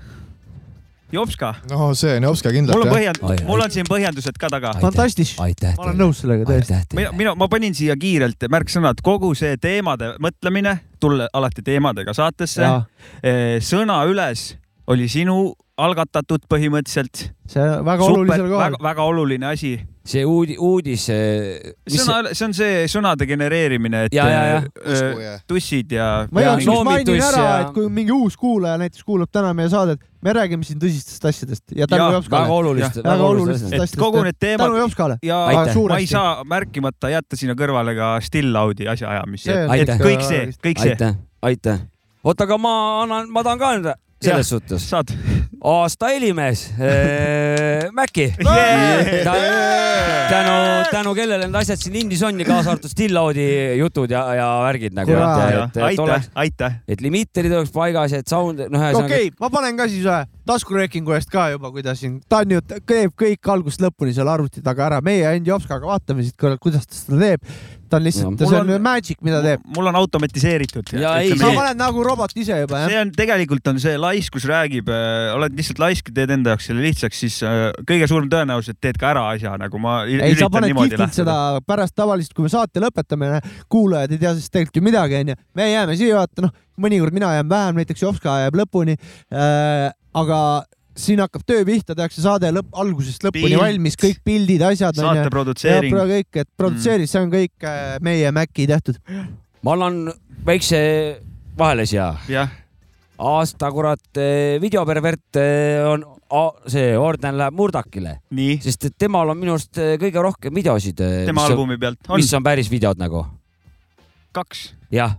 [SPEAKER 2] Jopska ,
[SPEAKER 5] no see on Jopska
[SPEAKER 2] mul
[SPEAKER 5] kindlalt
[SPEAKER 2] on
[SPEAKER 5] jah .
[SPEAKER 4] Oi,
[SPEAKER 2] põhjend- ,
[SPEAKER 4] oi.
[SPEAKER 2] mul on siin põhjendused ka taga .
[SPEAKER 1] Fantastis.
[SPEAKER 4] aitäh
[SPEAKER 1] ma olen . nõus sellega tõesti .
[SPEAKER 4] aitäh
[SPEAKER 2] mina ,
[SPEAKER 4] teile .
[SPEAKER 2] mina , ma panin siia kiirelt märksõnad , kogu see teemade mõtlemine , tulla alati teemadega saatesse . sõna üles oli sinu algatatud põhimõtteliselt .
[SPEAKER 1] see on väga olulisel kohal .
[SPEAKER 2] väga oluline asi .
[SPEAKER 4] see uudi- , uudis ,
[SPEAKER 1] eh,
[SPEAKER 4] mis see ,
[SPEAKER 2] sõna , see on see sõnade genereerimine , et
[SPEAKER 4] Ja, ja, ja.
[SPEAKER 2] äh, äh, tussid ja .
[SPEAKER 1] ma igaks
[SPEAKER 4] Ja
[SPEAKER 1] juhuks mainin
[SPEAKER 4] soomituss
[SPEAKER 1] ära
[SPEAKER 4] ja- ,
[SPEAKER 1] et kui mingi uus kuulaja näiteks kuulab täna meie saadet , me räägime siin tõsistest asjadest ja tänu
[SPEAKER 2] Jaa,
[SPEAKER 4] väga
[SPEAKER 1] Jopskale .
[SPEAKER 4] olulist ,
[SPEAKER 2] Jah.
[SPEAKER 4] väga olulist
[SPEAKER 1] olulistest
[SPEAKER 2] Et
[SPEAKER 4] asjad .
[SPEAKER 1] asjadest .
[SPEAKER 2] kogu need teemad-
[SPEAKER 1] tänu Jopskale .
[SPEAKER 2] ja
[SPEAKER 4] Aitäh.
[SPEAKER 2] Aitäh. ma ei
[SPEAKER 1] suuresti.
[SPEAKER 2] saa märkimata jätta sinna kõrvale ka Stillaudi asjaajamist .
[SPEAKER 1] See on
[SPEAKER 2] et
[SPEAKER 4] Aitäh.
[SPEAKER 2] kõik see , kõik see ,
[SPEAKER 4] aitäh , aitäh . oota , aga ma annan , ma tahan ka enda selles suhtes .
[SPEAKER 2] saad .
[SPEAKER 4] aasta helimees äh, , Mäkki
[SPEAKER 2] Yeah!
[SPEAKER 4] Ta, . tänu , tänu kellele need asjad siin lindis on ja kaasa arvatud Stillaudi jutud ja , ja värgid nagu .
[SPEAKER 1] Jaa.
[SPEAKER 4] et , et, et
[SPEAKER 2] aitäh
[SPEAKER 4] oleks ,,
[SPEAKER 2] aitäh .
[SPEAKER 4] et limiterid oleks paigas ja et sound , noh , ühesõnaga
[SPEAKER 1] okei , ma panen ka siis ühe taskuröökingu eest ka juba , kui ta siin , ta on ju , teeb kõik algusest lõpuni seal arvuti taga ära , meie endi Jopskaga vaatame siit korra , kuidas ta seda teeb . ta
[SPEAKER 4] Jah.
[SPEAKER 1] on lihtsalt ,
[SPEAKER 2] Mul
[SPEAKER 1] see on
[SPEAKER 2] on-
[SPEAKER 1] magic , mida teeb .
[SPEAKER 2] mul on automatiseeritud .
[SPEAKER 4] Ja ei,
[SPEAKER 1] sa
[SPEAKER 4] see-
[SPEAKER 1] paned nagu robot ise juba , jah ?
[SPEAKER 2] see on , tegelikult on see laiskus räägib , oled lihtsalt laisk , teed enda jaoks selle lihtsaks , siis äh, kõige suurem tõenäosus , et teed ka ära asja , nagu ma ei,
[SPEAKER 1] ei , sa
[SPEAKER 2] üritan
[SPEAKER 1] paned
[SPEAKER 2] niimoodi
[SPEAKER 1] kihvtilt seda
[SPEAKER 2] lähtuda .
[SPEAKER 1] pärast tavaliselt , kui me saate lõpetame , kuulajad ei tea sellest tegelikult ju midagi , onju . me jääme siia , vaata noh , mõnikord mina jään vähem , näiteks Jovska jääb lõpuni äh, . aga siin hakkab töö pihta , tehakse saade lõpp , algusest lõpuni
[SPEAKER 2] Pilt.
[SPEAKER 1] valmis , kõik pildid , asjad .
[SPEAKER 2] saate produtseering , Mm.
[SPEAKER 1] kõik , et produtseeri , see on kõik äh, meie Maci tehtud .
[SPEAKER 4] ma annan väikse vahele siia .
[SPEAKER 2] jah ,
[SPEAKER 4] aasta kurat eh, videopervert eh, on , see orden läheb Murdakile ,
[SPEAKER 2] nii ,
[SPEAKER 4] sest et temal on minu arust eh, kõige rohkem videosid ,
[SPEAKER 2] tema
[SPEAKER 4] mis, on-
[SPEAKER 2] albumi pealt on
[SPEAKER 4] mis on päris videod nagu ,
[SPEAKER 2] kaks ,
[SPEAKER 4] jah .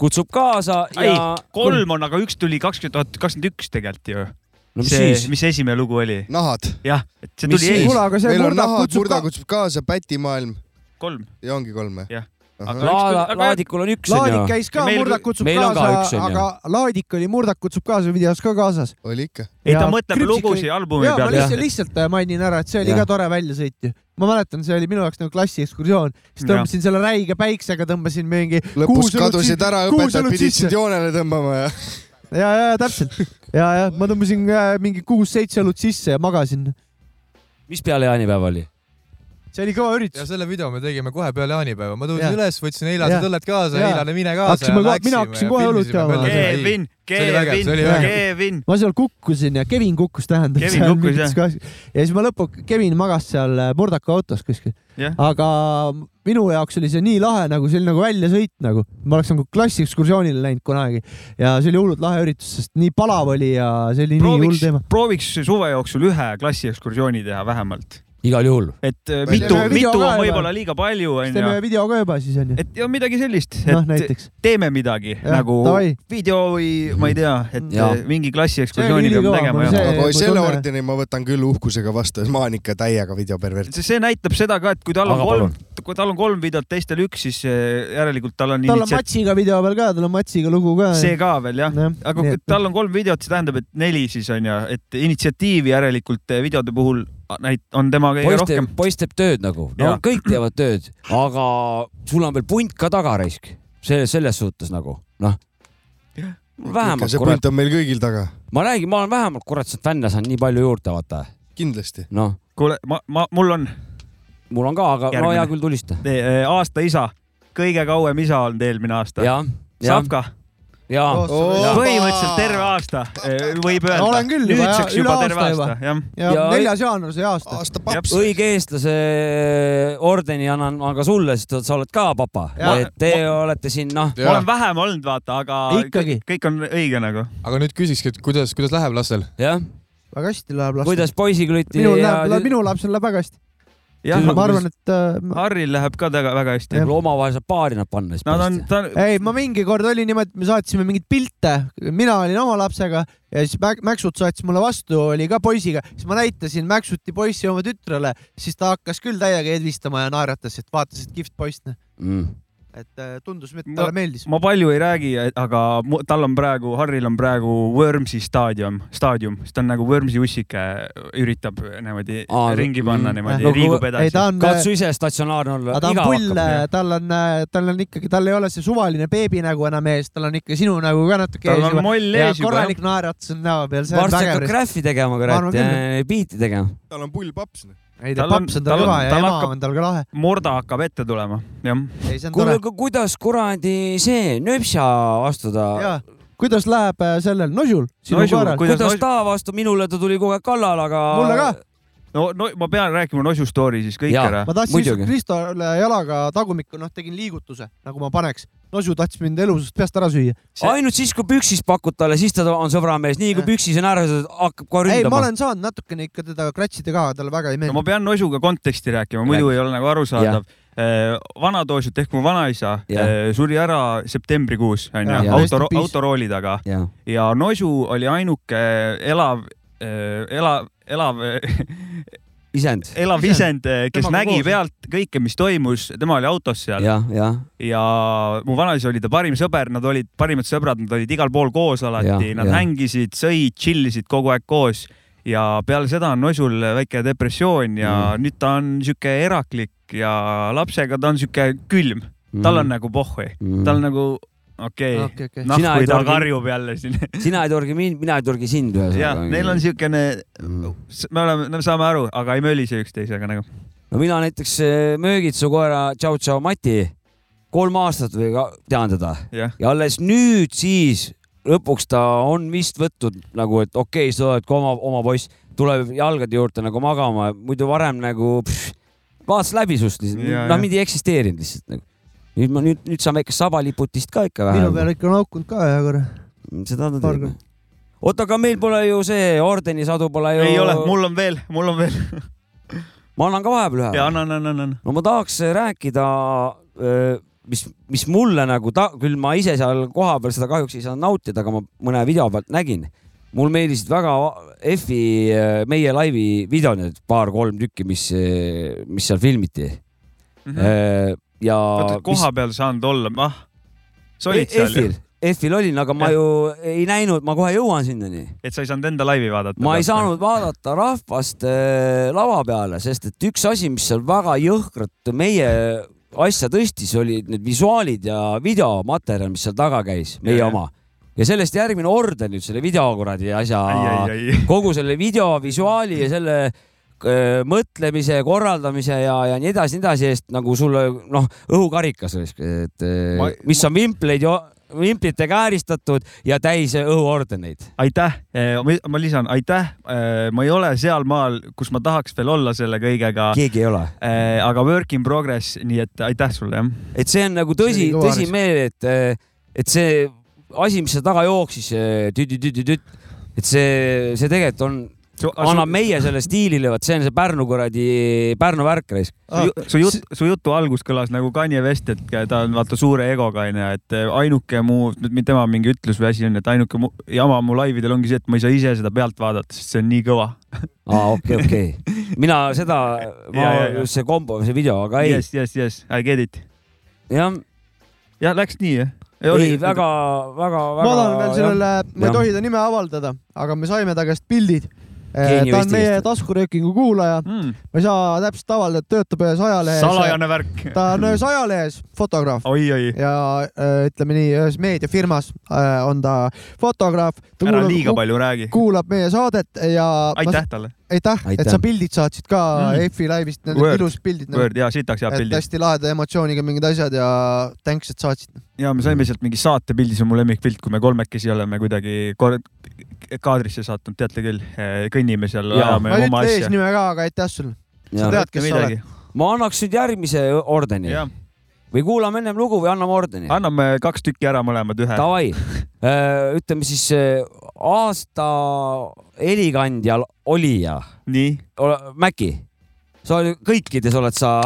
[SPEAKER 4] kutsub kaasa
[SPEAKER 2] ei
[SPEAKER 4] ja ,.
[SPEAKER 2] kolm on , aga üks tuli kakskümmend tuhat kakskümmend üks tegelikult ju .
[SPEAKER 4] no mis
[SPEAKER 2] see
[SPEAKER 4] siis ,,
[SPEAKER 2] mis esimene lugu oli ,
[SPEAKER 3] nahad .
[SPEAKER 2] jah , et see
[SPEAKER 4] Mis
[SPEAKER 2] tuli
[SPEAKER 4] siis?
[SPEAKER 2] ees ,
[SPEAKER 1] kuule , aga see
[SPEAKER 3] meil on
[SPEAKER 1] murda
[SPEAKER 3] nahad ,
[SPEAKER 1] kutsub
[SPEAKER 3] murda
[SPEAKER 1] ka .
[SPEAKER 3] kutsub kaasa , pätimaailm
[SPEAKER 2] kolm .
[SPEAKER 3] ja ongi kolm või ?
[SPEAKER 2] Jah.
[SPEAKER 3] aga
[SPEAKER 4] laada ,
[SPEAKER 2] aga-
[SPEAKER 4] laadikul on üks
[SPEAKER 1] Laadik
[SPEAKER 4] onju .
[SPEAKER 1] käis
[SPEAKER 2] Ja ,
[SPEAKER 1] ka
[SPEAKER 2] meil-
[SPEAKER 1] Murdak kutsub
[SPEAKER 4] meil on ka üks, on
[SPEAKER 1] kaasa ,
[SPEAKER 4] ju.
[SPEAKER 1] aga Laadik oli Murdak kutsub kaasa videos ka kaasas .
[SPEAKER 3] oli ikka .
[SPEAKER 2] ei , ta
[SPEAKER 1] Ja
[SPEAKER 2] mõtleb
[SPEAKER 1] Kripsik
[SPEAKER 2] lugusid
[SPEAKER 1] oli-
[SPEAKER 2] albumi
[SPEAKER 1] ja ma
[SPEAKER 2] peale .
[SPEAKER 1] lihtsalt , lihtsalt äh, mainin ära , et see oli
[SPEAKER 4] Jah.
[SPEAKER 1] ka tore väljasõit ju . ma mäletan , see oli minu jaoks nagu klassiekskursioon , siis tõmbasin selle räige päiksega , tõmbasin mingi .
[SPEAKER 3] lõpus kadusid ära , õpetajad pidid sind . joonele tõmbama ja .
[SPEAKER 1] ja , ja täpselt ja , ja ma tõmbasin äh, mingi kuus-seitse õlut sisse ja magasin .
[SPEAKER 4] mis peale jaanipäev oli ?
[SPEAKER 1] see oli kõva üritus .
[SPEAKER 5] ja selle video me tegime kohe peale jaanipäeva , ma tulin
[SPEAKER 1] Jah.
[SPEAKER 5] üles , võtsin
[SPEAKER 1] Jah.
[SPEAKER 5] eilased õlled kaasa ,
[SPEAKER 1] Jah.
[SPEAKER 5] eilane mine kaasa .
[SPEAKER 1] Hakkasime kohe- mina hakkasin kohe õlut jooma.
[SPEAKER 2] Kevin, Kevin, Kevin.
[SPEAKER 1] ma seal kukkusin ja Kevin kukkus tähendab .
[SPEAKER 2] Kevin kukkus, jah.
[SPEAKER 1] ja siis ma lõpuks , Kevin magas seal äh, murdaka autos kuskil
[SPEAKER 2] Jah.
[SPEAKER 1] aga minu jaoks oli see nii lahe nagu , see oli nagu väljasõit nagu , ma oleks nagu klassiekskursioonile läinud kunagi ja see oli hullult lahe üritus , sest nii palav oli ja see oli nii hull
[SPEAKER 2] prooviks
[SPEAKER 1] teema .,
[SPEAKER 2] prooviks suve jooksul ühe klassiekskursiooni teha vähemalt .
[SPEAKER 4] igal juhul .
[SPEAKER 2] et äh,
[SPEAKER 1] Või
[SPEAKER 2] mitu
[SPEAKER 1] teeme , video
[SPEAKER 2] mitu
[SPEAKER 1] ka
[SPEAKER 2] on
[SPEAKER 1] juba.
[SPEAKER 2] võib-olla liiga palju ,
[SPEAKER 1] teeme ühe
[SPEAKER 2] onju .
[SPEAKER 1] video ka juba siis onju .
[SPEAKER 2] et ja midagi sellist ,
[SPEAKER 1] Noh,
[SPEAKER 2] et
[SPEAKER 1] näiteks.
[SPEAKER 2] teeme midagi
[SPEAKER 1] Jah,
[SPEAKER 2] nagu
[SPEAKER 1] davai.
[SPEAKER 2] video või ma ei tea , et
[SPEAKER 4] Jah.
[SPEAKER 2] äh, mingi klassiekskursiooni peab tegema jah .
[SPEAKER 3] aga oi, selle
[SPEAKER 1] tunne-
[SPEAKER 3] ordeni ma võtan küll uhkusega vastu , ma olen ikka täiega videopervert .
[SPEAKER 2] see näitab seda ka , et kui tal on
[SPEAKER 4] Aga
[SPEAKER 2] kolm , kui tal on kolm videot , teistel üks , siis äh, järelikult tal on
[SPEAKER 1] tal on
[SPEAKER 2] initsiat-
[SPEAKER 1] Matsiga video peal ka , tal on Matsiga lugu ka .
[SPEAKER 2] see ka veel jah ,
[SPEAKER 1] Jah,
[SPEAKER 2] aga
[SPEAKER 1] nii
[SPEAKER 2] kui
[SPEAKER 1] et-
[SPEAKER 2] tal on kolm videot , see tähendab , et neli siis on ju , et initsiatiivi järelikult eh, videode puhul ah, näit- on tema kõige
[SPEAKER 4] poiss
[SPEAKER 2] rohkem
[SPEAKER 4] teeb , poiss teeb tööd nagu , no
[SPEAKER 2] Jaa.
[SPEAKER 4] kõik teevad tööd , aga sul on veel punt ka taga raisk , see selles suhtes nagu noh , vähemalt
[SPEAKER 3] see
[SPEAKER 4] kurat ,
[SPEAKER 3] punt on meil kõigil taga ,
[SPEAKER 4] ma räägin , ma olen vähemalt kurat sealt fänne saanud nii palju juurde , vaata
[SPEAKER 3] kindlasti .
[SPEAKER 4] noh ,
[SPEAKER 2] kuule , ma , ma , mul on
[SPEAKER 4] mul on ka , aga no
[SPEAKER 2] Järgmine.
[SPEAKER 4] hea küll , tulista .
[SPEAKER 2] eh, aasta isa , kõige kauem isa olnud eelmine aasta .
[SPEAKER 4] ja , ja ,
[SPEAKER 2] Savka ,
[SPEAKER 4] ja
[SPEAKER 2] põhimõtteliselt terve aasta eh, võib öelda .
[SPEAKER 1] Olen küll juba,
[SPEAKER 2] nüüdseks
[SPEAKER 1] jah,
[SPEAKER 2] juba
[SPEAKER 1] üle
[SPEAKER 2] terve
[SPEAKER 1] aasta
[SPEAKER 2] aasta
[SPEAKER 1] juba. ,
[SPEAKER 2] jah .
[SPEAKER 1] ja
[SPEAKER 4] Ja-
[SPEAKER 1] neljas jaanuar see aasta .
[SPEAKER 3] aasta paps .
[SPEAKER 4] õige eestlase ordeni annan ma ka sulle , sest sa oled ka papa ,
[SPEAKER 1] Jaa.
[SPEAKER 4] et te olete siin noh ,
[SPEAKER 2] ma olen vähem olnud , vaata , aga
[SPEAKER 1] Ikkagi.
[SPEAKER 2] kõik- kõik on õige nagu .
[SPEAKER 5] aga nüüd küsikski , et kuidas , kuidas läheb lastel ?
[SPEAKER 4] jah ,
[SPEAKER 1] väga hästi läheb lastel .
[SPEAKER 4] kuidas poisiklüti
[SPEAKER 1] minul läheb , minu lapsel läheb väga hästi .
[SPEAKER 2] jah ,
[SPEAKER 1] ma arvan , et äh, ma-
[SPEAKER 2] Harril läheb ka väga , väga hästi .
[SPEAKER 4] võib-olla omavahel saab paari nad panna siis
[SPEAKER 2] Nad on ,
[SPEAKER 4] pärast.
[SPEAKER 2] ta on ,
[SPEAKER 1] ei , ma mingi kord oli niimoodi , et me saatsime mingeid pilte , mina olin oma lapsega ja siis Mäk- Mäksut saatis mulle vastu , oli ka poisiga , siis ma näitasin Mäksuti poissi oma tütrele , siis ta hakkas küll täiega edvistama ja naeratas , et vaatas , et kihvt poiss ,
[SPEAKER 4] mm. .
[SPEAKER 1] et äh, tundus , et
[SPEAKER 2] No-
[SPEAKER 1] talle meeldis .
[SPEAKER 2] ma palju ei räägi , aga mu- tal on praegu , Harril on praegu Wormsi staadium , staadium , siis ta on nagu Wormsi ussike , üritab niimoodi
[SPEAKER 4] Aa,
[SPEAKER 2] ringi panna
[SPEAKER 4] mm,
[SPEAKER 2] niimoodi
[SPEAKER 4] no
[SPEAKER 2] no, ,
[SPEAKER 4] kui-
[SPEAKER 2] liigub
[SPEAKER 1] ei ,
[SPEAKER 2] edasi
[SPEAKER 1] ta . on , äh,
[SPEAKER 4] katsu ise statsionaarne olla
[SPEAKER 1] aga , ta on
[SPEAKER 4] igav
[SPEAKER 1] pull äh,
[SPEAKER 4] hakkab .,
[SPEAKER 1] tal on , tal on ikkagi , tal ei ole see suvaline beebinägu enam ees , tal on ikka sinu nägu ka natuke
[SPEAKER 2] tal on moll
[SPEAKER 1] ja
[SPEAKER 2] ees juba .
[SPEAKER 1] korralik naeratus on näo peal , see on
[SPEAKER 4] varsti hakkab
[SPEAKER 1] vägev .
[SPEAKER 4] graffi tegema ,
[SPEAKER 1] arvan
[SPEAKER 4] kurat
[SPEAKER 1] küll. ,
[SPEAKER 4] biiti tegema .
[SPEAKER 3] tal on pull paps .
[SPEAKER 1] ei tea ,
[SPEAKER 2] tal on-
[SPEAKER 1] paps on
[SPEAKER 2] tal
[SPEAKER 1] tal
[SPEAKER 2] on-
[SPEAKER 1] kõva ja
[SPEAKER 2] tal
[SPEAKER 1] ema
[SPEAKER 2] hakkab-
[SPEAKER 1] on tal ka lahe .
[SPEAKER 2] Morda hakkab ette tulema , jah .
[SPEAKER 1] ei , see on
[SPEAKER 4] kuule ,
[SPEAKER 1] tore .
[SPEAKER 4] aga kuidas kuradi see nööpsa astuda ,
[SPEAKER 1] jaa , kuidas läheb äh, sellel nožul , sinu
[SPEAKER 2] Nožul,
[SPEAKER 1] koeral ?
[SPEAKER 2] kui-
[SPEAKER 4] kuidas,
[SPEAKER 2] Kuidas
[SPEAKER 4] kuidas
[SPEAKER 2] nos-
[SPEAKER 4] ta vastu , minule ta tuli kogu aeg kallale , aga .
[SPEAKER 1] mulle ka ,
[SPEAKER 2] no , no ma pean rääkima Nosu story siis kõik
[SPEAKER 4] Jaa.
[SPEAKER 2] ja. ära .
[SPEAKER 1] ma tahtsin
[SPEAKER 4] Muidugi.
[SPEAKER 1] lihtsalt Kristole jalaga tagumikku , noh , tegin liigutuse , nagu ma paneks . nosu tahtis mind elusast peast ära süüa .
[SPEAKER 4] See... ainult siis , kui püksis pakud talle , siis ta on sõbramees , nii kui
[SPEAKER 1] Jah.
[SPEAKER 4] püksis on ära , hakkab kohe
[SPEAKER 1] ei , ma
[SPEAKER 4] ründama .
[SPEAKER 1] olen saanud natukene ikka teda kratsida ka , talle väga ei
[SPEAKER 2] No, ma
[SPEAKER 1] meeldi .
[SPEAKER 2] pean Nosuga konteksti rääkima , muidu ei ole nagu arusaadav . vanatoosjad ehk mu vanaisa
[SPEAKER 4] Jah.
[SPEAKER 2] eh, suri ära septembrikuus
[SPEAKER 1] Jah.
[SPEAKER 2] onju ,
[SPEAKER 1] Jah.
[SPEAKER 2] auto
[SPEAKER 1] Rest in , peace.
[SPEAKER 2] autorooli taga
[SPEAKER 4] jah ,
[SPEAKER 2] ja Nosu oli ainuke elav , elav , elav ,
[SPEAKER 4] isend ,
[SPEAKER 2] elav isend , kes
[SPEAKER 1] Temaga
[SPEAKER 2] nägi
[SPEAKER 1] koos.
[SPEAKER 2] pealt kõike , mis toimus , tema oli autos seal ja,
[SPEAKER 4] jah , jah ,
[SPEAKER 2] ja mu vanaisa oli ta parim sõber , nad olid parimad sõbrad , nad olid igal pool koos alati ,
[SPEAKER 4] Ja,
[SPEAKER 2] nad
[SPEAKER 4] ja.
[SPEAKER 2] hängisid , sõid , tšillisid kogu aeg koos ja peale seda on Nosul väike depressioon ja mm. nüüd ta on sihuke eraklik ja lapsega ta on sihuke külm , tal on nagu pohhui ,
[SPEAKER 4] mm.
[SPEAKER 2] tal on nagu okei okay.
[SPEAKER 1] okei , okei .
[SPEAKER 4] Sina
[SPEAKER 2] nahku
[SPEAKER 4] ei
[SPEAKER 2] ta
[SPEAKER 4] tarbi-
[SPEAKER 2] karjub jälle siin .
[SPEAKER 4] sina ei torgi mind , mina ei torgi sind .
[SPEAKER 2] jah , neil on siukene
[SPEAKER 4] mm. .
[SPEAKER 2] S- me oleme , me saame aru , aga ei mölise üksteisega nagu .
[SPEAKER 4] no mina näiteks eh, möögitsu koera Tšau Tšau Mati , kolm aastat või ka tean teda
[SPEAKER 2] Jah.
[SPEAKER 4] ja alles nüüd siis lõpuks ta on vist võtnud nagu , et okei okay, , sa oled ka oma , oma poiss , tuleb jalgade juurde nagu magama , muidu varem nagu pff, vaatas läbi sust
[SPEAKER 2] Ja,
[SPEAKER 4] lihtsalt , noh
[SPEAKER 2] ja.
[SPEAKER 4] mind ei eksisteerinud lihtsalt nagu . nüüd ma nüüd , nüüd saame ikka sabaliputist ka ikka
[SPEAKER 1] minu
[SPEAKER 4] vähe .
[SPEAKER 1] peal ikka on haukunud ka ühe korra .
[SPEAKER 4] seda ta
[SPEAKER 1] paar
[SPEAKER 4] teeb . oota , aga meil pole ju see ordenisadu pole ju .
[SPEAKER 2] ei ole , mul on veel , mul on veel .
[SPEAKER 4] ma annan ka vahepeal ühe .
[SPEAKER 2] ja annan , annan , annan .
[SPEAKER 4] no ma tahaks äh, rääkida , mis , mis mulle nagu ta , küll ma ise seal kohapeal seda kahjuks ei saanud nautida , aga ma mõne video pealt nägin . mul meeldisid väga F-i äh, meie laivi video need paar-kolm tükki , mis , mis seal filmiti mm . -hmm. ja .
[SPEAKER 2] Mhm. oota , koha peal saanud olla , ah , sa
[SPEAKER 4] E-,
[SPEAKER 2] olid seal ,
[SPEAKER 4] F-il , F-il olin , aga ma
[SPEAKER 2] Jah.
[SPEAKER 4] ju ei näinud , ma kohe jõuan sinnani
[SPEAKER 2] et sa ei saanud enda laivi vaadata .
[SPEAKER 4] ma ei saanud vaadata rahvast äh, lava peale , sest et üks asi , mis seal väga jõhkralt meie asja tõstis , olid need visuaalid ja videomaterjal , mis seal taga käis , meie
[SPEAKER 2] Jajah.
[SPEAKER 4] oma . ja sellest järgmine orden nüüd selle video kuradi asja ,
[SPEAKER 2] ai , ai , ai .
[SPEAKER 4] kogu selle video visuaali ja selle äh, mõtlemise , korraldamise ja , ja nii edasi , nii edasi eest nagu sulle noh , õhukarikas , et ma,
[SPEAKER 2] Ma-
[SPEAKER 4] mis on vimpleid , vimplitega ääristatud ja täis õhuordeneid .
[SPEAKER 2] aitäh , ma lisan , aitäh , ma ei ole sealmaal , kus ma tahaks veel olla selle kõigega .
[SPEAKER 4] keegi ei ole .
[SPEAKER 2] aga work in progress , nii et aitäh sulle jah .
[SPEAKER 4] et see on nagu tõsi ,
[SPEAKER 2] See oli kõva
[SPEAKER 4] tõsimeel , et , et see asi , mis seal taga jooksis , eh, tüdi-tüdi-tüt , et see , see tegelikult on , annab meie selle stiilile , vot see on see Pärnu kuradi , Pärnu värk raisk .
[SPEAKER 1] Ah,
[SPEAKER 2] su jutt , su jutu algus kõlas nagu Kanye West , et ta on vaata suure egoga onju , et eh, ainuke mu , tema mingi ütlus või asi on , et ainuke mu, jama mu laividel ongi see , et ma ei saa ise seda pealt vaadata , sest see on nii kõva .
[SPEAKER 4] aa , okei , okei . mina seda , ma
[SPEAKER 2] Ja, ja, , ja.
[SPEAKER 4] see kombo , see video , aga ei .
[SPEAKER 2] Yes , yes , yes , I get it .
[SPEAKER 4] jah .
[SPEAKER 2] jah , läks nii jah ?
[SPEAKER 4] ei , väga , väga , väga .
[SPEAKER 1] ma tahan veel sellele , ma ei tohi ta nime avaldada , aga me saime ta käest pildid .
[SPEAKER 4] Geenius
[SPEAKER 1] ta on meie
[SPEAKER 4] tegelikult.
[SPEAKER 1] taskuröökingu kuulaja
[SPEAKER 2] mm. .
[SPEAKER 1] ma ei saa täpselt avaldada , et töötab ühes ajalehes .
[SPEAKER 2] Salajane värk.
[SPEAKER 1] ta on ühes ajalehes fotograaf .
[SPEAKER 2] oi-oi .
[SPEAKER 1] ja äh, ütleme nii , ühes meediafirmas äh, on ta fotograaf .
[SPEAKER 2] ära liiga palju räägi .
[SPEAKER 1] kuulab meie saadet ja .
[SPEAKER 2] Aitäh talle.
[SPEAKER 1] aitäh, aitäh. , et
[SPEAKER 2] Aitäh.
[SPEAKER 1] sa pildid saatsid ka
[SPEAKER 2] Mm.
[SPEAKER 1] mm. EF-i laivist , need on ilus pildid .
[SPEAKER 2] Word ja sitaks head
[SPEAKER 1] et
[SPEAKER 2] pildid .
[SPEAKER 1] hästi laheda emotsiooniga mingid asjad ja thanks , et saatsid .
[SPEAKER 2] ja me
[SPEAKER 1] Mm.
[SPEAKER 2] saime sealt mingi saatepildi , see on mu lemmikpilt , kui me kolmekesi oleme kuidagi kor- kaadrisse sattunud , teate küll , kõnnime seal ,
[SPEAKER 1] ma
[SPEAKER 2] ajame
[SPEAKER 1] ei
[SPEAKER 2] oma
[SPEAKER 1] ütle
[SPEAKER 2] asja .
[SPEAKER 1] eesnime ka , aga aitäh sulle . sa tead , kes sa oled ..
[SPEAKER 4] ma nagu annaks nüüd järgmise ordeni . või kuulame ennem lugu või anname ordeni ?
[SPEAKER 2] anname kaks tükki ära , mõlemad ühe .
[SPEAKER 4] Davai , ütleme siis äh, aasta helikandjal olija .
[SPEAKER 2] nii .
[SPEAKER 4] Mäki , sa oli- kõikides oled sa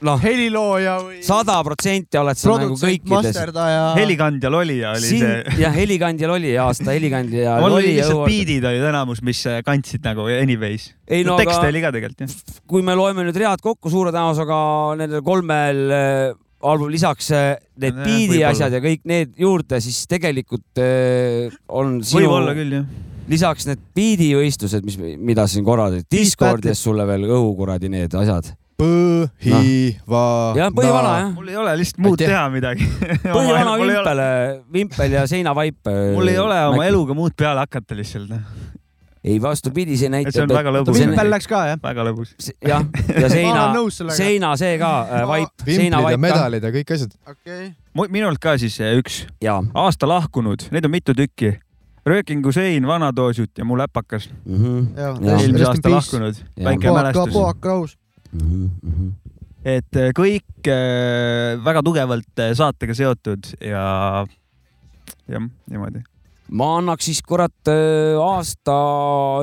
[SPEAKER 4] noh ,
[SPEAKER 1] helilooja või ?
[SPEAKER 4] sada protsenti oled sa nagu
[SPEAKER 1] Produtsent,
[SPEAKER 4] kõikides .
[SPEAKER 1] masterdaja.
[SPEAKER 2] helikandjal olija oli
[SPEAKER 4] siin
[SPEAKER 2] see- ,
[SPEAKER 4] jah , helikandjal olija , aasta helikandjal
[SPEAKER 2] mul olid
[SPEAKER 4] olija
[SPEAKER 2] lihtsalt
[SPEAKER 4] õhuorder.
[SPEAKER 2] biidid olid enamus , mis kandsid nagu anyways .
[SPEAKER 4] Ei, no
[SPEAKER 2] tekst
[SPEAKER 4] aga-
[SPEAKER 2] oli ka tegelikult jah .
[SPEAKER 4] kui me loeme nüüd read kokku suure tõenäosusega nendel kolmel äh, albumil lisaks äh, need
[SPEAKER 2] Nojah,
[SPEAKER 4] biidi
[SPEAKER 2] võib-olla.
[SPEAKER 4] asjad ja kõik need juurde , siis tegelikult äh, on sinu...
[SPEAKER 2] Võib-olla küll, jah.
[SPEAKER 4] lisaks need biidivõistlused , mis , mida siin korraldati , Discordis sulle veel õhu kuradi need asjad .
[SPEAKER 1] Noh.
[SPEAKER 5] põhiva .
[SPEAKER 4] jah , põhivana jah .
[SPEAKER 2] mul ei ole lihtsalt muud teha midagi .
[SPEAKER 4] põhivana vimpel , vimpel ja eh, seinavaip .
[SPEAKER 2] mul ei ole oma . eluga muud peale hakata lihtsalt .
[SPEAKER 4] ei , vastupidi , see näitab .
[SPEAKER 2] see on väga lõbus .
[SPEAKER 1] läks ka jah ?
[SPEAKER 2] väga lõbus .
[SPEAKER 4] jah , ja seina , seina see ka ,
[SPEAKER 5] äh,
[SPEAKER 4] vaip ,
[SPEAKER 2] vimplid ja
[SPEAKER 4] seinavaip ka .
[SPEAKER 5] medalid ja kõik asjad .
[SPEAKER 2] Mu- minult ka siis eh, üks .
[SPEAKER 4] aasta
[SPEAKER 2] lahkunud , neid on mitu tükki . röökingu sein , vanadoosut ja mu läpakas mm .
[SPEAKER 1] Jaa,
[SPEAKER 2] -hmm.
[SPEAKER 1] rest- rest
[SPEAKER 2] eelmise
[SPEAKER 1] in
[SPEAKER 2] aasta
[SPEAKER 1] peace.
[SPEAKER 2] lahkunud ,
[SPEAKER 1] Jaa.
[SPEAKER 2] väike
[SPEAKER 1] Puhak-
[SPEAKER 2] mälestus .
[SPEAKER 1] puhak rahus.
[SPEAKER 2] et eh, kõik eh, väga tugevalt eh, saatega seotud ja jah , niimoodi .
[SPEAKER 4] ma annaks siis kurat äh, aasta ,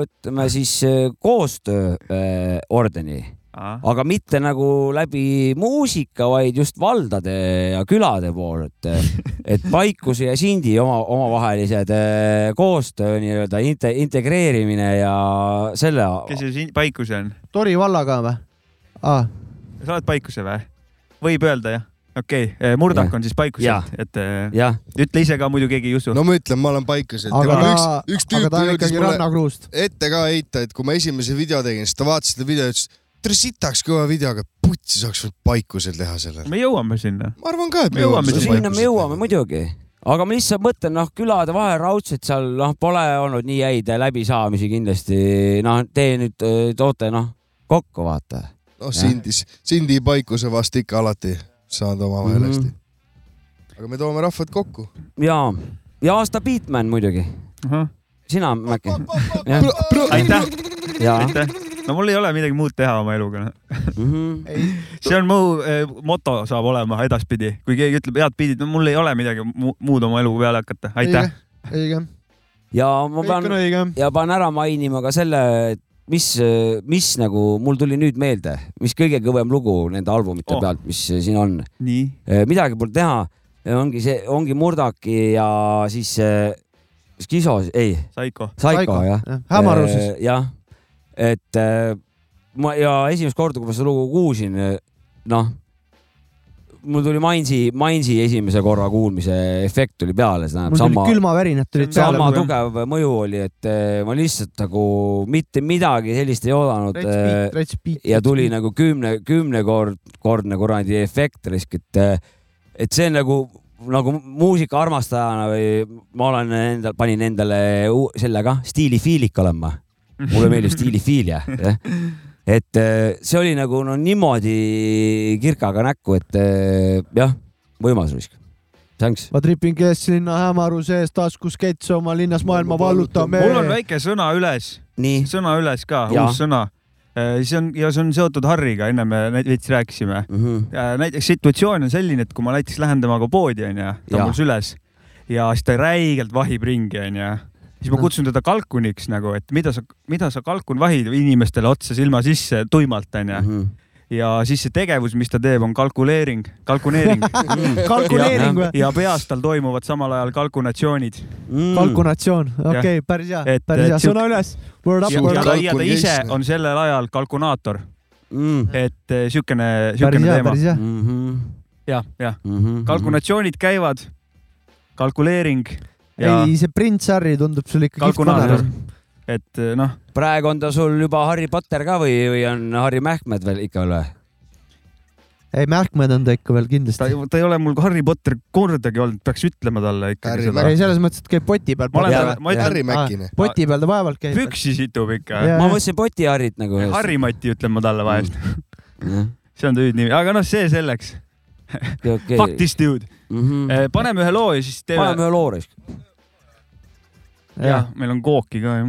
[SPEAKER 4] ütleme siis äh, koostöö äh, ordeni , aga mitte nagu läbi muusika , vaid just valdade ja külade pool , et , et Paikuse ja Sindi oma , omavahelised äh, koostöö nii-öelda inte, integreerimine ja selle ,
[SPEAKER 2] kes see siin Paikuse on ?
[SPEAKER 1] Tori vallaga või ? aa ,
[SPEAKER 2] sa oled Paikuse või ? võib öelda jah ? okei okay. , Murdak on siis Paikuselt , et eh,
[SPEAKER 4] Jah.
[SPEAKER 2] ütle ise ka , muidu keegi ei usu .
[SPEAKER 3] no ma ütlen , ma olen Paikuselt .
[SPEAKER 1] aga ta
[SPEAKER 3] üks ,, üks
[SPEAKER 1] aga
[SPEAKER 3] tüüp
[SPEAKER 1] ta on
[SPEAKER 3] jõudis
[SPEAKER 1] ikkagi
[SPEAKER 3] mulle
[SPEAKER 1] rannakruust .
[SPEAKER 3] ette ka heita , et kui ma esimese video tegin , siis ta vaatas seda video ja ütles , tere sitaks kõva video , aga putsi saaks võinud Paikusel teha selle .
[SPEAKER 2] me jõuame sinna .
[SPEAKER 3] ma arvan ka , et me jõuame
[SPEAKER 4] sinna , sinna me
[SPEAKER 3] Paikuselt.
[SPEAKER 4] jõuame muidugi , aga ma lihtsalt mõtlen , noh , külade vahel raudselt seal , noh , pole olnud nii häid läbisaamisi kindlasti , noh , te nüüd öö, toote , noh , kokku vaata .
[SPEAKER 3] noh , Sindis , Sindi ja Paikuse vastu ikka alati saanud omavahel
[SPEAKER 4] Mhm.
[SPEAKER 3] hästi . aga me toome rahvad kokku .
[SPEAKER 4] ja , ja aasta Beatman muidugi uh .
[SPEAKER 2] -huh.
[SPEAKER 4] sina , Mäkki .
[SPEAKER 2] aitäh .
[SPEAKER 4] Jaa.
[SPEAKER 2] aitäh . no mul ei ole midagi muud teha oma eluga noh.
[SPEAKER 4] mm . -hmm.
[SPEAKER 2] see on mu eh, moto saab olema edaspidi , kui keegi ütleb head pildid , no mul ei ole midagi mu muud oma elu peale hakata , aitäh .
[SPEAKER 1] õige .
[SPEAKER 4] ja ma
[SPEAKER 1] Kõik on
[SPEAKER 4] pean , ja pean ära mainima ka selle , et mis , mis nagu mul tuli nüüd meelde , mis kõige kõvem lugu nende albumite oh.
[SPEAKER 2] Oh.
[SPEAKER 4] pealt , mis siin on .
[SPEAKER 2] nii .
[SPEAKER 4] midagi pole teha , ongi see , ongi Murdaki ja siis äh, Skiso , ei .
[SPEAKER 2] Saiko .
[SPEAKER 4] Saiko jah .
[SPEAKER 1] Hämaruses. .
[SPEAKER 4] jah , et äh, ma ja esimest korda , kui ma seda lugu kuulsin , noh , mul tuli Mainsi , Mainsi esimese korra kuulmise efekt tuli peale , see
[SPEAKER 1] mul
[SPEAKER 4] tähendab
[SPEAKER 1] tulid
[SPEAKER 4] sama .
[SPEAKER 1] külmavärinad tulid peale .
[SPEAKER 4] sama tugev mõju oli , et eh, ma lihtsalt nagu mitte midagi sellist ei oodanud
[SPEAKER 1] Let's beat, . let's beat,
[SPEAKER 4] ja
[SPEAKER 1] let's
[SPEAKER 4] tuli
[SPEAKER 1] beat.
[SPEAKER 4] nagu kümne , kümnekordne kuradi efekt risk , et , et see on nagu , nagu muusika armastajana või ma olen endal , panin endale uu- selle ka , stiili Feelik olen ma . mulle meeldib stiilifiilia , jah . et eh, see oli nagu no niimoodi kirkaga näkku , et eh, jah , võimas risk . Thanks .
[SPEAKER 1] ma tripin kesklinna hämaruse ees taskus kets oma linnas maailma vallutame .
[SPEAKER 2] mul on väike sõna üles . sõna üles ka ,
[SPEAKER 1] Jaa.
[SPEAKER 2] uus sõna . see on ja see on seotud Harriga , enne me näit- veits rääkisime
[SPEAKER 4] mm .
[SPEAKER 2] -hmm. näiteks situatsioon on selline , et kui ma näiteks lähen temaga poodi , onju , ta
[SPEAKER 4] Jaa.
[SPEAKER 2] on mul süles ja siis ta räigelt vahib ringi , onju siis ma kutsun teda kalkuniks nagu , et mida sa , mida sa kalkun vahid inimestele otse silma sisse tuimalt onju . ja siis see tegevus , mis ta teeb , on kalkuleering , kalkuneering
[SPEAKER 1] Kalkuleering
[SPEAKER 2] ja,
[SPEAKER 1] või?
[SPEAKER 2] ja peas tal toimuvad samal ajal kalkunatsioonid mm.
[SPEAKER 1] kalkunatsioon , okei okay, , päris hea , päris hea , sõna üles . Word up ,
[SPEAKER 2] ja,
[SPEAKER 1] word
[SPEAKER 2] ja,
[SPEAKER 1] up .
[SPEAKER 2] ja ta ise on sellel ajal kalkunaator
[SPEAKER 4] mm. .
[SPEAKER 2] et eh, siukene , siukene
[SPEAKER 1] hea,
[SPEAKER 2] teema
[SPEAKER 1] päris hea. .
[SPEAKER 4] Mhm.
[SPEAKER 2] jah , jah
[SPEAKER 4] mm -hmm. ,
[SPEAKER 2] kalkunatsioonid käivad , kalkuleering ja
[SPEAKER 1] ei , see prints Harry tundub sul ikka kihvt
[SPEAKER 2] kalkunaator
[SPEAKER 1] vanem .
[SPEAKER 2] et eh, noh ,
[SPEAKER 4] praegu on ta sul juba Harry Potter ka või , või on Harry Mähkmed veel ikka veel või ?
[SPEAKER 1] ei , Mähkmed on ta ikka veel kindlasti .
[SPEAKER 2] eh, ta ei ole mul Harry Potter kordagi olnud , peaks ütlema talle ikkagi seda
[SPEAKER 1] ei , selles mõttes , et käib poti peal .
[SPEAKER 2] Ma olen talle- ma ütlen- Harry Mäkine.
[SPEAKER 1] poti peal ta vaevalt käib .
[SPEAKER 2] püksi situb ikka
[SPEAKER 1] Jaa. Ma mõtlesin
[SPEAKER 4] poti Harrit nagu . Mm.
[SPEAKER 2] Harri Mati ütlen ma talle vahest . see on ta hüüdnimi , aga noh , see selleks .
[SPEAKER 4] okay.
[SPEAKER 2] Fuck this dude Eh,
[SPEAKER 4] mm . -hmm.
[SPEAKER 2] paneme ühe loo ja siis teeme .
[SPEAKER 4] Paneme ühe loo raisk .
[SPEAKER 2] jah , meil on kooki ka ju .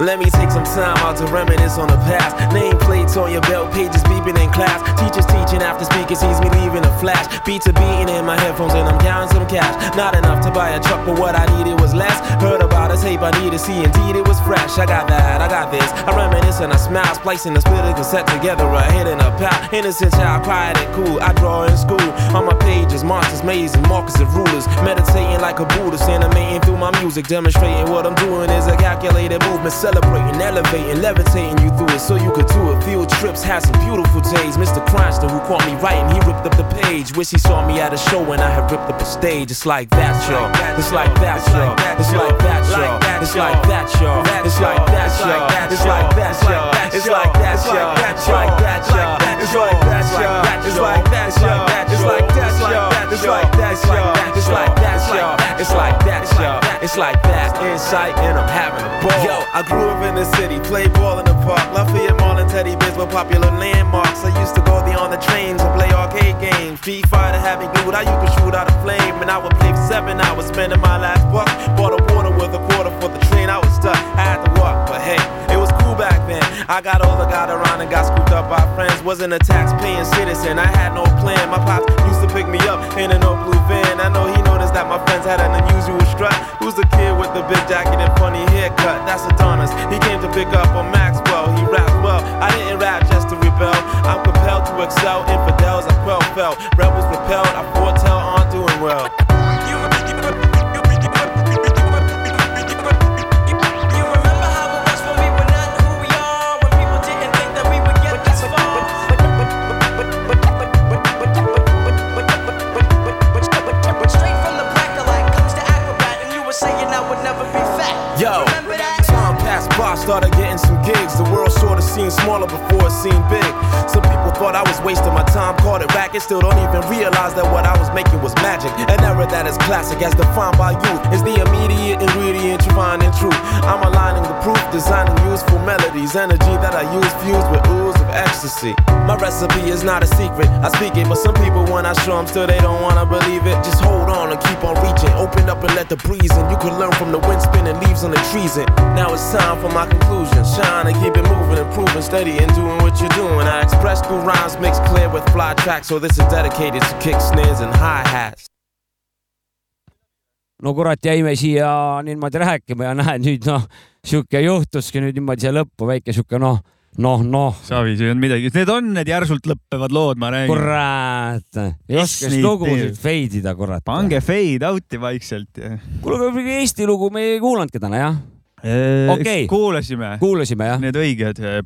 [SPEAKER 13] Let me take some time out to reminisce on the past. Nameplates on your belt, pages beeping in class. Teachers teaching after speaker sees me leaving a flash. Beats are beating in my headphones and I'm counting some cash. Not enough to buy a truck, but what I needed was less. Heard about a tape I needed, see indeed it was fresh. I got that, I got this. I reminisce and I smile, splicing the split cassette together, a hit and a pal. Innocent child, quiet and cool. I draw in school. On my pages, monsters, mazes, markers of rulers. Meditating like a Buddhist, animating through my music, demonstrating what I'm doing is a calculated movement, celebrating, elevating, levitating you through it so you could do it. Field trips, had some beautiful days. Mr. Cronster, who caught me writing, he ripped up the page. Wish he saw me at a show when I had ripped up a stage. It's like that, y'all. It's like that, y'all. It's like that, y'all. It's like that, y'all. It's like that, y'all. It's like that, y'all. It's like that, y'all. It's like that, y'all. It's like that, y'all. It's like that, y'all. It's like that, y'all. It's like that, y'all. It's like that, y'all. It's like that, y'all. It's like that. Insight, and I'm having a ball. Yo, I grew up in the city, played ball in the park. Lafayette Mall and Teddy Bears were popular landmarks. I used to go there on the trains and play arcade games. Street Fighter had me glued, I you could shoot out a flame. And I would play for seven hours, spending my last buck. Bought a water with a quarter for the train, I was stuck. I had to walk, but hey, it was cool back then. I got older, got around, and got scooped up by friends. Wasn't a tax-paying citizen, I had no plan. My pops used to pick me up in an old blue van. I know he noticed that my friends had an unusual strut. Who's the kid with the big jacket and funny haircut? That's Adonis. He came to pick up on Maxwell. He raps well. I didn't rap just to rebel. I'm compelled to excel. Infidels, I quell fell. Rebels repelled. I foretell aren't doing well. Yo, time passed by, started getting some gigs. The world sort of seemed smaller before it seemed big. Some people thought I was wasting my time, called it racket. Still don't even realize that what I was making was magic. An era that is classic, as defined by youth, is the immediate ingredient you find in truth. I'm aligning the proof, designing useful melodies, energy that I use fused with ooze of ecstasy. My recipe is not a secret, I speak it, but some people when I show them still they don't wanna believe it. Just hold on and keep on reaching. Open up and let the breeze in. You can learn from the wind spinning leaves on the trees. And now it's time for my conclusion. Shine and keep it moving, improving, steady and doing what you're doing. I express through rhymes mixed clear with fly tracks, so this is dedicated to kick snares and hi hats.
[SPEAKER 4] no kurat , jäime siia niimoodi rääkima ja näed nüüd noh , sihuke juhtuski nüüd niimoodi siia lõppu väike sihuke noh , noh , noh .
[SPEAKER 2] Savi , see ei olnud midagi , need on need järsult lõppevad lood , ma räägin .
[SPEAKER 4] kurat , ei oska siis lugusid fade ida , kurat .
[SPEAKER 2] pange fade out'i vaikselt .
[SPEAKER 4] kuule , aga mingi Eesti lugu me ei kuulanudki täna jah ? Okei.
[SPEAKER 2] kuulasime .
[SPEAKER 4] kuulasime jah .
[SPEAKER 2] Eh, Need õiged . eh,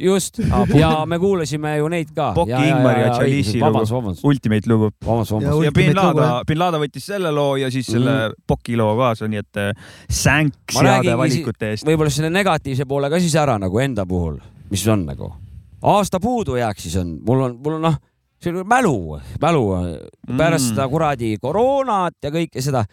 [SPEAKER 4] just , ja me kuulasime ju neid ka .
[SPEAKER 2] Boki , Ah, Ingmar ja Chalice'i
[SPEAKER 4] vabandust ,
[SPEAKER 2] lugu
[SPEAKER 4] vabandust .,
[SPEAKER 2] Ultimate lugu .
[SPEAKER 4] vabandust ,
[SPEAKER 2] ja,
[SPEAKER 4] vabandust .
[SPEAKER 2] ja Bin Laden , Bin Laden võttis selle loo ja siis selle
[SPEAKER 4] Mhm.
[SPEAKER 2] mm. Boki loo kaasa , nii et eh, sänks
[SPEAKER 4] ma räägingi
[SPEAKER 2] heade
[SPEAKER 4] si-
[SPEAKER 2] valikute eest .
[SPEAKER 4] võib-olla selle negatiivse poole ka siis ära nagu enda puhul , mis on nagu aasta puudujääk siis on , mul on , mul on noh , see on mälu , mälu pärast mm. seda kuradi koroonat ja kõike seda .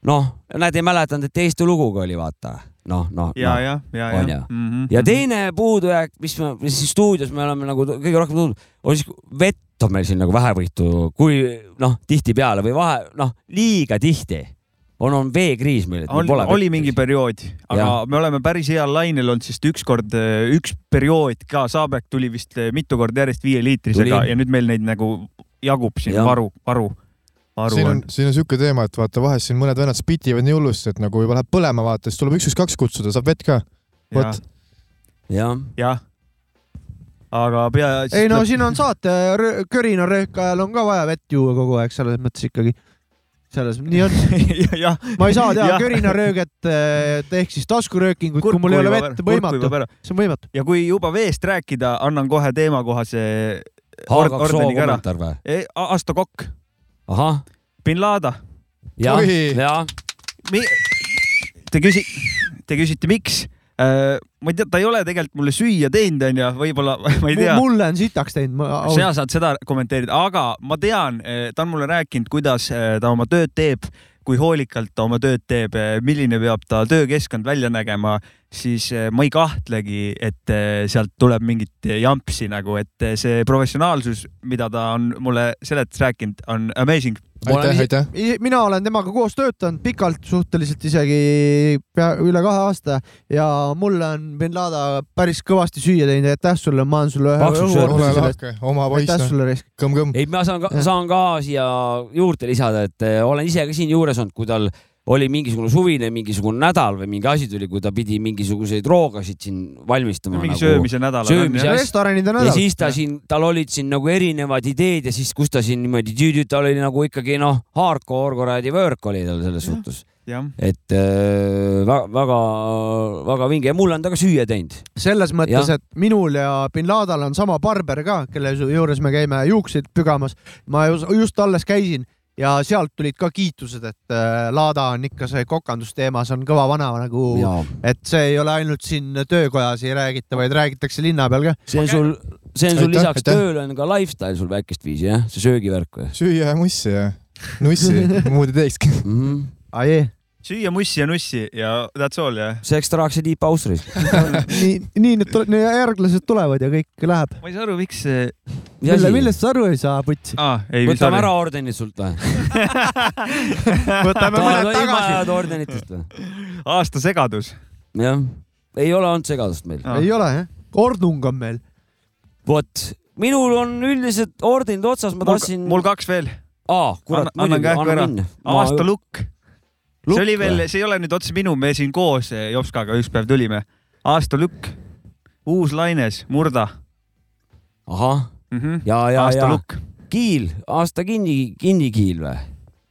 [SPEAKER 4] noh , nad ei mäletanud , et Eesti lugu ka oli , vaata , noh , noh .
[SPEAKER 2] ja
[SPEAKER 4] noh. ,
[SPEAKER 2] jah , ja ,
[SPEAKER 4] on
[SPEAKER 2] ja Mhm.
[SPEAKER 4] ju. . ja teine puudujääk , mis me mis siin stuudios me oleme nagu tu- kõige rohkem tundnud , on siis vett on meil siin nagu vähevõitu , kui noh , tihtipeale või vahe , noh , liiga tihti on , on veekriis meil , et meil
[SPEAKER 2] oli,
[SPEAKER 4] pole vett .
[SPEAKER 2] oli mingi periood , aga ja.
[SPEAKER 4] Jah.
[SPEAKER 2] me oleme päris heal lainel olnud , sest ükskord eh, üks periood ka , Saabek tuli vist eh, mitu korda järjest viieliitrisega
[SPEAKER 5] Tuli.
[SPEAKER 2] ja nüüd meil neid nagu jagub siin
[SPEAKER 5] Jah.
[SPEAKER 2] ja. varu , varu , varu
[SPEAKER 5] siin on , siin on niisugune teema , et vaata vahest siin mõned vennad spitivad nii hullusti , et nagu juba läheb põlema , vaata , siis tuleb üks-üks-kaks kutsuda , saab vett ka . vot ,
[SPEAKER 4] jah .
[SPEAKER 2] jah . aga pea .
[SPEAKER 1] ei no siin on saate rö- körina rööka ajal on ka vaja vett juua kogu aeg , selles mõttes ikkagi . selles , nii
[SPEAKER 2] on .
[SPEAKER 1] ma ei saa teha
[SPEAKER 2] Jah.
[SPEAKER 1] körinarööget eh, ehk siis taskuröökingut , kui mul ei ole vett , võimatu . see on võimatu .
[SPEAKER 2] ja kui juba veest rääkida , annan kohe teemakohase
[SPEAKER 4] Haagab
[SPEAKER 2] ord-
[SPEAKER 4] soo
[SPEAKER 2] ordeniga ära Eh,
[SPEAKER 4] kommentaar või? .
[SPEAKER 2] Asto Kokk .
[SPEAKER 4] ahah .
[SPEAKER 2] bin Lada .
[SPEAKER 4] Jah, Oi. jah. .
[SPEAKER 2] Te küsi- , te küsite , miks ? ma ei tea , ta ei ole tegelikult mulle süüa teinud , onju , võib-olla , ma ei tea .
[SPEAKER 1] mulle on sitaks teinud ,
[SPEAKER 2] sina
[SPEAKER 1] ma .
[SPEAKER 2] saad seda kommenteerida , aga ma tean , ta on mulle rääkinud , kuidas eh, ta oma tööd teeb , kui hoolikalt ta oma tööd teeb , milline peab ta töökeskkond välja nägema , siis eh, ma ei kahtlegi , et eh, sealt tuleb mingit jampsi nagu , et eh, see professionaalsus , mida ta on mulle seletas rääkinud , on amazing .
[SPEAKER 5] aitäh , aitäh ..
[SPEAKER 1] mina olen temaga koos töötanud pikalt , suhteliselt isegi pea üle kahe aasta ja mulle on bin Laden päris kõvasti süüa teinud , aitäh sulle , ma annan sulle ühe
[SPEAKER 5] ole
[SPEAKER 1] õhuorduse
[SPEAKER 5] lahke , oma poiss .
[SPEAKER 1] aitäh sulle , Reis .
[SPEAKER 5] kõmm-kõmm .
[SPEAKER 4] ei , ma saan ka , saan ka siia juurde lisada , et eh, olen ise ka siinjuures olnud , kui tal oli mingisugune suvine mingisugune nädal või mingi asi tuli , kui ta pidi mingisuguseid roogasid siin valmistama .
[SPEAKER 2] Mingi söömise nädal on, on
[SPEAKER 4] söömise
[SPEAKER 2] ju.
[SPEAKER 4] asja .
[SPEAKER 1] restoranide
[SPEAKER 4] ja
[SPEAKER 1] nädal .
[SPEAKER 4] siis ta siin , tal olid siin nagu erinevad ideed ja siis , kus ta siin niimoodi , tal oli nagu ikkagi noh , hardcore kuradi work oli tal selles suhtes .
[SPEAKER 2] jah .
[SPEAKER 4] et eh, väga , väga , väga vinge ja mulle on ta ka süüa teinud .
[SPEAKER 1] selles mõttes ,
[SPEAKER 4] Jah.
[SPEAKER 1] et minul ja bin Ladal on sama barber ka , kelle ju- juures me käime juukseid pügamas . ma ju- just alles käisin ja sealt tulid ka kiitused , et äh, Laada on ikka see kokandusteemas on kõva vana nagu
[SPEAKER 4] Jaa. ,
[SPEAKER 1] et see ei ole ainult siin töökojas ei räägita , vaid räägitakse linna peal ka .
[SPEAKER 4] see on sul , see on sul lisaks tööle on ka lifestyle sul väikest viisi jah , see söögivärk või ?
[SPEAKER 5] süüa ja mussi ja nussi , muud ei teekski .
[SPEAKER 4] Mhm.
[SPEAKER 2] süüa mussi ja nussi ja that's all jah .
[SPEAKER 4] selleks tahaks see tiip Austrias .
[SPEAKER 1] nii , nii need, tule- need järglased tulevad ja kõik läheb .
[SPEAKER 2] ma ei saa aru , miks see .
[SPEAKER 1] mille , millest sa aru ei saa , Putsi
[SPEAKER 2] ah, ?
[SPEAKER 4] võtame ära ordenid sult või ?
[SPEAKER 2] Võtame mõned tagasi.
[SPEAKER 4] tagasi . ordenitest või ?
[SPEAKER 2] aasta segadus .
[SPEAKER 4] jah , ei ole olnud segadust meil .
[SPEAKER 1] ei ole jah , ordnung on meil .
[SPEAKER 4] vot , minul on üldiselt ordenid otsas , ma tahtsin .
[SPEAKER 2] mul kaks veel .
[SPEAKER 4] aa , kurat ,
[SPEAKER 2] Anna- annan
[SPEAKER 4] muidugi ,
[SPEAKER 2] kähku
[SPEAKER 4] anna
[SPEAKER 2] ära.
[SPEAKER 4] minna .
[SPEAKER 2] Aasta lukk. see oli veel ,
[SPEAKER 4] või?
[SPEAKER 2] see ei ole nüüd otse minu , me siin koos eh, Jopskaga üks päev tulime . aasta lükk , uus laines , murda .
[SPEAKER 4] ahah
[SPEAKER 2] mm , -hmm.
[SPEAKER 4] ja , ja ,
[SPEAKER 2] aasta
[SPEAKER 4] ja
[SPEAKER 2] lukk .
[SPEAKER 4] kiil , aasta kinni , kinni kiil või ?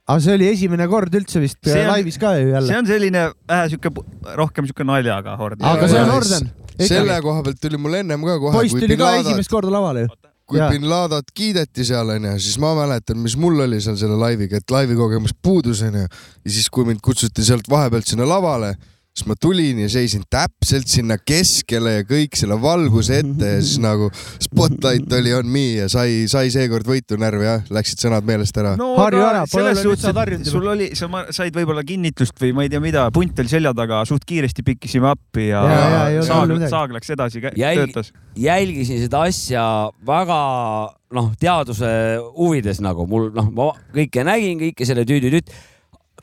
[SPEAKER 1] aga see oli esimene kord üldse vist äh,
[SPEAKER 2] See on-
[SPEAKER 1] laivis ka ju
[SPEAKER 2] see
[SPEAKER 1] jälle .
[SPEAKER 2] on selline vähe sihuke , rohkem sihuke naljaga hord .
[SPEAKER 1] aga see on orden .
[SPEAKER 3] selle koha pealt tuli mul ennem ka kohe .
[SPEAKER 1] poiss tuli ka esimest korda lavale ju .
[SPEAKER 3] kui
[SPEAKER 1] Jaa.
[SPEAKER 3] bin Ladat kiideti seal onju , siis ma mäletan , mis mul oli seal selle laiviga , et laivi kogemus puudus onju . ja siis , kui mind kutsuti sealt vahepealt sinna lavale , siis ma tulin ja seisin täpselt sinna keskele ja kõik selle valguse ette ja siis nagu spotlight oli on me ja sai , sai seekord võitu närvi jah , läksid sõnad meelest ära
[SPEAKER 2] no,
[SPEAKER 1] Harju
[SPEAKER 2] aga
[SPEAKER 1] ära, pole
[SPEAKER 2] selles
[SPEAKER 1] hullu, nüüd
[SPEAKER 2] suhtes ,
[SPEAKER 1] saad harjunud
[SPEAKER 2] et
[SPEAKER 1] juba.
[SPEAKER 2] sul oli , sa ma- said võib-olla kinnitust või ma ei tea mida , punt oli selja taga , suht kiiresti pikkisime appi ja,
[SPEAKER 1] Jaa, jaa, ei
[SPEAKER 2] ja
[SPEAKER 1] ole
[SPEAKER 2] saag
[SPEAKER 1] hullu , midagi.
[SPEAKER 2] saag läks edasi ,
[SPEAKER 4] Jälgi-
[SPEAKER 2] töötas .
[SPEAKER 4] jälgisin seda asja väga noh , teaduse huvides nagu mul noh , ma kõike nägin , kõike selle tüüdi-tüüt .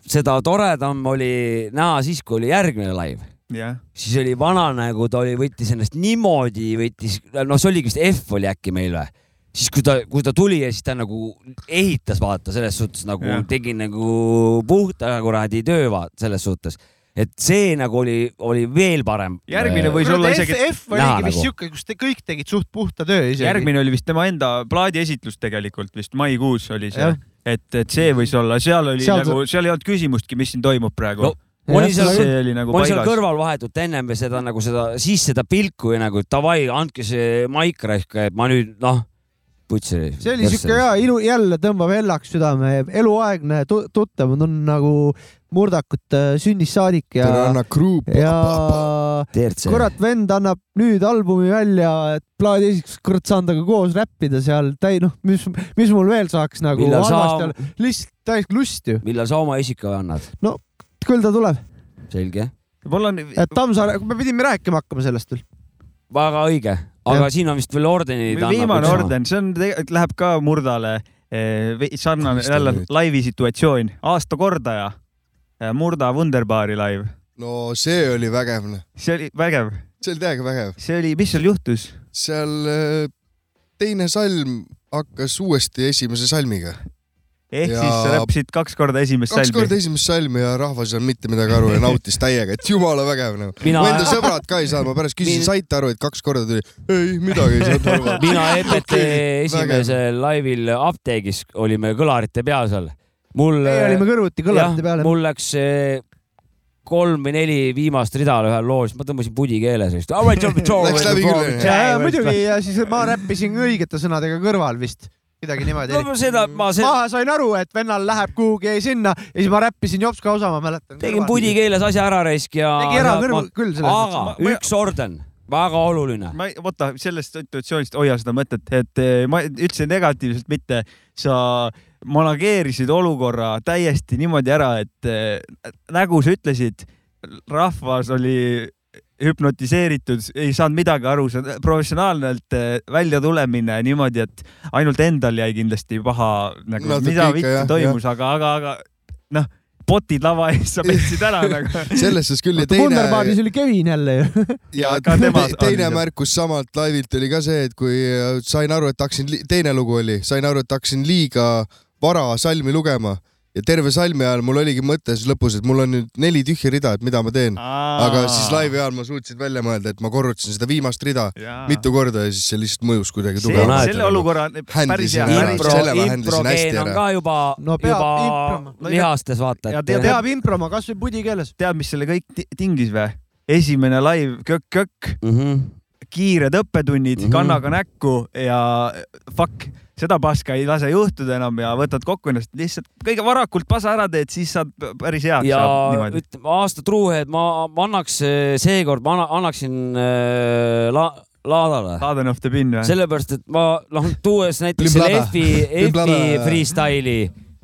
[SPEAKER 4] seda toredam oli näha siis , kui oli järgmine live ,
[SPEAKER 2] jah ,
[SPEAKER 4] siis oli Vananägu , ta oli , võttis ennast niimoodi , võttis , noh , see oligi vist F oli äkki meil või ? siis kui ta , kui ta tuli ja siis ta nagu ehitas , vaata selles suhtes nagu
[SPEAKER 2] Jah.
[SPEAKER 4] yeah. tegi nagu puhta kuradi töö , vaata selles suhtes , et see nagu oli , oli veel parem . Äh,
[SPEAKER 2] Järgmine võis olla isegi- nagu-
[SPEAKER 1] F oligi vist siuke , kus te kõik tegid suht puhta töö isegi .
[SPEAKER 2] järgmine oli vist tema enda plaadiesitlus tegelikult vist maikuus oli see
[SPEAKER 1] Jah. ,
[SPEAKER 2] et , et see võis olla , seal oli
[SPEAKER 1] Seal
[SPEAKER 2] seal nagu , seal ei olnud küsimustki , mis siin toimub praegu
[SPEAKER 4] no
[SPEAKER 2] no.
[SPEAKER 4] oli seal,
[SPEAKER 2] see oli nagu
[SPEAKER 4] oli seal
[SPEAKER 2] paigas.
[SPEAKER 4] kõrval vahetult ennem või seda nagu seda , siis seda pilku ja nagu davai , andke see maik raiska , et ma nüüd noh , putsi .
[SPEAKER 11] see oli siuke hea ilu , jälle tõmbab hellaks südame , eluaegne tu- tuttav , nad on nagu murdakute sünnist saadik ja .
[SPEAKER 4] Tere, Anna
[SPEAKER 11] Kruup . ja
[SPEAKER 4] Tertse.
[SPEAKER 11] kurat , vend annab nüüd albumi välja , et plaadi esiteks , kurat , saan temaga koos räppida seal , täi- , noh , mis , mis mul veel saaks nagu
[SPEAKER 4] Millal sa-
[SPEAKER 11] halvasti olla , lihtsalt täis lust ju .
[SPEAKER 4] millal sa oma isika annad ?
[SPEAKER 11] no küll ta tuleb .
[SPEAKER 4] selge .
[SPEAKER 2] mul on .
[SPEAKER 11] Tammsaare , me pidime rääkima hakkama sellest veel .
[SPEAKER 4] väga õige , aga siin on vist veel ordenid .
[SPEAKER 2] viimane orden , see on , läheb ka murdale eh, ve- sarnane
[SPEAKER 4] Mis ta
[SPEAKER 2] jälle
[SPEAKER 4] nüüd?
[SPEAKER 2] laivi situatsioon , aastakordaja , Murda Wunderbari live .
[SPEAKER 3] no see oli vägev .
[SPEAKER 2] see oli vägev .
[SPEAKER 3] see oli täiega vägev .
[SPEAKER 2] see oli , mis seal juhtus ?
[SPEAKER 3] seal äh, teine salm hakkas uuesti esimese salmiga .
[SPEAKER 2] ehk ja... siis sa räppisid kaks korda esimest
[SPEAKER 3] kaks korda
[SPEAKER 2] salmi .
[SPEAKER 3] esimest salmi ja rahvas ei saanud mitte midagi aru ja nautis täiega , et jumala vägev nagu .
[SPEAKER 2] Mina-
[SPEAKER 3] mu enda sõbrad ka ei saanud , ma pärast küsisin , saite aru , et kaks korda tuli , ei midagi ei saanud aru .
[SPEAKER 4] mina EPT esimesel laivil apteegis olime kõlarite peal seal . mul .
[SPEAKER 11] Meie olime kõrvuti kõlarite peal, jah.
[SPEAKER 4] mul läks eh, kolm või neli viimast rida ühel lool , siis ma tõmbasin pudi keeles .
[SPEAKER 11] Läks läbi küll . muidugi ja siis ma räppisin õigete sõnadega kõrval vist , midagi niimoodi
[SPEAKER 4] No seda ma
[SPEAKER 11] see... ma sain aru , et vennal läheb kuhugi sinna ja siis ma räppisin Jopska osa , ma mäletan .
[SPEAKER 4] tegin pudi keeles asja ära raisk ja .
[SPEAKER 11] Tegi ära kõrvu- küll selles
[SPEAKER 4] aga
[SPEAKER 11] mõttes.
[SPEAKER 4] ma, üks orden , väga oluline .
[SPEAKER 2] ma ei , oota , sellest situatsioonist hoia seda mõtet , et eh, ma üldse negatiivselt mitte , sa manageerisid olukorra täiesti niimoodi ära , et eh, nagu sa ütlesid , rahvas oli hüpnotiseeritud , ei saanud midagi aru , see on professionaalselt eh, väljatulemine niimoodi , et ainult endal jäi kindlasti paha nagu no, ,
[SPEAKER 3] Natuke
[SPEAKER 2] mida
[SPEAKER 3] ikka,
[SPEAKER 2] vittu
[SPEAKER 3] jah,
[SPEAKER 2] toimus , aga , aga , aga noh , potid lava ees sa petsid ära nagu .
[SPEAKER 3] selles suhtes küll ja
[SPEAKER 11] Wunderbaadis
[SPEAKER 3] teine ,
[SPEAKER 11] oli Kevin jälle ju .
[SPEAKER 3] ja
[SPEAKER 2] ka tema-
[SPEAKER 3] te- teine
[SPEAKER 2] on-
[SPEAKER 3] märkus samalt laivilt oli ka see , et kui äh, sain aru , et hakkasin , teine lugu oli , sain aru , et hakkasin liiga vara salmi lugema ja terve salmi ajal mul oligi mõttes lõpus , et mul on nüüd neli tühja rida , et mida ma teen . aga siis laivi ajal ma suutsin välja mõelda , et ma korrutasin seda viimast rida
[SPEAKER 2] Jaa.
[SPEAKER 3] mitu korda ja siis see lihtsalt mõjus kuidagi
[SPEAKER 2] See-
[SPEAKER 3] tugevalt .
[SPEAKER 2] selle olukorra- päris hea-
[SPEAKER 3] Impro,
[SPEAKER 2] päris-
[SPEAKER 3] selle ma händlesin hästi
[SPEAKER 4] improgeen on ka
[SPEAKER 3] ära .
[SPEAKER 4] juba
[SPEAKER 11] No
[SPEAKER 4] no, ,
[SPEAKER 11] peab
[SPEAKER 4] juba
[SPEAKER 11] improma-
[SPEAKER 4] lihastes vaata .
[SPEAKER 2] Ja
[SPEAKER 4] et-
[SPEAKER 2] te-
[SPEAKER 11] peab improma kasvõi pudi keeles .
[SPEAKER 2] tead , mis selle kõik ti- tingis või ? esimene laiv kökk-kökk
[SPEAKER 4] mm , -hmm.
[SPEAKER 2] kiired õppetunnid
[SPEAKER 4] Mhm.
[SPEAKER 2] mm , -hmm. kannaga näkku ja fuck , seda paska ei lase juhtuda enam ja võtad kokku ennast lihtsalt kõige varakult pasa ära teed , siis saad p- päris heaks
[SPEAKER 4] ja
[SPEAKER 2] saab niimoodi .
[SPEAKER 4] ütleme aasta truuhead ma , ma annaks eh, seekord , ma anna- annaksin äh, la, Laadale .
[SPEAKER 2] Laden of the pin või ?
[SPEAKER 4] sellepärast , et ma noh , tuues näiteks selle
[SPEAKER 2] Limblada.
[SPEAKER 4] F-i ,
[SPEAKER 2] Limblada.
[SPEAKER 4] F-i freestyle'i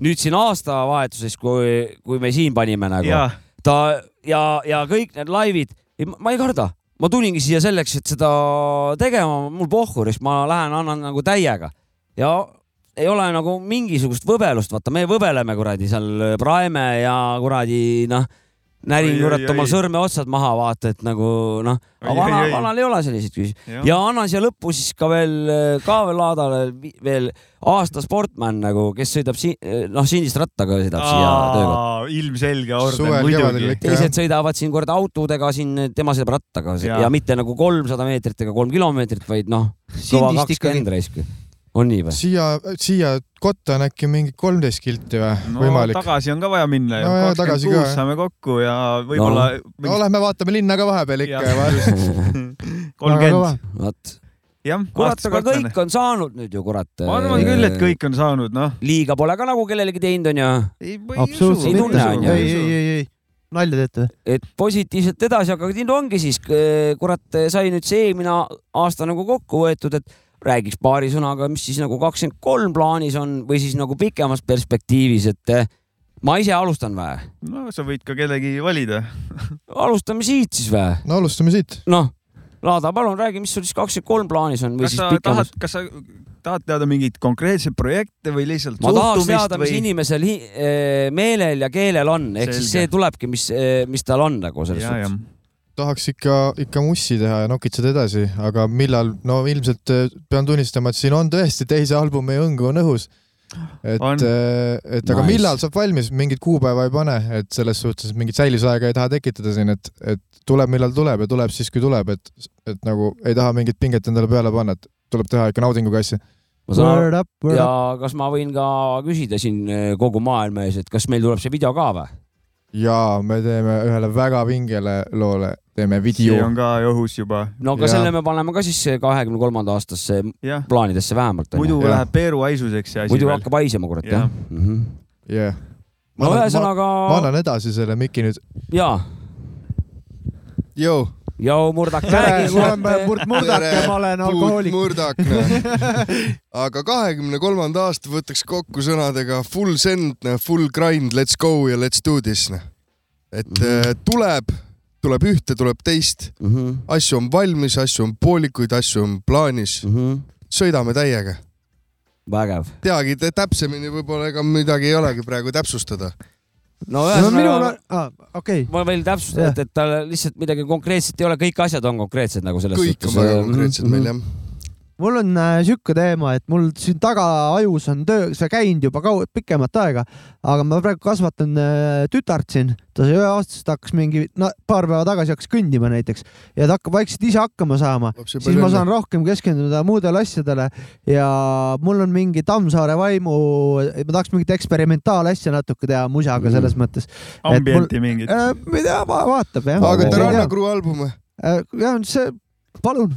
[SPEAKER 4] nüüd siin aastavahetuses , kui , kui me siin panime nagu
[SPEAKER 2] Jaa.
[SPEAKER 4] ta ja , ja kõik need laivid , ma ei karda , ma tulingi siia selleks , et seda tegema , mul pohhuris , ma lähen annan nagu täiega ja ei ole nagu mingisugust võbelust , vaata , me võbeleme kuradi seal praeme ja kuradi noh , närin
[SPEAKER 2] Oi,
[SPEAKER 4] kurat
[SPEAKER 2] oi,
[SPEAKER 4] oma
[SPEAKER 2] oi.
[SPEAKER 4] sõrmeotsad maha , vaata , et nagu noh , aga
[SPEAKER 2] Oi,
[SPEAKER 4] vana
[SPEAKER 2] oi, , oi.
[SPEAKER 4] vanal ei ole selliseid
[SPEAKER 2] Jah.
[SPEAKER 4] küsimusi ja annan siia lõppu siis ka veel , ka veel Laadale vi- veel aasta sportman nagu , kes sõidab siin , noh , sinist rattaga sõidab siia töökohta .
[SPEAKER 2] ilmselge orden , muidugi .
[SPEAKER 4] teised sõidavad siin kord autodega siin , tema sõidab rattaga ja.
[SPEAKER 2] Jaa.
[SPEAKER 4] ja mitte nagu kolmsada meetrit ega kolm kilomeetrit , vaid noh , kõva
[SPEAKER 5] Sindist ikkagi.
[SPEAKER 4] kakskümmend raisk . on nii või ?
[SPEAKER 5] siia , siia kotta on äkki mingi kolmteist kilti või no,
[SPEAKER 2] no
[SPEAKER 5] võimalik ?
[SPEAKER 2] tagasi on ka vaja minna ju
[SPEAKER 5] No jaa, , tagasi
[SPEAKER 2] kakskümmend
[SPEAKER 5] ka,
[SPEAKER 2] kuus
[SPEAKER 5] jah.
[SPEAKER 2] saame kokku ja võib-olla
[SPEAKER 5] no lähme vaatame linna ka vahepeal ikka ja vaatame .
[SPEAKER 2] kolmkümmend .
[SPEAKER 4] vot .
[SPEAKER 2] jah ,
[SPEAKER 4] kurat , aga kõik on saanud nüüd ju , kurat .
[SPEAKER 2] ma arvan küll , et kõik on saanud , noh .
[SPEAKER 4] liiga pole ka nagu kellelegi teinud , onju .
[SPEAKER 11] absoluutselt
[SPEAKER 4] ei tunne , onju .
[SPEAKER 11] ei , ei , ei , ei , nalja teete või ?
[SPEAKER 4] et positiivselt edasi , aga siin ongi siis , kurat , sai nüüd see eelmine aasta nagu kokku võetud , et räägiks paari sõnaga , mis siis nagu kakskümmend kolm plaanis on või siis nagu pikemas perspektiivis , et eh, ma ise alustan või ?
[SPEAKER 2] no sa võid ka kellegi valida .
[SPEAKER 4] alustame siit siis või ?
[SPEAKER 5] no alustame siit .
[SPEAKER 4] noh , Laada , palun räägi , mis sul siis kakskümmend kolm plaanis on või
[SPEAKER 2] kas
[SPEAKER 4] siis
[SPEAKER 2] sa
[SPEAKER 4] pikemas
[SPEAKER 2] tahad ,? kas sa tahad teada mingeid konkreetseid projekte või lihtsalt
[SPEAKER 4] ma tahaks
[SPEAKER 2] suhtumist
[SPEAKER 4] teada , mis
[SPEAKER 2] või-
[SPEAKER 4] inimesel hi- eh, meelel ja keelel on , ehk siis
[SPEAKER 2] Selge.
[SPEAKER 4] see tulebki , mis , mis tal on nagu selles
[SPEAKER 2] Jaa,
[SPEAKER 4] suhtes .
[SPEAKER 5] tahaks ikka , ikka mussi teha ja nokitseda edasi , aga millal , no ilmselt eh, pean tunnistama , et siin on tõesti teise albumi õngu on õhus . et , et nice. aga
[SPEAKER 11] Nice.
[SPEAKER 5] millal saab valmis , mingit kuupäeva ei pane , et selles suhtes mingit säilisaega ei taha tekitada siin , et , et tuleb , millal tuleb ja tuleb siis , kui tuleb , et , et nagu ei taha mingit pinget endale peale panna , et tuleb teha ikka naudinguga asja .
[SPEAKER 4] ma saan aru- ja kas ma võin ka küsida siin eh, kogu maailma ees , et kas meil tuleb see video ka või ?
[SPEAKER 5] ja me teeme ühele väga pingele loole , teeme video .
[SPEAKER 2] see on ka õhus juba .
[SPEAKER 4] no aga selle me paneme ka siis kahekümne kolmanda aastasse
[SPEAKER 2] Jah.
[SPEAKER 4] plaanidesse vähemalt .
[SPEAKER 2] muidu ja. läheb Peeru haisuseks see asi .
[SPEAKER 4] muidu hakkab haisema , kurat
[SPEAKER 2] Jah.
[SPEAKER 4] jah .
[SPEAKER 5] jah .
[SPEAKER 4] No ühesõnaga-
[SPEAKER 5] ma annan edasi selle miki nüüd .
[SPEAKER 4] jaa .
[SPEAKER 5] Joo .
[SPEAKER 4] Joo , murdak
[SPEAKER 1] räägi , ma olen Kurt Murdak ja ma olen alkohoolik .
[SPEAKER 3] Murdak , aga kahekümne kolmanda aasta võtaks kokku sõnadega full send , full grind , let's go ja let's do this . et mm -hmm. tuleb , tuleb ühte , tuleb teist
[SPEAKER 4] mm , -hmm.
[SPEAKER 3] asju on valmis , asju on poolikuid , asju on plaanis
[SPEAKER 4] mm . -hmm.
[SPEAKER 3] sõidame täiega .
[SPEAKER 4] vägev .
[SPEAKER 3] teagi te, täpsemini võib-olla ega midagi ei olegi praegu täpsustada .
[SPEAKER 4] no
[SPEAKER 3] minul
[SPEAKER 4] ühesõnaga
[SPEAKER 3] on- ,
[SPEAKER 4] okei . ma veel täpsustan , et , et tal lihtsalt midagi konkreetset ei ole , kõik asjad on konkreetsed nagu selles Mm-hmm.
[SPEAKER 3] Kõik on väga konkreetsed meil, jah. .
[SPEAKER 1] mul on äh, sihuke teema , et mul siin taga ajus on töö , see käinud juba kaua , pikemat aega , aga ma praegu kasvatan äh, tütart siin , ta sai üheaastasest hakkas mingi no, , paar päeva tagasi hakkas kõndima näiteks ja ta hakkab vaikselt ise hakkama saama ,
[SPEAKER 3] Lapsi
[SPEAKER 1] siis ma
[SPEAKER 3] palju
[SPEAKER 1] saan
[SPEAKER 3] õnne.
[SPEAKER 1] rohkem keskenduda muudele asjadele ja mul on mingi Tammsaare vaimu , ma tahaks mingit eksperimentaalasja natuke teha
[SPEAKER 3] Mm.
[SPEAKER 1] musaga selles mõttes .
[SPEAKER 2] ambienti mingit .
[SPEAKER 1] ma ei tea , vaatab jah .
[SPEAKER 3] aga nagu Taranna Crew album ,
[SPEAKER 1] Äh, jah , see , palun .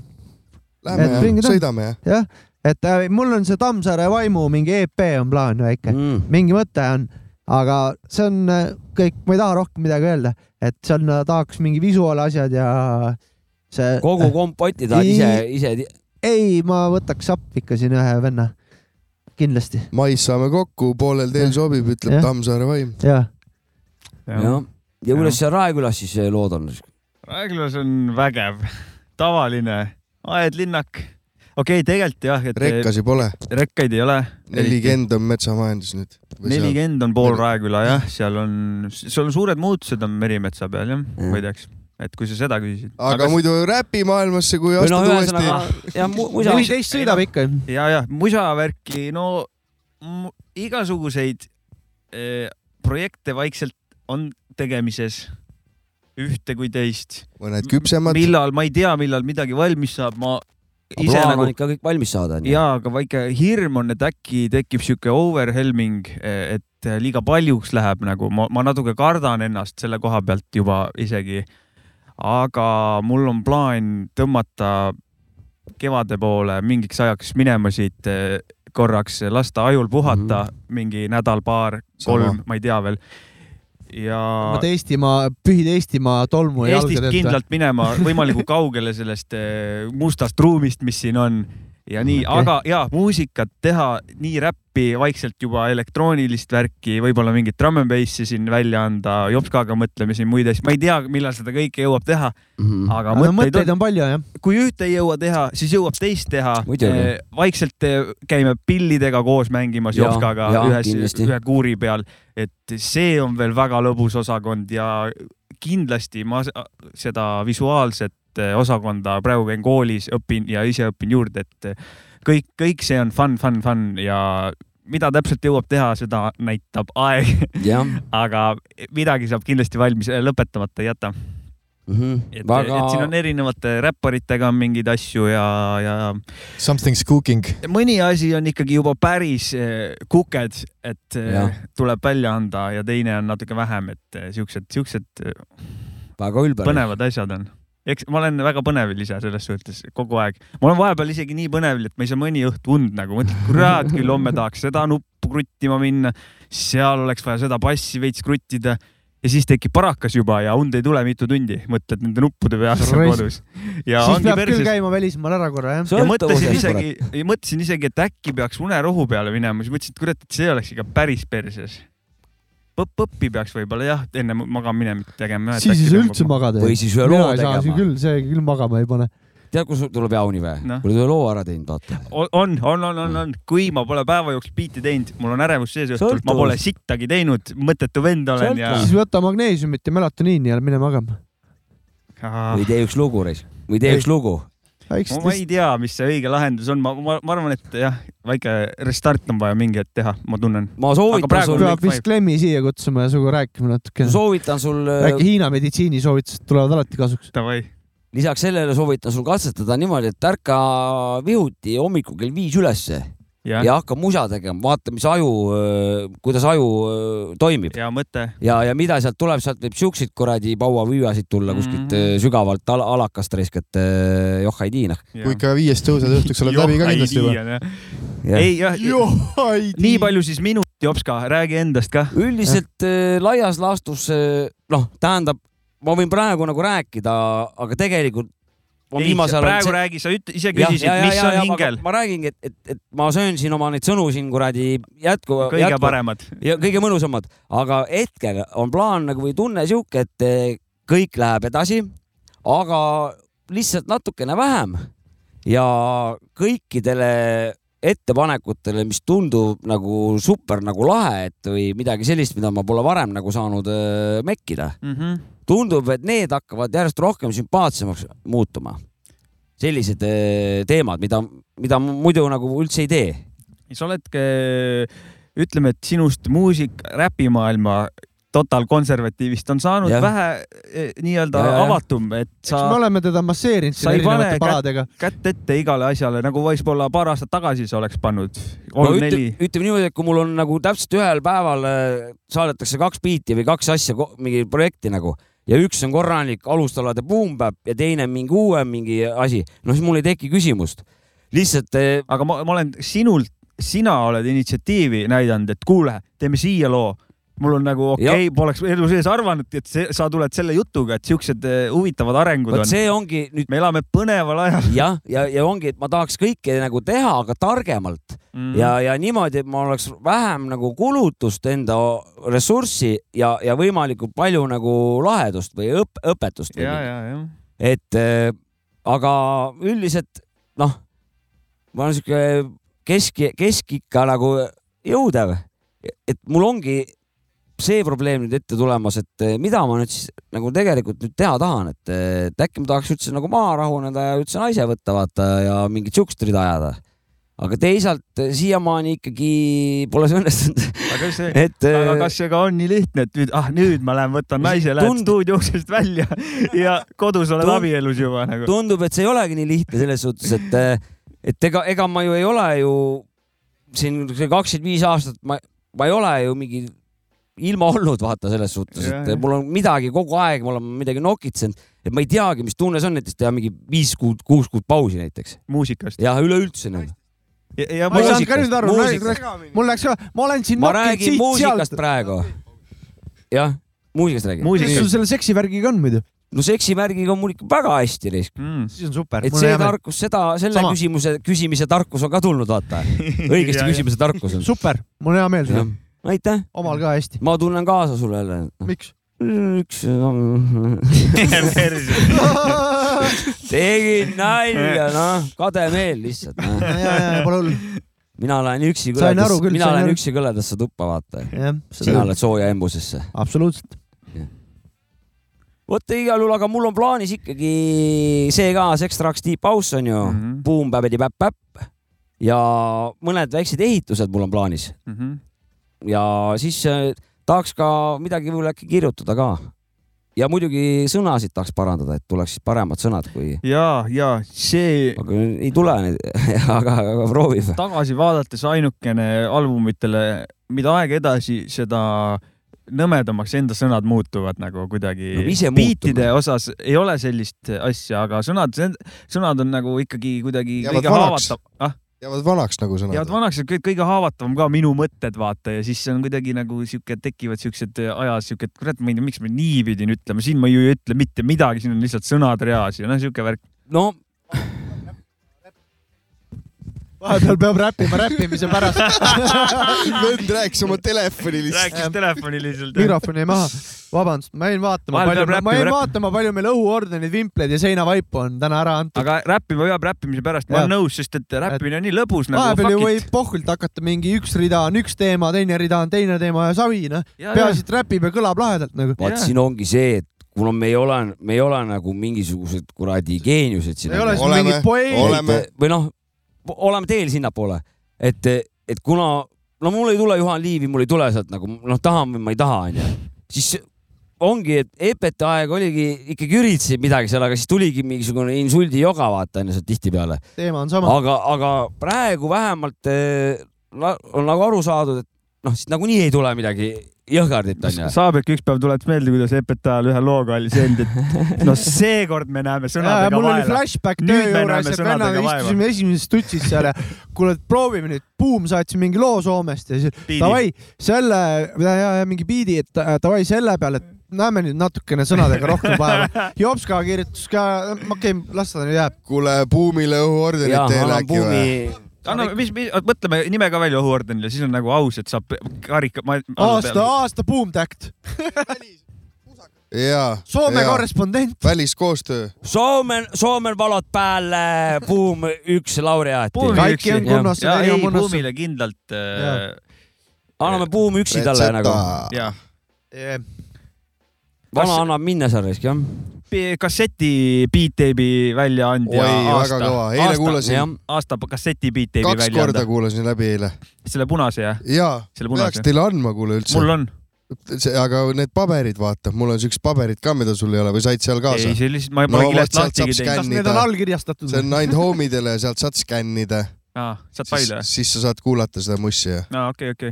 [SPEAKER 3] Lähme ja sõidame, jah.
[SPEAKER 1] jah , et äh, mul on see Tammsaare vaimu mingi EP on plaan väike
[SPEAKER 4] mm. ,
[SPEAKER 1] mingi mõte on , aga see on äh, kõik , ma ei taha rohkem midagi öelda , et see on , tahaks mingi visuaalasjad ja see .
[SPEAKER 4] kogu kompoti tahad ise , ise .
[SPEAKER 1] ei , ma võtaks appi ikka siin ühe venna , kindlasti .
[SPEAKER 3] mais saame kokku , poolel teel sobib , ütleb Tammsaare vaim .
[SPEAKER 1] jah ,
[SPEAKER 4] jah . ja kuidas seal Raekülas siis eh, lood on ?
[SPEAKER 2] Raekülas on vägev , tavaline aedlinnak . okei okay, , tegelikult jah , et .
[SPEAKER 3] Rekkasi pole.
[SPEAKER 2] rekkaid ei ole .
[SPEAKER 3] nelikümmend on metsamajandus nüüd .
[SPEAKER 2] nelikümmend on pool Raeküla jah , seal on , seal on suured muutused on Merimetsa peal jah , muideks , et kui sa seda küsisid .
[SPEAKER 3] aga muidu räpimaailmasse , kui
[SPEAKER 2] Või
[SPEAKER 3] astud
[SPEAKER 2] noh,
[SPEAKER 3] uuesti .
[SPEAKER 4] jah ,
[SPEAKER 1] neliteist sõidab ikka .
[SPEAKER 2] ja , ja musavärki , no mu- igasuguseid eh, projekte vaikselt on tegemises , ühte kui teist .
[SPEAKER 3] mõned küpsemad .
[SPEAKER 2] millal , ma ei tea , millal midagi valmis saab , ma
[SPEAKER 4] Aga
[SPEAKER 2] ise
[SPEAKER 4] plaan
[SPEAKER 2] nagu
[SPEAKER 4] on ikka kõik valmis saada, on ju.
[SPEAKER 2] jaa , aga väike hirm on , et äkki tekib sihuke overwhelming , et liiga paljuks läheb nagu ma , ma natuke kardan ennast selle koha pealt juba isegi . aga mul on plaan tõmmata kevade poole mingiks ajaks minema siit eh, korraks , lasta ajul puhata mm
[SPEAKER 4] Mhm.
[SPEAKER 2] -hmm. mingi nädal-paar , kolm , ma ei tea veel . ja
[SPEAKER 1] võtad Eestimaa , pühid Eestimaa tolmu
[SPEAKER 2] Eestist
[SPEAKER 1] jalgadelt .
[SPEAKER 2] kindlalt minema võimalikult kaugele sellest eh, mustast ruumist , mis siin on ja nii okay. ,
[SPEAKER 1] Okei.
[SPEAKER 2] aga ja muusikat teha , nii räppi , vaikselt juba elektroonilist värki , võib-olla mingit drum n bassi siin välja anda , jopskaga mõtlemisi , muid asju , ma ei tea , millal seda kõike jõuab teha mm , -hmm. aga
[SPEAKER 1] Mhm. aga
[SPEAKER 2] mõtteid,
[SPEAKER 1] mõtteid on palju jah .
[SPEAKER 2] kui ühte ei jõua teha , siis jõuab teist teha
[SPEAKER 1] Muidugi. .
[SPEAKER 2] vaikselt eh, käime pillidega koos mängimas
[SPEAKER 4] Jaa,
[SPEAKER 2] Jopskaga
[SPEAKER 4] jaa,
[SPEAKER 2] ühes ,
[SPEAKER 4] kindlasti.
[SPEAKER 2] ühe kuuri peal , et see on veel väga lõbus osakond ja kindlasti ma s- seda visuaalset eh, osakonda praegu käin koolis , õpin ja ise õpin juurde , et äh, kõik , kõik see on fun , fun , fun ja mida täpselt jõuab teha , seda näitab aeg .
[SPEAKER 4] Jah.
[SPEAKER 2] aga midagi saab kindlasti valmis , lõpetamata ei jäta et,
[SPEAKER 4] Väga-
[SPEAKER 2] Väga... et siin on erinevate räpparitega on mingeid asju ja , ja
[SPEAKER 5] Something's cooking .
[SPEAKER 2] mõni asi on ikkagi juba päris eh, kuked , et eh,
[SPEAKER 5] Jah.
[SPEAKER 2] tuleb välja anda ja teine on natuke vähem , et eh, siuksed , siuksed eh,
[SPEAKER 4] väga ülbe .
[SPEAKER 2] põnevad asjad on . eks ma olen väga põnevil ise selles suhtes kogu aeg . ma olen vahepeal isegi nii põnevil , et ma ei saa mõni õht und nagu , mõtlen , kurat küll homme tahaks seda nuppu kruttima minna , seal oleks vaja seda bassi veits kruttida ja siis tekib parakas juba ja und ei tule mitu tundi , mõtled nende nuppude peale seal kodus . ja
[SPEAKER 1] siis
[SPEAKER 2] ongi
[SPEAKER 1] peab küll
[SPEAKER 2] perses
[SPEAKER 1] käima välismaal ära korra jah .
[SPEAKER 2] ja mõtlesin isegi , mõtlesin isegi , et äkki peaks unerohu peale minema , siis mõtlesin , et kurat , et see oleks ikka päris perses . Põpp-põppi peaks võib-olla jah , enne magamaminekut tegema .
[SPEAKER 1] siis ei saa üldse magada . mina ei saa siin küll , see küll magama ei pane .
[SPEAKER 4] tead , kus tuleb jauni või
[SPEAKER 2] Noh.
[SPEAKER 4] no. ? kui oled ühe loo ära teinud , vaata .
[SPEAKER 2] on , on , on , on , on , kui ma pole päeva jooksul biiti teinud , mul on ärevus sees õhtul , ma
[SPEAKER 1] Sõltuvus.
[SPEAKER 2] pole sittagi teinud , mõttetu vend olen ja .
[SPEAKER 1] siis võta magneesiumit ja melatoniini ja mine magama .
[SPEAKER 4] Ah.
[SPEAKER 2] Ah.
[SPEAKER 4] või tee üks lugu , Reis . või tee
[SPEAKER 2] Ei.
[SPEAKER 4] üks lugu .
[SPEAKER 1] Väikest
[SPEAKER 2] ma ei tea , mis see õige lahendus on , ma , ma , ma arvan , et jah , väike restart on vaja mingi hetk teha , ma tunnen .
[SPEAKER 4] ma
[SPEAKER 1] peab vist Klemmi siia kutsuma ja sinuga rääkima natuke .
[SPEAKER 4] soovitan sul . äh,
[SPEAKER 1] äkki Hiina meditsiinisoovitused tulevad alati kasuks .
[SPEAKER 2] Davai .
[SPEAKER 4] lisaks sellele soovitan sul katsetada niimoodi , et ärka vihuti hommikul kell viis ülesse ja, ja hakka musa tegema , vaata , mis aju , kuidas aju öö, toimib .
[SPEAKER 2] ja mõte .
[SPEAKER 4] ja , ja mida sealt tuleb , sealt võib siukseid kuradi pauavüüasid tulla kuskilt
[SPEAKER 2] Mhm.
[SPEAKER 4] mm -hmm. sügavalt al alakast raisk , et öö, joh ei tea noh .
[SPEAKER 5] kui ikka viies tõused õhtuks , oled läbi ka kindlasti juba .
[SPEAKER 2] ei jah , nii palju siis minuti , Jopska , räägi endast ka .
[SPEAKER 4] üldiselt äh, laias laastus äh, noh , tähendab , ma võin praegu nagu rääkida , aga tegelikult on
[SPEAKER 2] Ei,
[SPEAKER 4] viimasel
[SPEAKER 2] praegu räägi, sa üt- ise küsisid, mis on hingel.
[SPEAKER 4] ma räägingi , et , et , et ma söön siin oma neid sõnu siin kuradi jätku .
[SPEAKER 2] Kõige paremad.
[SPEAKER 4] ja kõige mõnusamad , aga hetkel on plaan nagu või tunne sihuke , et eh, kõik läheb edasi , aga lihtsalt natukene vähem ja kõikidele ettepanekutele , mis tundub nagu super nagu lahe , et või midagi sellist , mida ma pole varem nagu saanud eh, mekkida
[SPEAKER 2] mm . -hmm.
[SPEAKER 9] Mm-hmm.
[SPEAKER 4] tundub , et need hakkavad järjest rohkem sümpaatsemaks muutuma . sellised eh, teemad , mida , mida ma muidu nagu üldse ei tee .
[SPEAKER 2] sa oledki , ütleme , et sinust muusik , räpimaailma totaalkonservatiivist on saanud ja.
[SPEAKER 1] Jah.
[SPEAKER 2] vähe eh, nii-öelda
[SPEAKER 1] Ja, ja.
[SPEAKER 2] avatum , et
[SPEAKER 1] eks me
[SPEAKER 2] sa ,
[SPEAKER 1] oleme teda masseerinud
[SPEAKER 2] sa
[SPEAKER 1] siin
[SPEAKER 2] ei pane
[SPEAKER 1] erinevate paladega
[SPEAKER 2] kätt, . kätt ette igale asjale , nagu võib-olla paar aastat tagasi sa oleks pannud .
[SPEAKER 4] no
[SPEAKER 2] kolm no, ,
[SPEAKER 4] ütleme
[SPEAKER 2] neli ,.
[SPEAKER 4] ütleme niimoodi , et kui mul on nagu täpselt ühel päeval eh, saadetakse kaks biiti või kaks asja , mingi projekti nagu ja üks on korralik alustalade boom-bap ja teine mingi uuem mingi asi , no siis mul ei teki küsimust . lihtsalt . eh,
[SPEAKER 2] aga ma , ma olen sinult , sina oled initsiatiivi näidanud , et kuule , teeme siia loo mul on nagu okei okay, , poleks elu sees arvanud , et see, sa tuled selle jutuga , et siuksed eh, huvitavad arengud
[SPEAKER 4] vot
[SPEAKER 2] on .
[SPEAKER 4] see ongi nüüd .
[SPEAKER 2] me elame põneval ajal .
[SPEAKER 4] jah , ja , ja ongi , et ma tahaks kõike nagu teha , aga targemalt mm.
[SPEAKER 2] Mhm.
[SPEAKER 4] ja , ja niimoodi , et ma oleks vähem nagu kulutust enda ressurssi ja , ja võimalikult palju nagu lahedust või õp õpetust .
[SPEAKER 2] ja , ja , jah .
[SPEAKER 4] et äh, aga üldiselt noh , ma olen sihuke kesk , keskikka nagu jõudev , et mul ongi see probleem nüüd ette tulemas , et eh, mida ma nüüd siis nagu tegelikult nüüd teha tahan , et eh, et äkki ma tahaks üldse nagu maha rahuneda ja üldse naise võtta vaata ja mingit siukest rida ajada . aga teisalt eh, siiamaani ikkagi pole see õnnestunud .
[SPEAKER 2] aga see
[SPEAKER 4] Et,
[SPEAKER 2] aga
[SPEAKER 4] äh,
[SPEAKER 2] kas see ka on nii lihtne , et nüüd , ah nüüd ma lähen võtan naise , lähed
[SPEAKER 4] Tund-
[SPEAKER 2] stuudio uksest välja ja kodus oled
[SPEAKER 4] Tund-
[SPEAKER 2] abielus juba nagu .
[SPEAKER 4] tundub , et see ei olegi nii lihtne selles suhtes , et , et ega , ega ma ju ei ole ju siin kakskümmend viis aastat , ma , ma ei ole ju mingi ilma olnud , vaata selles suhtes ,
[SPEAKER 2] Jah,
[SPEAKER 4] et
[SPEAKER 2] jah.
[SPEAKER 4] mul on midagi kogu aeg , ma olen midagi nokitsenud , et ma ei teagi , mis tunne see on näiteks teha mingi viis kuud , kuus kuud pausi näiteks .
[SPEAKER 2] muusikast .
[SPEAKER 4] jah , üleüldse nagu .
[SPEAKER 2] ja
[SPEAKER 1] ma ei saanud ka nüüd aru , mul läks ka , ma olen siin
[SPEAKER 4] ma räägin muusikast . praegu . jah , muusikast räägin .
[SPEAKER 1] mis sul selle seksivärgiga on muidu ?
[SPEAKER 4] no seksimärgiga on mul ikka väga hästi risk
[SPEAKER 2] mm. .
[SPEAKER 1] siis on super .
[SPEAKER 4] et see tarkus , seda , selle
[SPEAKER 1] Sama.
[SPEAKER 4] Sama. küsimuse , küsimise tarkus on ka tulnud , vaata . õigesti
[SPEAKER 1] Ja, ja.
[SPEAKER 4] küsimise tarkus on .
[SPEAKER 1] super , mul on hea meel sulle .
[SPEAKER 4] aitäh .
[SPEAKER 1] omal ka hästi .
[SPEAKER 4] ma tunnen kaasa sulle jälle .
[SPEAKER 1] miks ?
[SPEAKER 4] üks . tegin nalja , noh , kade meel lihtsalt noh. no. .
[SPEAKER 1] ja , ja , pole hullu .
[SPEAKER 4] mina lähen üksi
[SPEAKER 1] Sain aru
[SPEAKER 4] kõledasse ,
[SPEAKER 1] küll,
[SPEAKER 4] mina
[SPEAKER 1] sain
[SPEAKER 4] lähen
[SPEAKER 1] aru.
[SPEAKER 4] üksi kõledasse tuppa , vaata .
[SPEAKER 1] Jah,
[SPEAKER 4] sina
[SPEAKER 1] siiralt.
[SPEAKER 4] lähed sooja embusesse .
[SPEAKER 1] absoluutselt .
[SPEAKER 4] vot igal juhul , aga mul on plaanis ikkagi see ka , Sex Trucks Deep House on ju mm -hmm. , Boom Babbidi Päpp Päpp ja mõned väiksed ehitused mul on plaanis
[SPEAKER 2] mm . -hmm.
[SPEAKER 4] ja siis äh, tahaks ka midagi võib-olla äkki kirjutada ka . ja muidugi sõnasid tahaks parandada , et tuleks siis paremad sõnad , kui
[SPEAKER 2] ja , ja see .
[SPEAKER 4] aga ei tule neid , aga , aga proovime .
[SPEAKER 2] tagasi vaadates ainukene albumitele , mida aeg edasi , seda nõmedamaks enda sõnad muutuvad nagu kuidagi
[SPEAKER 4] No me ise .
[SPEAKER 2] biitide
[SPEAKER 4] nagu?
[SPEAKER 2] osas ei ole sellist asja , aga sõnad , sõnad on nagu ikkagi kuidagi
[SPEAKER 14] jäävad
[SPEAKER 2] kõige
[SPEAKER 14] vanaks
[SPEAKER 2] haavatav . ah? ,
[SPEAKER 14] jäävad vanaks nagu
[SPEAKER 2] jäävad
[SPEAKER 14] sõnad .
[SPEAKER 2] vanaks ja kõik kõige haavatavam ka minu mõtted , vaata ja siis see on kuidagi nagu sihuke , tekivad siuksed äh, ajas siuke , et kurat , ma ei tea , miks ma nii pidin ütlema , siin ma ju ei ütle mitte midagi , siin on lihtsalt sõnad reas ja noh , siuke värk .
[SPEAKER 4] no
[SPEAKER 1] vahepeal peab räppima räppimise pärast .
[SPEAKER 14] vend rääkis oma telefoni lihtsalt .
[SPEAKER 2] rääkis telefoni lihtsalt .
[SPEAKER 1] mikrofon jäi maha . vabandust , ma jäin vaatama ,
[SPEAKER 2] Vahel
[SPEAKER 1] palju
[SPEAKER 2] peab ,
[SPEAKER 1] ma
[SPEAKER 2] räppima,
[SPEAKER 1] jäin
[SPEAKER 2] räppima.
[SPEAKER 1] vaatama , palju meil õhuordenid , vimpleid ja seinavaipu on täna ära antud .
[SPEAKER 2] aga räppima peab räppimise pärast , ma
[SPEAKER 1] Jah.
[SPEAKER 2] olen nõus , sest et räppimine on nii lõbus nagu
[SPEAKER 1] vahepeal ju
[SPEAKER 2] fuck
[SPEAKER 1] võib
[SPEAKER 2] it .
[SPEAKER 1] pohkult hakata mingi üks rida on üks teema , teine rida on teine teema ja savi , noh .
[SPEAKER 2] Jaa,
[SPEAKER 1] peaasi , et räpib ja kõlab lahedalt nagu .
[SPEAKER 4] vaat siin ongi see , et kuna me ei ole , me ei ole nagu mingisugused kuradi geeniused siin .
[SPEAKER 1] Me ei ole siin Oleme, mingid poeedid. oleme.
[SPEAKER 4] või noh , oleme teel sinnapoole , et , et kuna , no mul ei tule Juhan Liivi , mul ei tule sealt nagu noh , tahan või ma ei taha , onju , siis ongi , et EPT aeg oligi , ikkagi üritasid midagi seal , aga siis tuligi mingisugune insuldi joga , vaata onju , sealt tihtipeale .
[SPEAKER 1] teema on sama .
[SPEAKER 4] aga , aga praegu vähemalt eh, la- on nagu aru saadud , et noh , siis nagunii ei tule midagi jõhkardit onju .
[SPEAKER 2] saab , et üks päev tuleb meelde , kuidas EPTA-l ühe looga oli see end , et no seekord me näeme
[SPEAKER 1] jaa ,
[SPEAKER 2] sõnadega
[SPEAKER 1] mul oli
[SPEAKER 2] vaeva .
[SPEAKER 1] flashback
[SPEAKER 2] Nüüd
[SPEAKER 1] töö
[SPEAKER 2] me
[SPEAKER 1] juures ,
[SPEAKER 2] näeme
[SPEAKER 1] et vennaga
[SPEAKER 2] sõnadega
[SPEAKER 1] istusime esimeses tutsis seal ja kuule , et proovime nüüd , Buum saatis mingi loo Soomest ja siis davai selle ja , ja , ja mingi biidi , et äh, davai selle peale , et näeme nüüd natukene sõnadega rohkem vaeva . Jops ka kirjutas ka , okei , las ta nüüd jääb .
[SPEAKER 3] kuule , Buumile õhuordenit teele äkki või ?
[SPEAKER 2] anname , nagu- mis, mis , mõtleme nime ka välja ohuordenile , siis on nagu aus , et saab karika .
[SPEAKER 1] aasta , aasta Buum Tact ,
[SPEAKER 3] jaa .
[SPEAKER 1] Soome korrespondent .
[SPEAKER 3] väliskoostöö .
[SPEAKER 4] Soomen , Soomen valot päälle , Buum üks laureaat .
[SPEAKER 1] Kaikki on kunnossa, Neili on
[SPEAKER 2] ei ,
[SPEAKER 1] kunnossa.
[SPEAKER 2] Buumile kindlalt äh, .
[SPEAKER 4] anname Buum üksi talle
[SPEAKER 3] Retseta.
[SPEAKER 4] nagu .
[SPEAKER 2] jah ,
[SPEAKER 4] vana
[SPEAKER 2] Kas-
[SPEAKER 4] annab minna seal risk jah .
[SPEAKER 2] kasseti beat-teibi
[SPEAKER 3] oi ,
[SPEAKER 2] väljaandja .
[SPEAKER 3] väga kõva . eile kuulasin ,
[SPEAKER 2] aasta kasseti beat-teibi
[SPEAKER 3] kaks korda
[SPEAKER 2] väljaandja .
[SPEAKER 3] kuulasin läbi eile .
[SPEAKER 2] selle punase jah ,
[SPEAKER 3] jaa ,
[SPEAKER 2] selle
[SPEAKER 3] peaks
[SPEAKER 2] punase .
[SPEAKER 3] teile andma , kuule üldse .
[SPEAKER 2] mul on .
[SPEAKER 3] see , aga need paberid , vaata , mul on siuksed paberid ka , mida sul ei ole või said seal kaasa
[SPEAKER 2] ei ,? sellised , ma
[SPEAKER 3] no
[SPEAKER 2] pole
[SPEAKER 3] vot
[SPEAKER 2] kilest
[SPEAKER 3] sealt saab
[SPEAKER 2] lahtigi teinud .
[SPEAKER 1] need on
[SPEAKER 3] skännida ,
[SPEAKER 1] allkirjastatud
[SPEAKER 3] see . on ainult homidele ja sealt saad skännida ,
[SPEAKER 2] saad faile või
[SPEAKER 3] siis , siis sa saad kuulata seda mussi ja
[SPEAKER 2] no, ? okei , okei .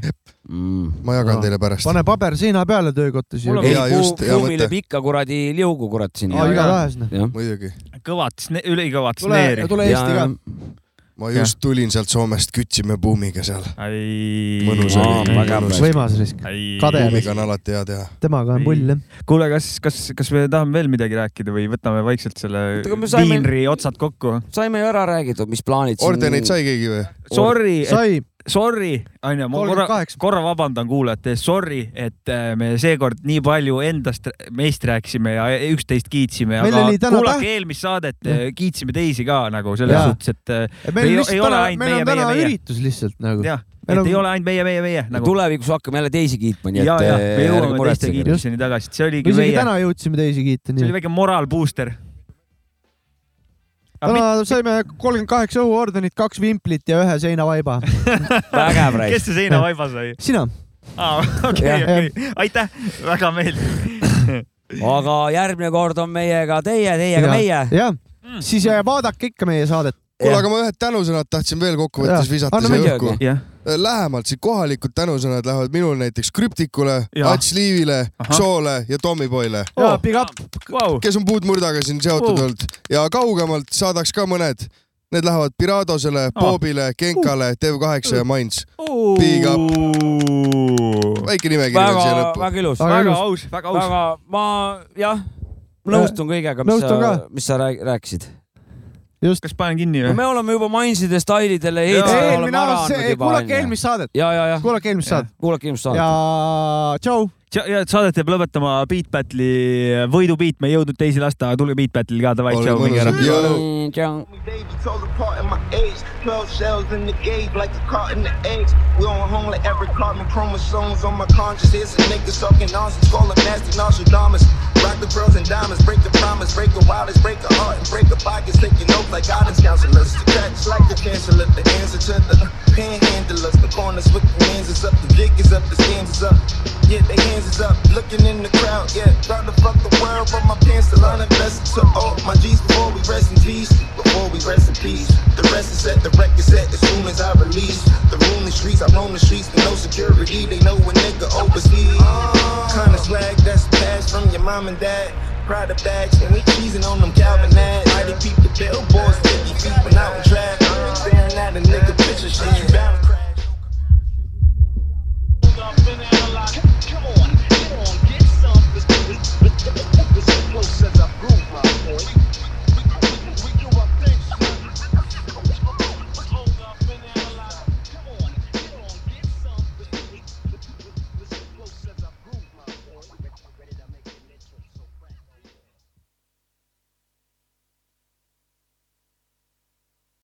[SPEAKER 3] ma jagan
[SPEAKER 1] Aa.
[SPEAKER 3] teile pärast .
[SPEAKER 1] pane paber seina peale töökottes ju
[SPEAKER 4] mul . on
[SPEAKER 3] Mm. Jaa,
[SPEAKER 4] mingi
[SPEAKER 3] just,
[SPEAKER 4] Buum-
[SPEAKER 3] hea
[SPEAKER 4] Buumile
[SPEAKER 3] mõte.
[SPEAKER 4] pikka kuradi liugu kurat sinna .
[SPEAKER 1] igatahes noh .
[SPEAKER 4] jah ,
[SPEAKER 3] muidugi ,
[SPEAKER 2] kõvat , ülikõvat
[SPEAKER 1] tule ,
[SPEAKER 2] sneeri .
[SPEAKER 1] tule Eesti ka .
[SPEAKER 3] ma just tulin sealt Soomest , kütsime buumiga seal .
[SPEAKER 2] ai .
[SPEAKER 3] Mõnus oli. Aa, väga
[SPEAKER 1] üks võimas risk . Kade.
[SPEAKER 3] buumiga on alati hea teha .
[SPEAKER 1] temaga on pull jah .
[SPEAKER 2] kuule , kas , kas , kas me tahame veel midagi rääkida või võtame vaikselt selle
[SPEAKER 4] Oota, aga me saime-
[SPEAKER 2] viinri otsad kokku ?
[SPEAKER 4] saime ju ära räägitud , mis plaanid siin .
[SPEAKER 3] ordeneid sai keegi või ?
[SPEAKER 2] Sorry ,
[SPEAKER 1] sai ,
[SPEAKER 2] sorry , onju , ma korra ,
[SPEAKER 1] 38
[SPEAKER 2] korra vabandan kuulajate ees , sorry , et äh, me seekord nii palju endast , meist rääkisime ja e-, üksteist kiitsime ,
[SPEAKER 1] Meil
[SPEAKER 2] aga
[SPEAKER 1] oli täna
[SPEAKER 2] kuulake
[SPEAKER 1] täht-
[SPEAKER 2] eelmist saadet , kiitsime teisi ka nagu selles
[SPEAKER 1] Jaa.
[SPEAKER 2] suhtes , et äh,
[SPEAKER 1] meil
[SPEAKER 2] Ei-
[SPEAKER 1] on
[SPEAKER 2] ei
[SPEAKER 1] lihtsalt
[SPEAKER 2] ole
[SPEAKER 1] täna ,
[SPEAKER 2] ainult
[SPEAKER 1] meil
[SPEAKER 2] meie,
[SPEAKER 1] on täna
[SPEAKER 2] meie, meie.
[SPEAKER 1] üritus lihtsalt nagu .
[SPEAKER 2] jah ,
[SPEAKER 1] Meil
[SPEAKER 2] et
[SPEAKER 1] on-
[SPEAKER 2] ei ole ainult meie , meie , meie
[SPEAKER 4] nagu... .
[SPEAKER 2] nagu .
[SPEAKER 4] tulevikus hakkame jälle teisi kiitma , nii
[SPEAKER 2] ja ,
[SPEAKER 4] et
[SPEAKER 2] ja
[SPEAKER 4] eh,
[SPEAKER 2] me
[SPEAKER 4] ärge
[SPEAKER 2] jõuame teiste
[SPEAKER 4] muretsege .
[SPEAKER 2] kiituseni tagasi , see
[SPEAKER 1] me
[SPEAKER 2] oligi
[SPEAKER 1] isegi
[SPEAKER 2] meie ,
[SPEAKER 1] täna jõudsime teisi kiita ,
[SPEAKER 2] see
[SPEAKER 1] nii
[SPEAKER 2] oli
[SPEAKER 1] et
[SPEAKER 2] väike moraalbooster .
[SPEAKER 1] täna saime kolmkümmend kaheksa õhuordenit , kaks vimplit ja ühe seinavaiba .
[SPEAKER 4] vägev raisk .
[SPEAKER 2] kes see seinavaibas oli ?
[SPEAKER 1] sina ,
[SPEAKER 2] aa , okei ,
[SPEAKER 4] Jah.
[SPEAKER 2] okei , aitäh , väga meeldiv .
[SPEAKER 4] aga järgmine kord on meiega teie , teiega
[SPEAKER 1] Mina.
[SPEAKER 4] meie .
[SPEAKER 1] jah ,
[SPEAKER 2] Mm.
[SPEAKER 1] siis äh, vaadake ikka meie saadet .
[SPEAKER 3] kuule , aga ma ühed tänusõnad tahtsin veel kokkuvõttes
[SPEAKER 1] Jaa.
[SPEAKER 3] visata
[SPEAKER 1] Anna
[SPEAKER 3] siia
[SPEAKER 4] muidugi.
[SPEAKER 3] õhku .
[SPEAKER 2] jah ,
[SPEAKER 3] lähemalt , siis kohalikud tänusõnad lähevad minul näiteks Krüptikule ,
[SPEAKER 2] Jaa.
[SPEAKER 3] Ats Liivile ,
[SPEAKER 2] Ahah.
[SPEAKER 3] Xoole ja Tommyboyle ,
[SPEAKER 1] jaa , big up ,
[SPEAKER 2] vau ,
[SPEAKER 3] kes on puudmurdaga siin seotud
[SPEAKER 2] Vau.
[SPEAKER 3] olnud ja kaugemalt saadaks ka mõned . Need lähevad Piradosele ,
[SPEAKER 1] Ah.
[SPEAKER 3] Boobile ,
[SPEAKER 1] Uh.
[SPEAKER 3] Genkale , Dev8 ja Mainz . Big up . väike nimekiri on
[SPEAKER 4] väga
[SPEAKER 3] siia , lõppu .
[SPEAKER 4] väga ilus ,
[SPEAKER 1] Väga
[SPEAKER 2] väga
[SPEAKER 1] ilus.
[SPEAKER 2] aus , väga aus .
[SPEAKER 4] väga , ma jah , nõustun kõigega , mis
[SPEAKER 1] nõustun
[SPEAKER 4] sa
[SPEAKER 1] ka. ,
[SPEAKER 4] mis sa rääg- rääkisid .
[SPEAKER 2] kas panen kinni
[SPEAKER 4] no
[SPEAKER 2] või ?
[SPEAKER 4] me oleme juba Mainsi detailidele heitnud , oleme
[SPEAKER 1] eelmine
[SPEAKER 4] ära
[SPEAKER 1] aasta ,
[SPEAKER 4] andnud juba .
[SPEAKER 1] kuulake eelmist saadet ,
[SPEAKER 4] ja , ja , ja
[SPEAKER 1] kuulake eelmist saadet
[SPEAKER 4] kuulake ilmselt
[SPEAKER 1] ja
[SPEAKER 4] saadet .
[SPEAKER 1] tšau .
[SPEAKER 2] ja saadet jääb lõpetama Beat Battle'i võidubiit , me ei jõudnud teisi lasta , tulge Beat Battle'i ka davai ,
[SPEAKER 3] Olge
[SPEAKER 2] tšau , minge ära
[SPEAKER 3] mõnusad. . Jõu.
[SPEAKER 4] tšau .
[SPEAKER 6] They be told apart in my age. 12 shells in the gauge, like a cart in the eggs. We on home like every carbon chromosomes on my conscience. Here's a nigga sucking nonsense, call him nasty Nostradamus. Rock the pearls and diamonds, break the promise, break the wildest, break the heart, and break the pockets. Taking notes like guidance counselors. The crack's like the canceler, the answer to the panhandlers. The corners with the hands is up, the jig is up, the stands is up. Yeah, they hands is up, looking in the crowd. Yeah, trying to fuck the world from my pants to line invested to all my G's before we rest in peace. Before we rest in peace, the rest is set, the record's set. As soon as I release the room, the streets, I roam the streets with no security. They know a nigga overseas. Kind of swag that's passed from your mom and dad. Pride of bags, and we cheesing on them Calvin ads. Mighty people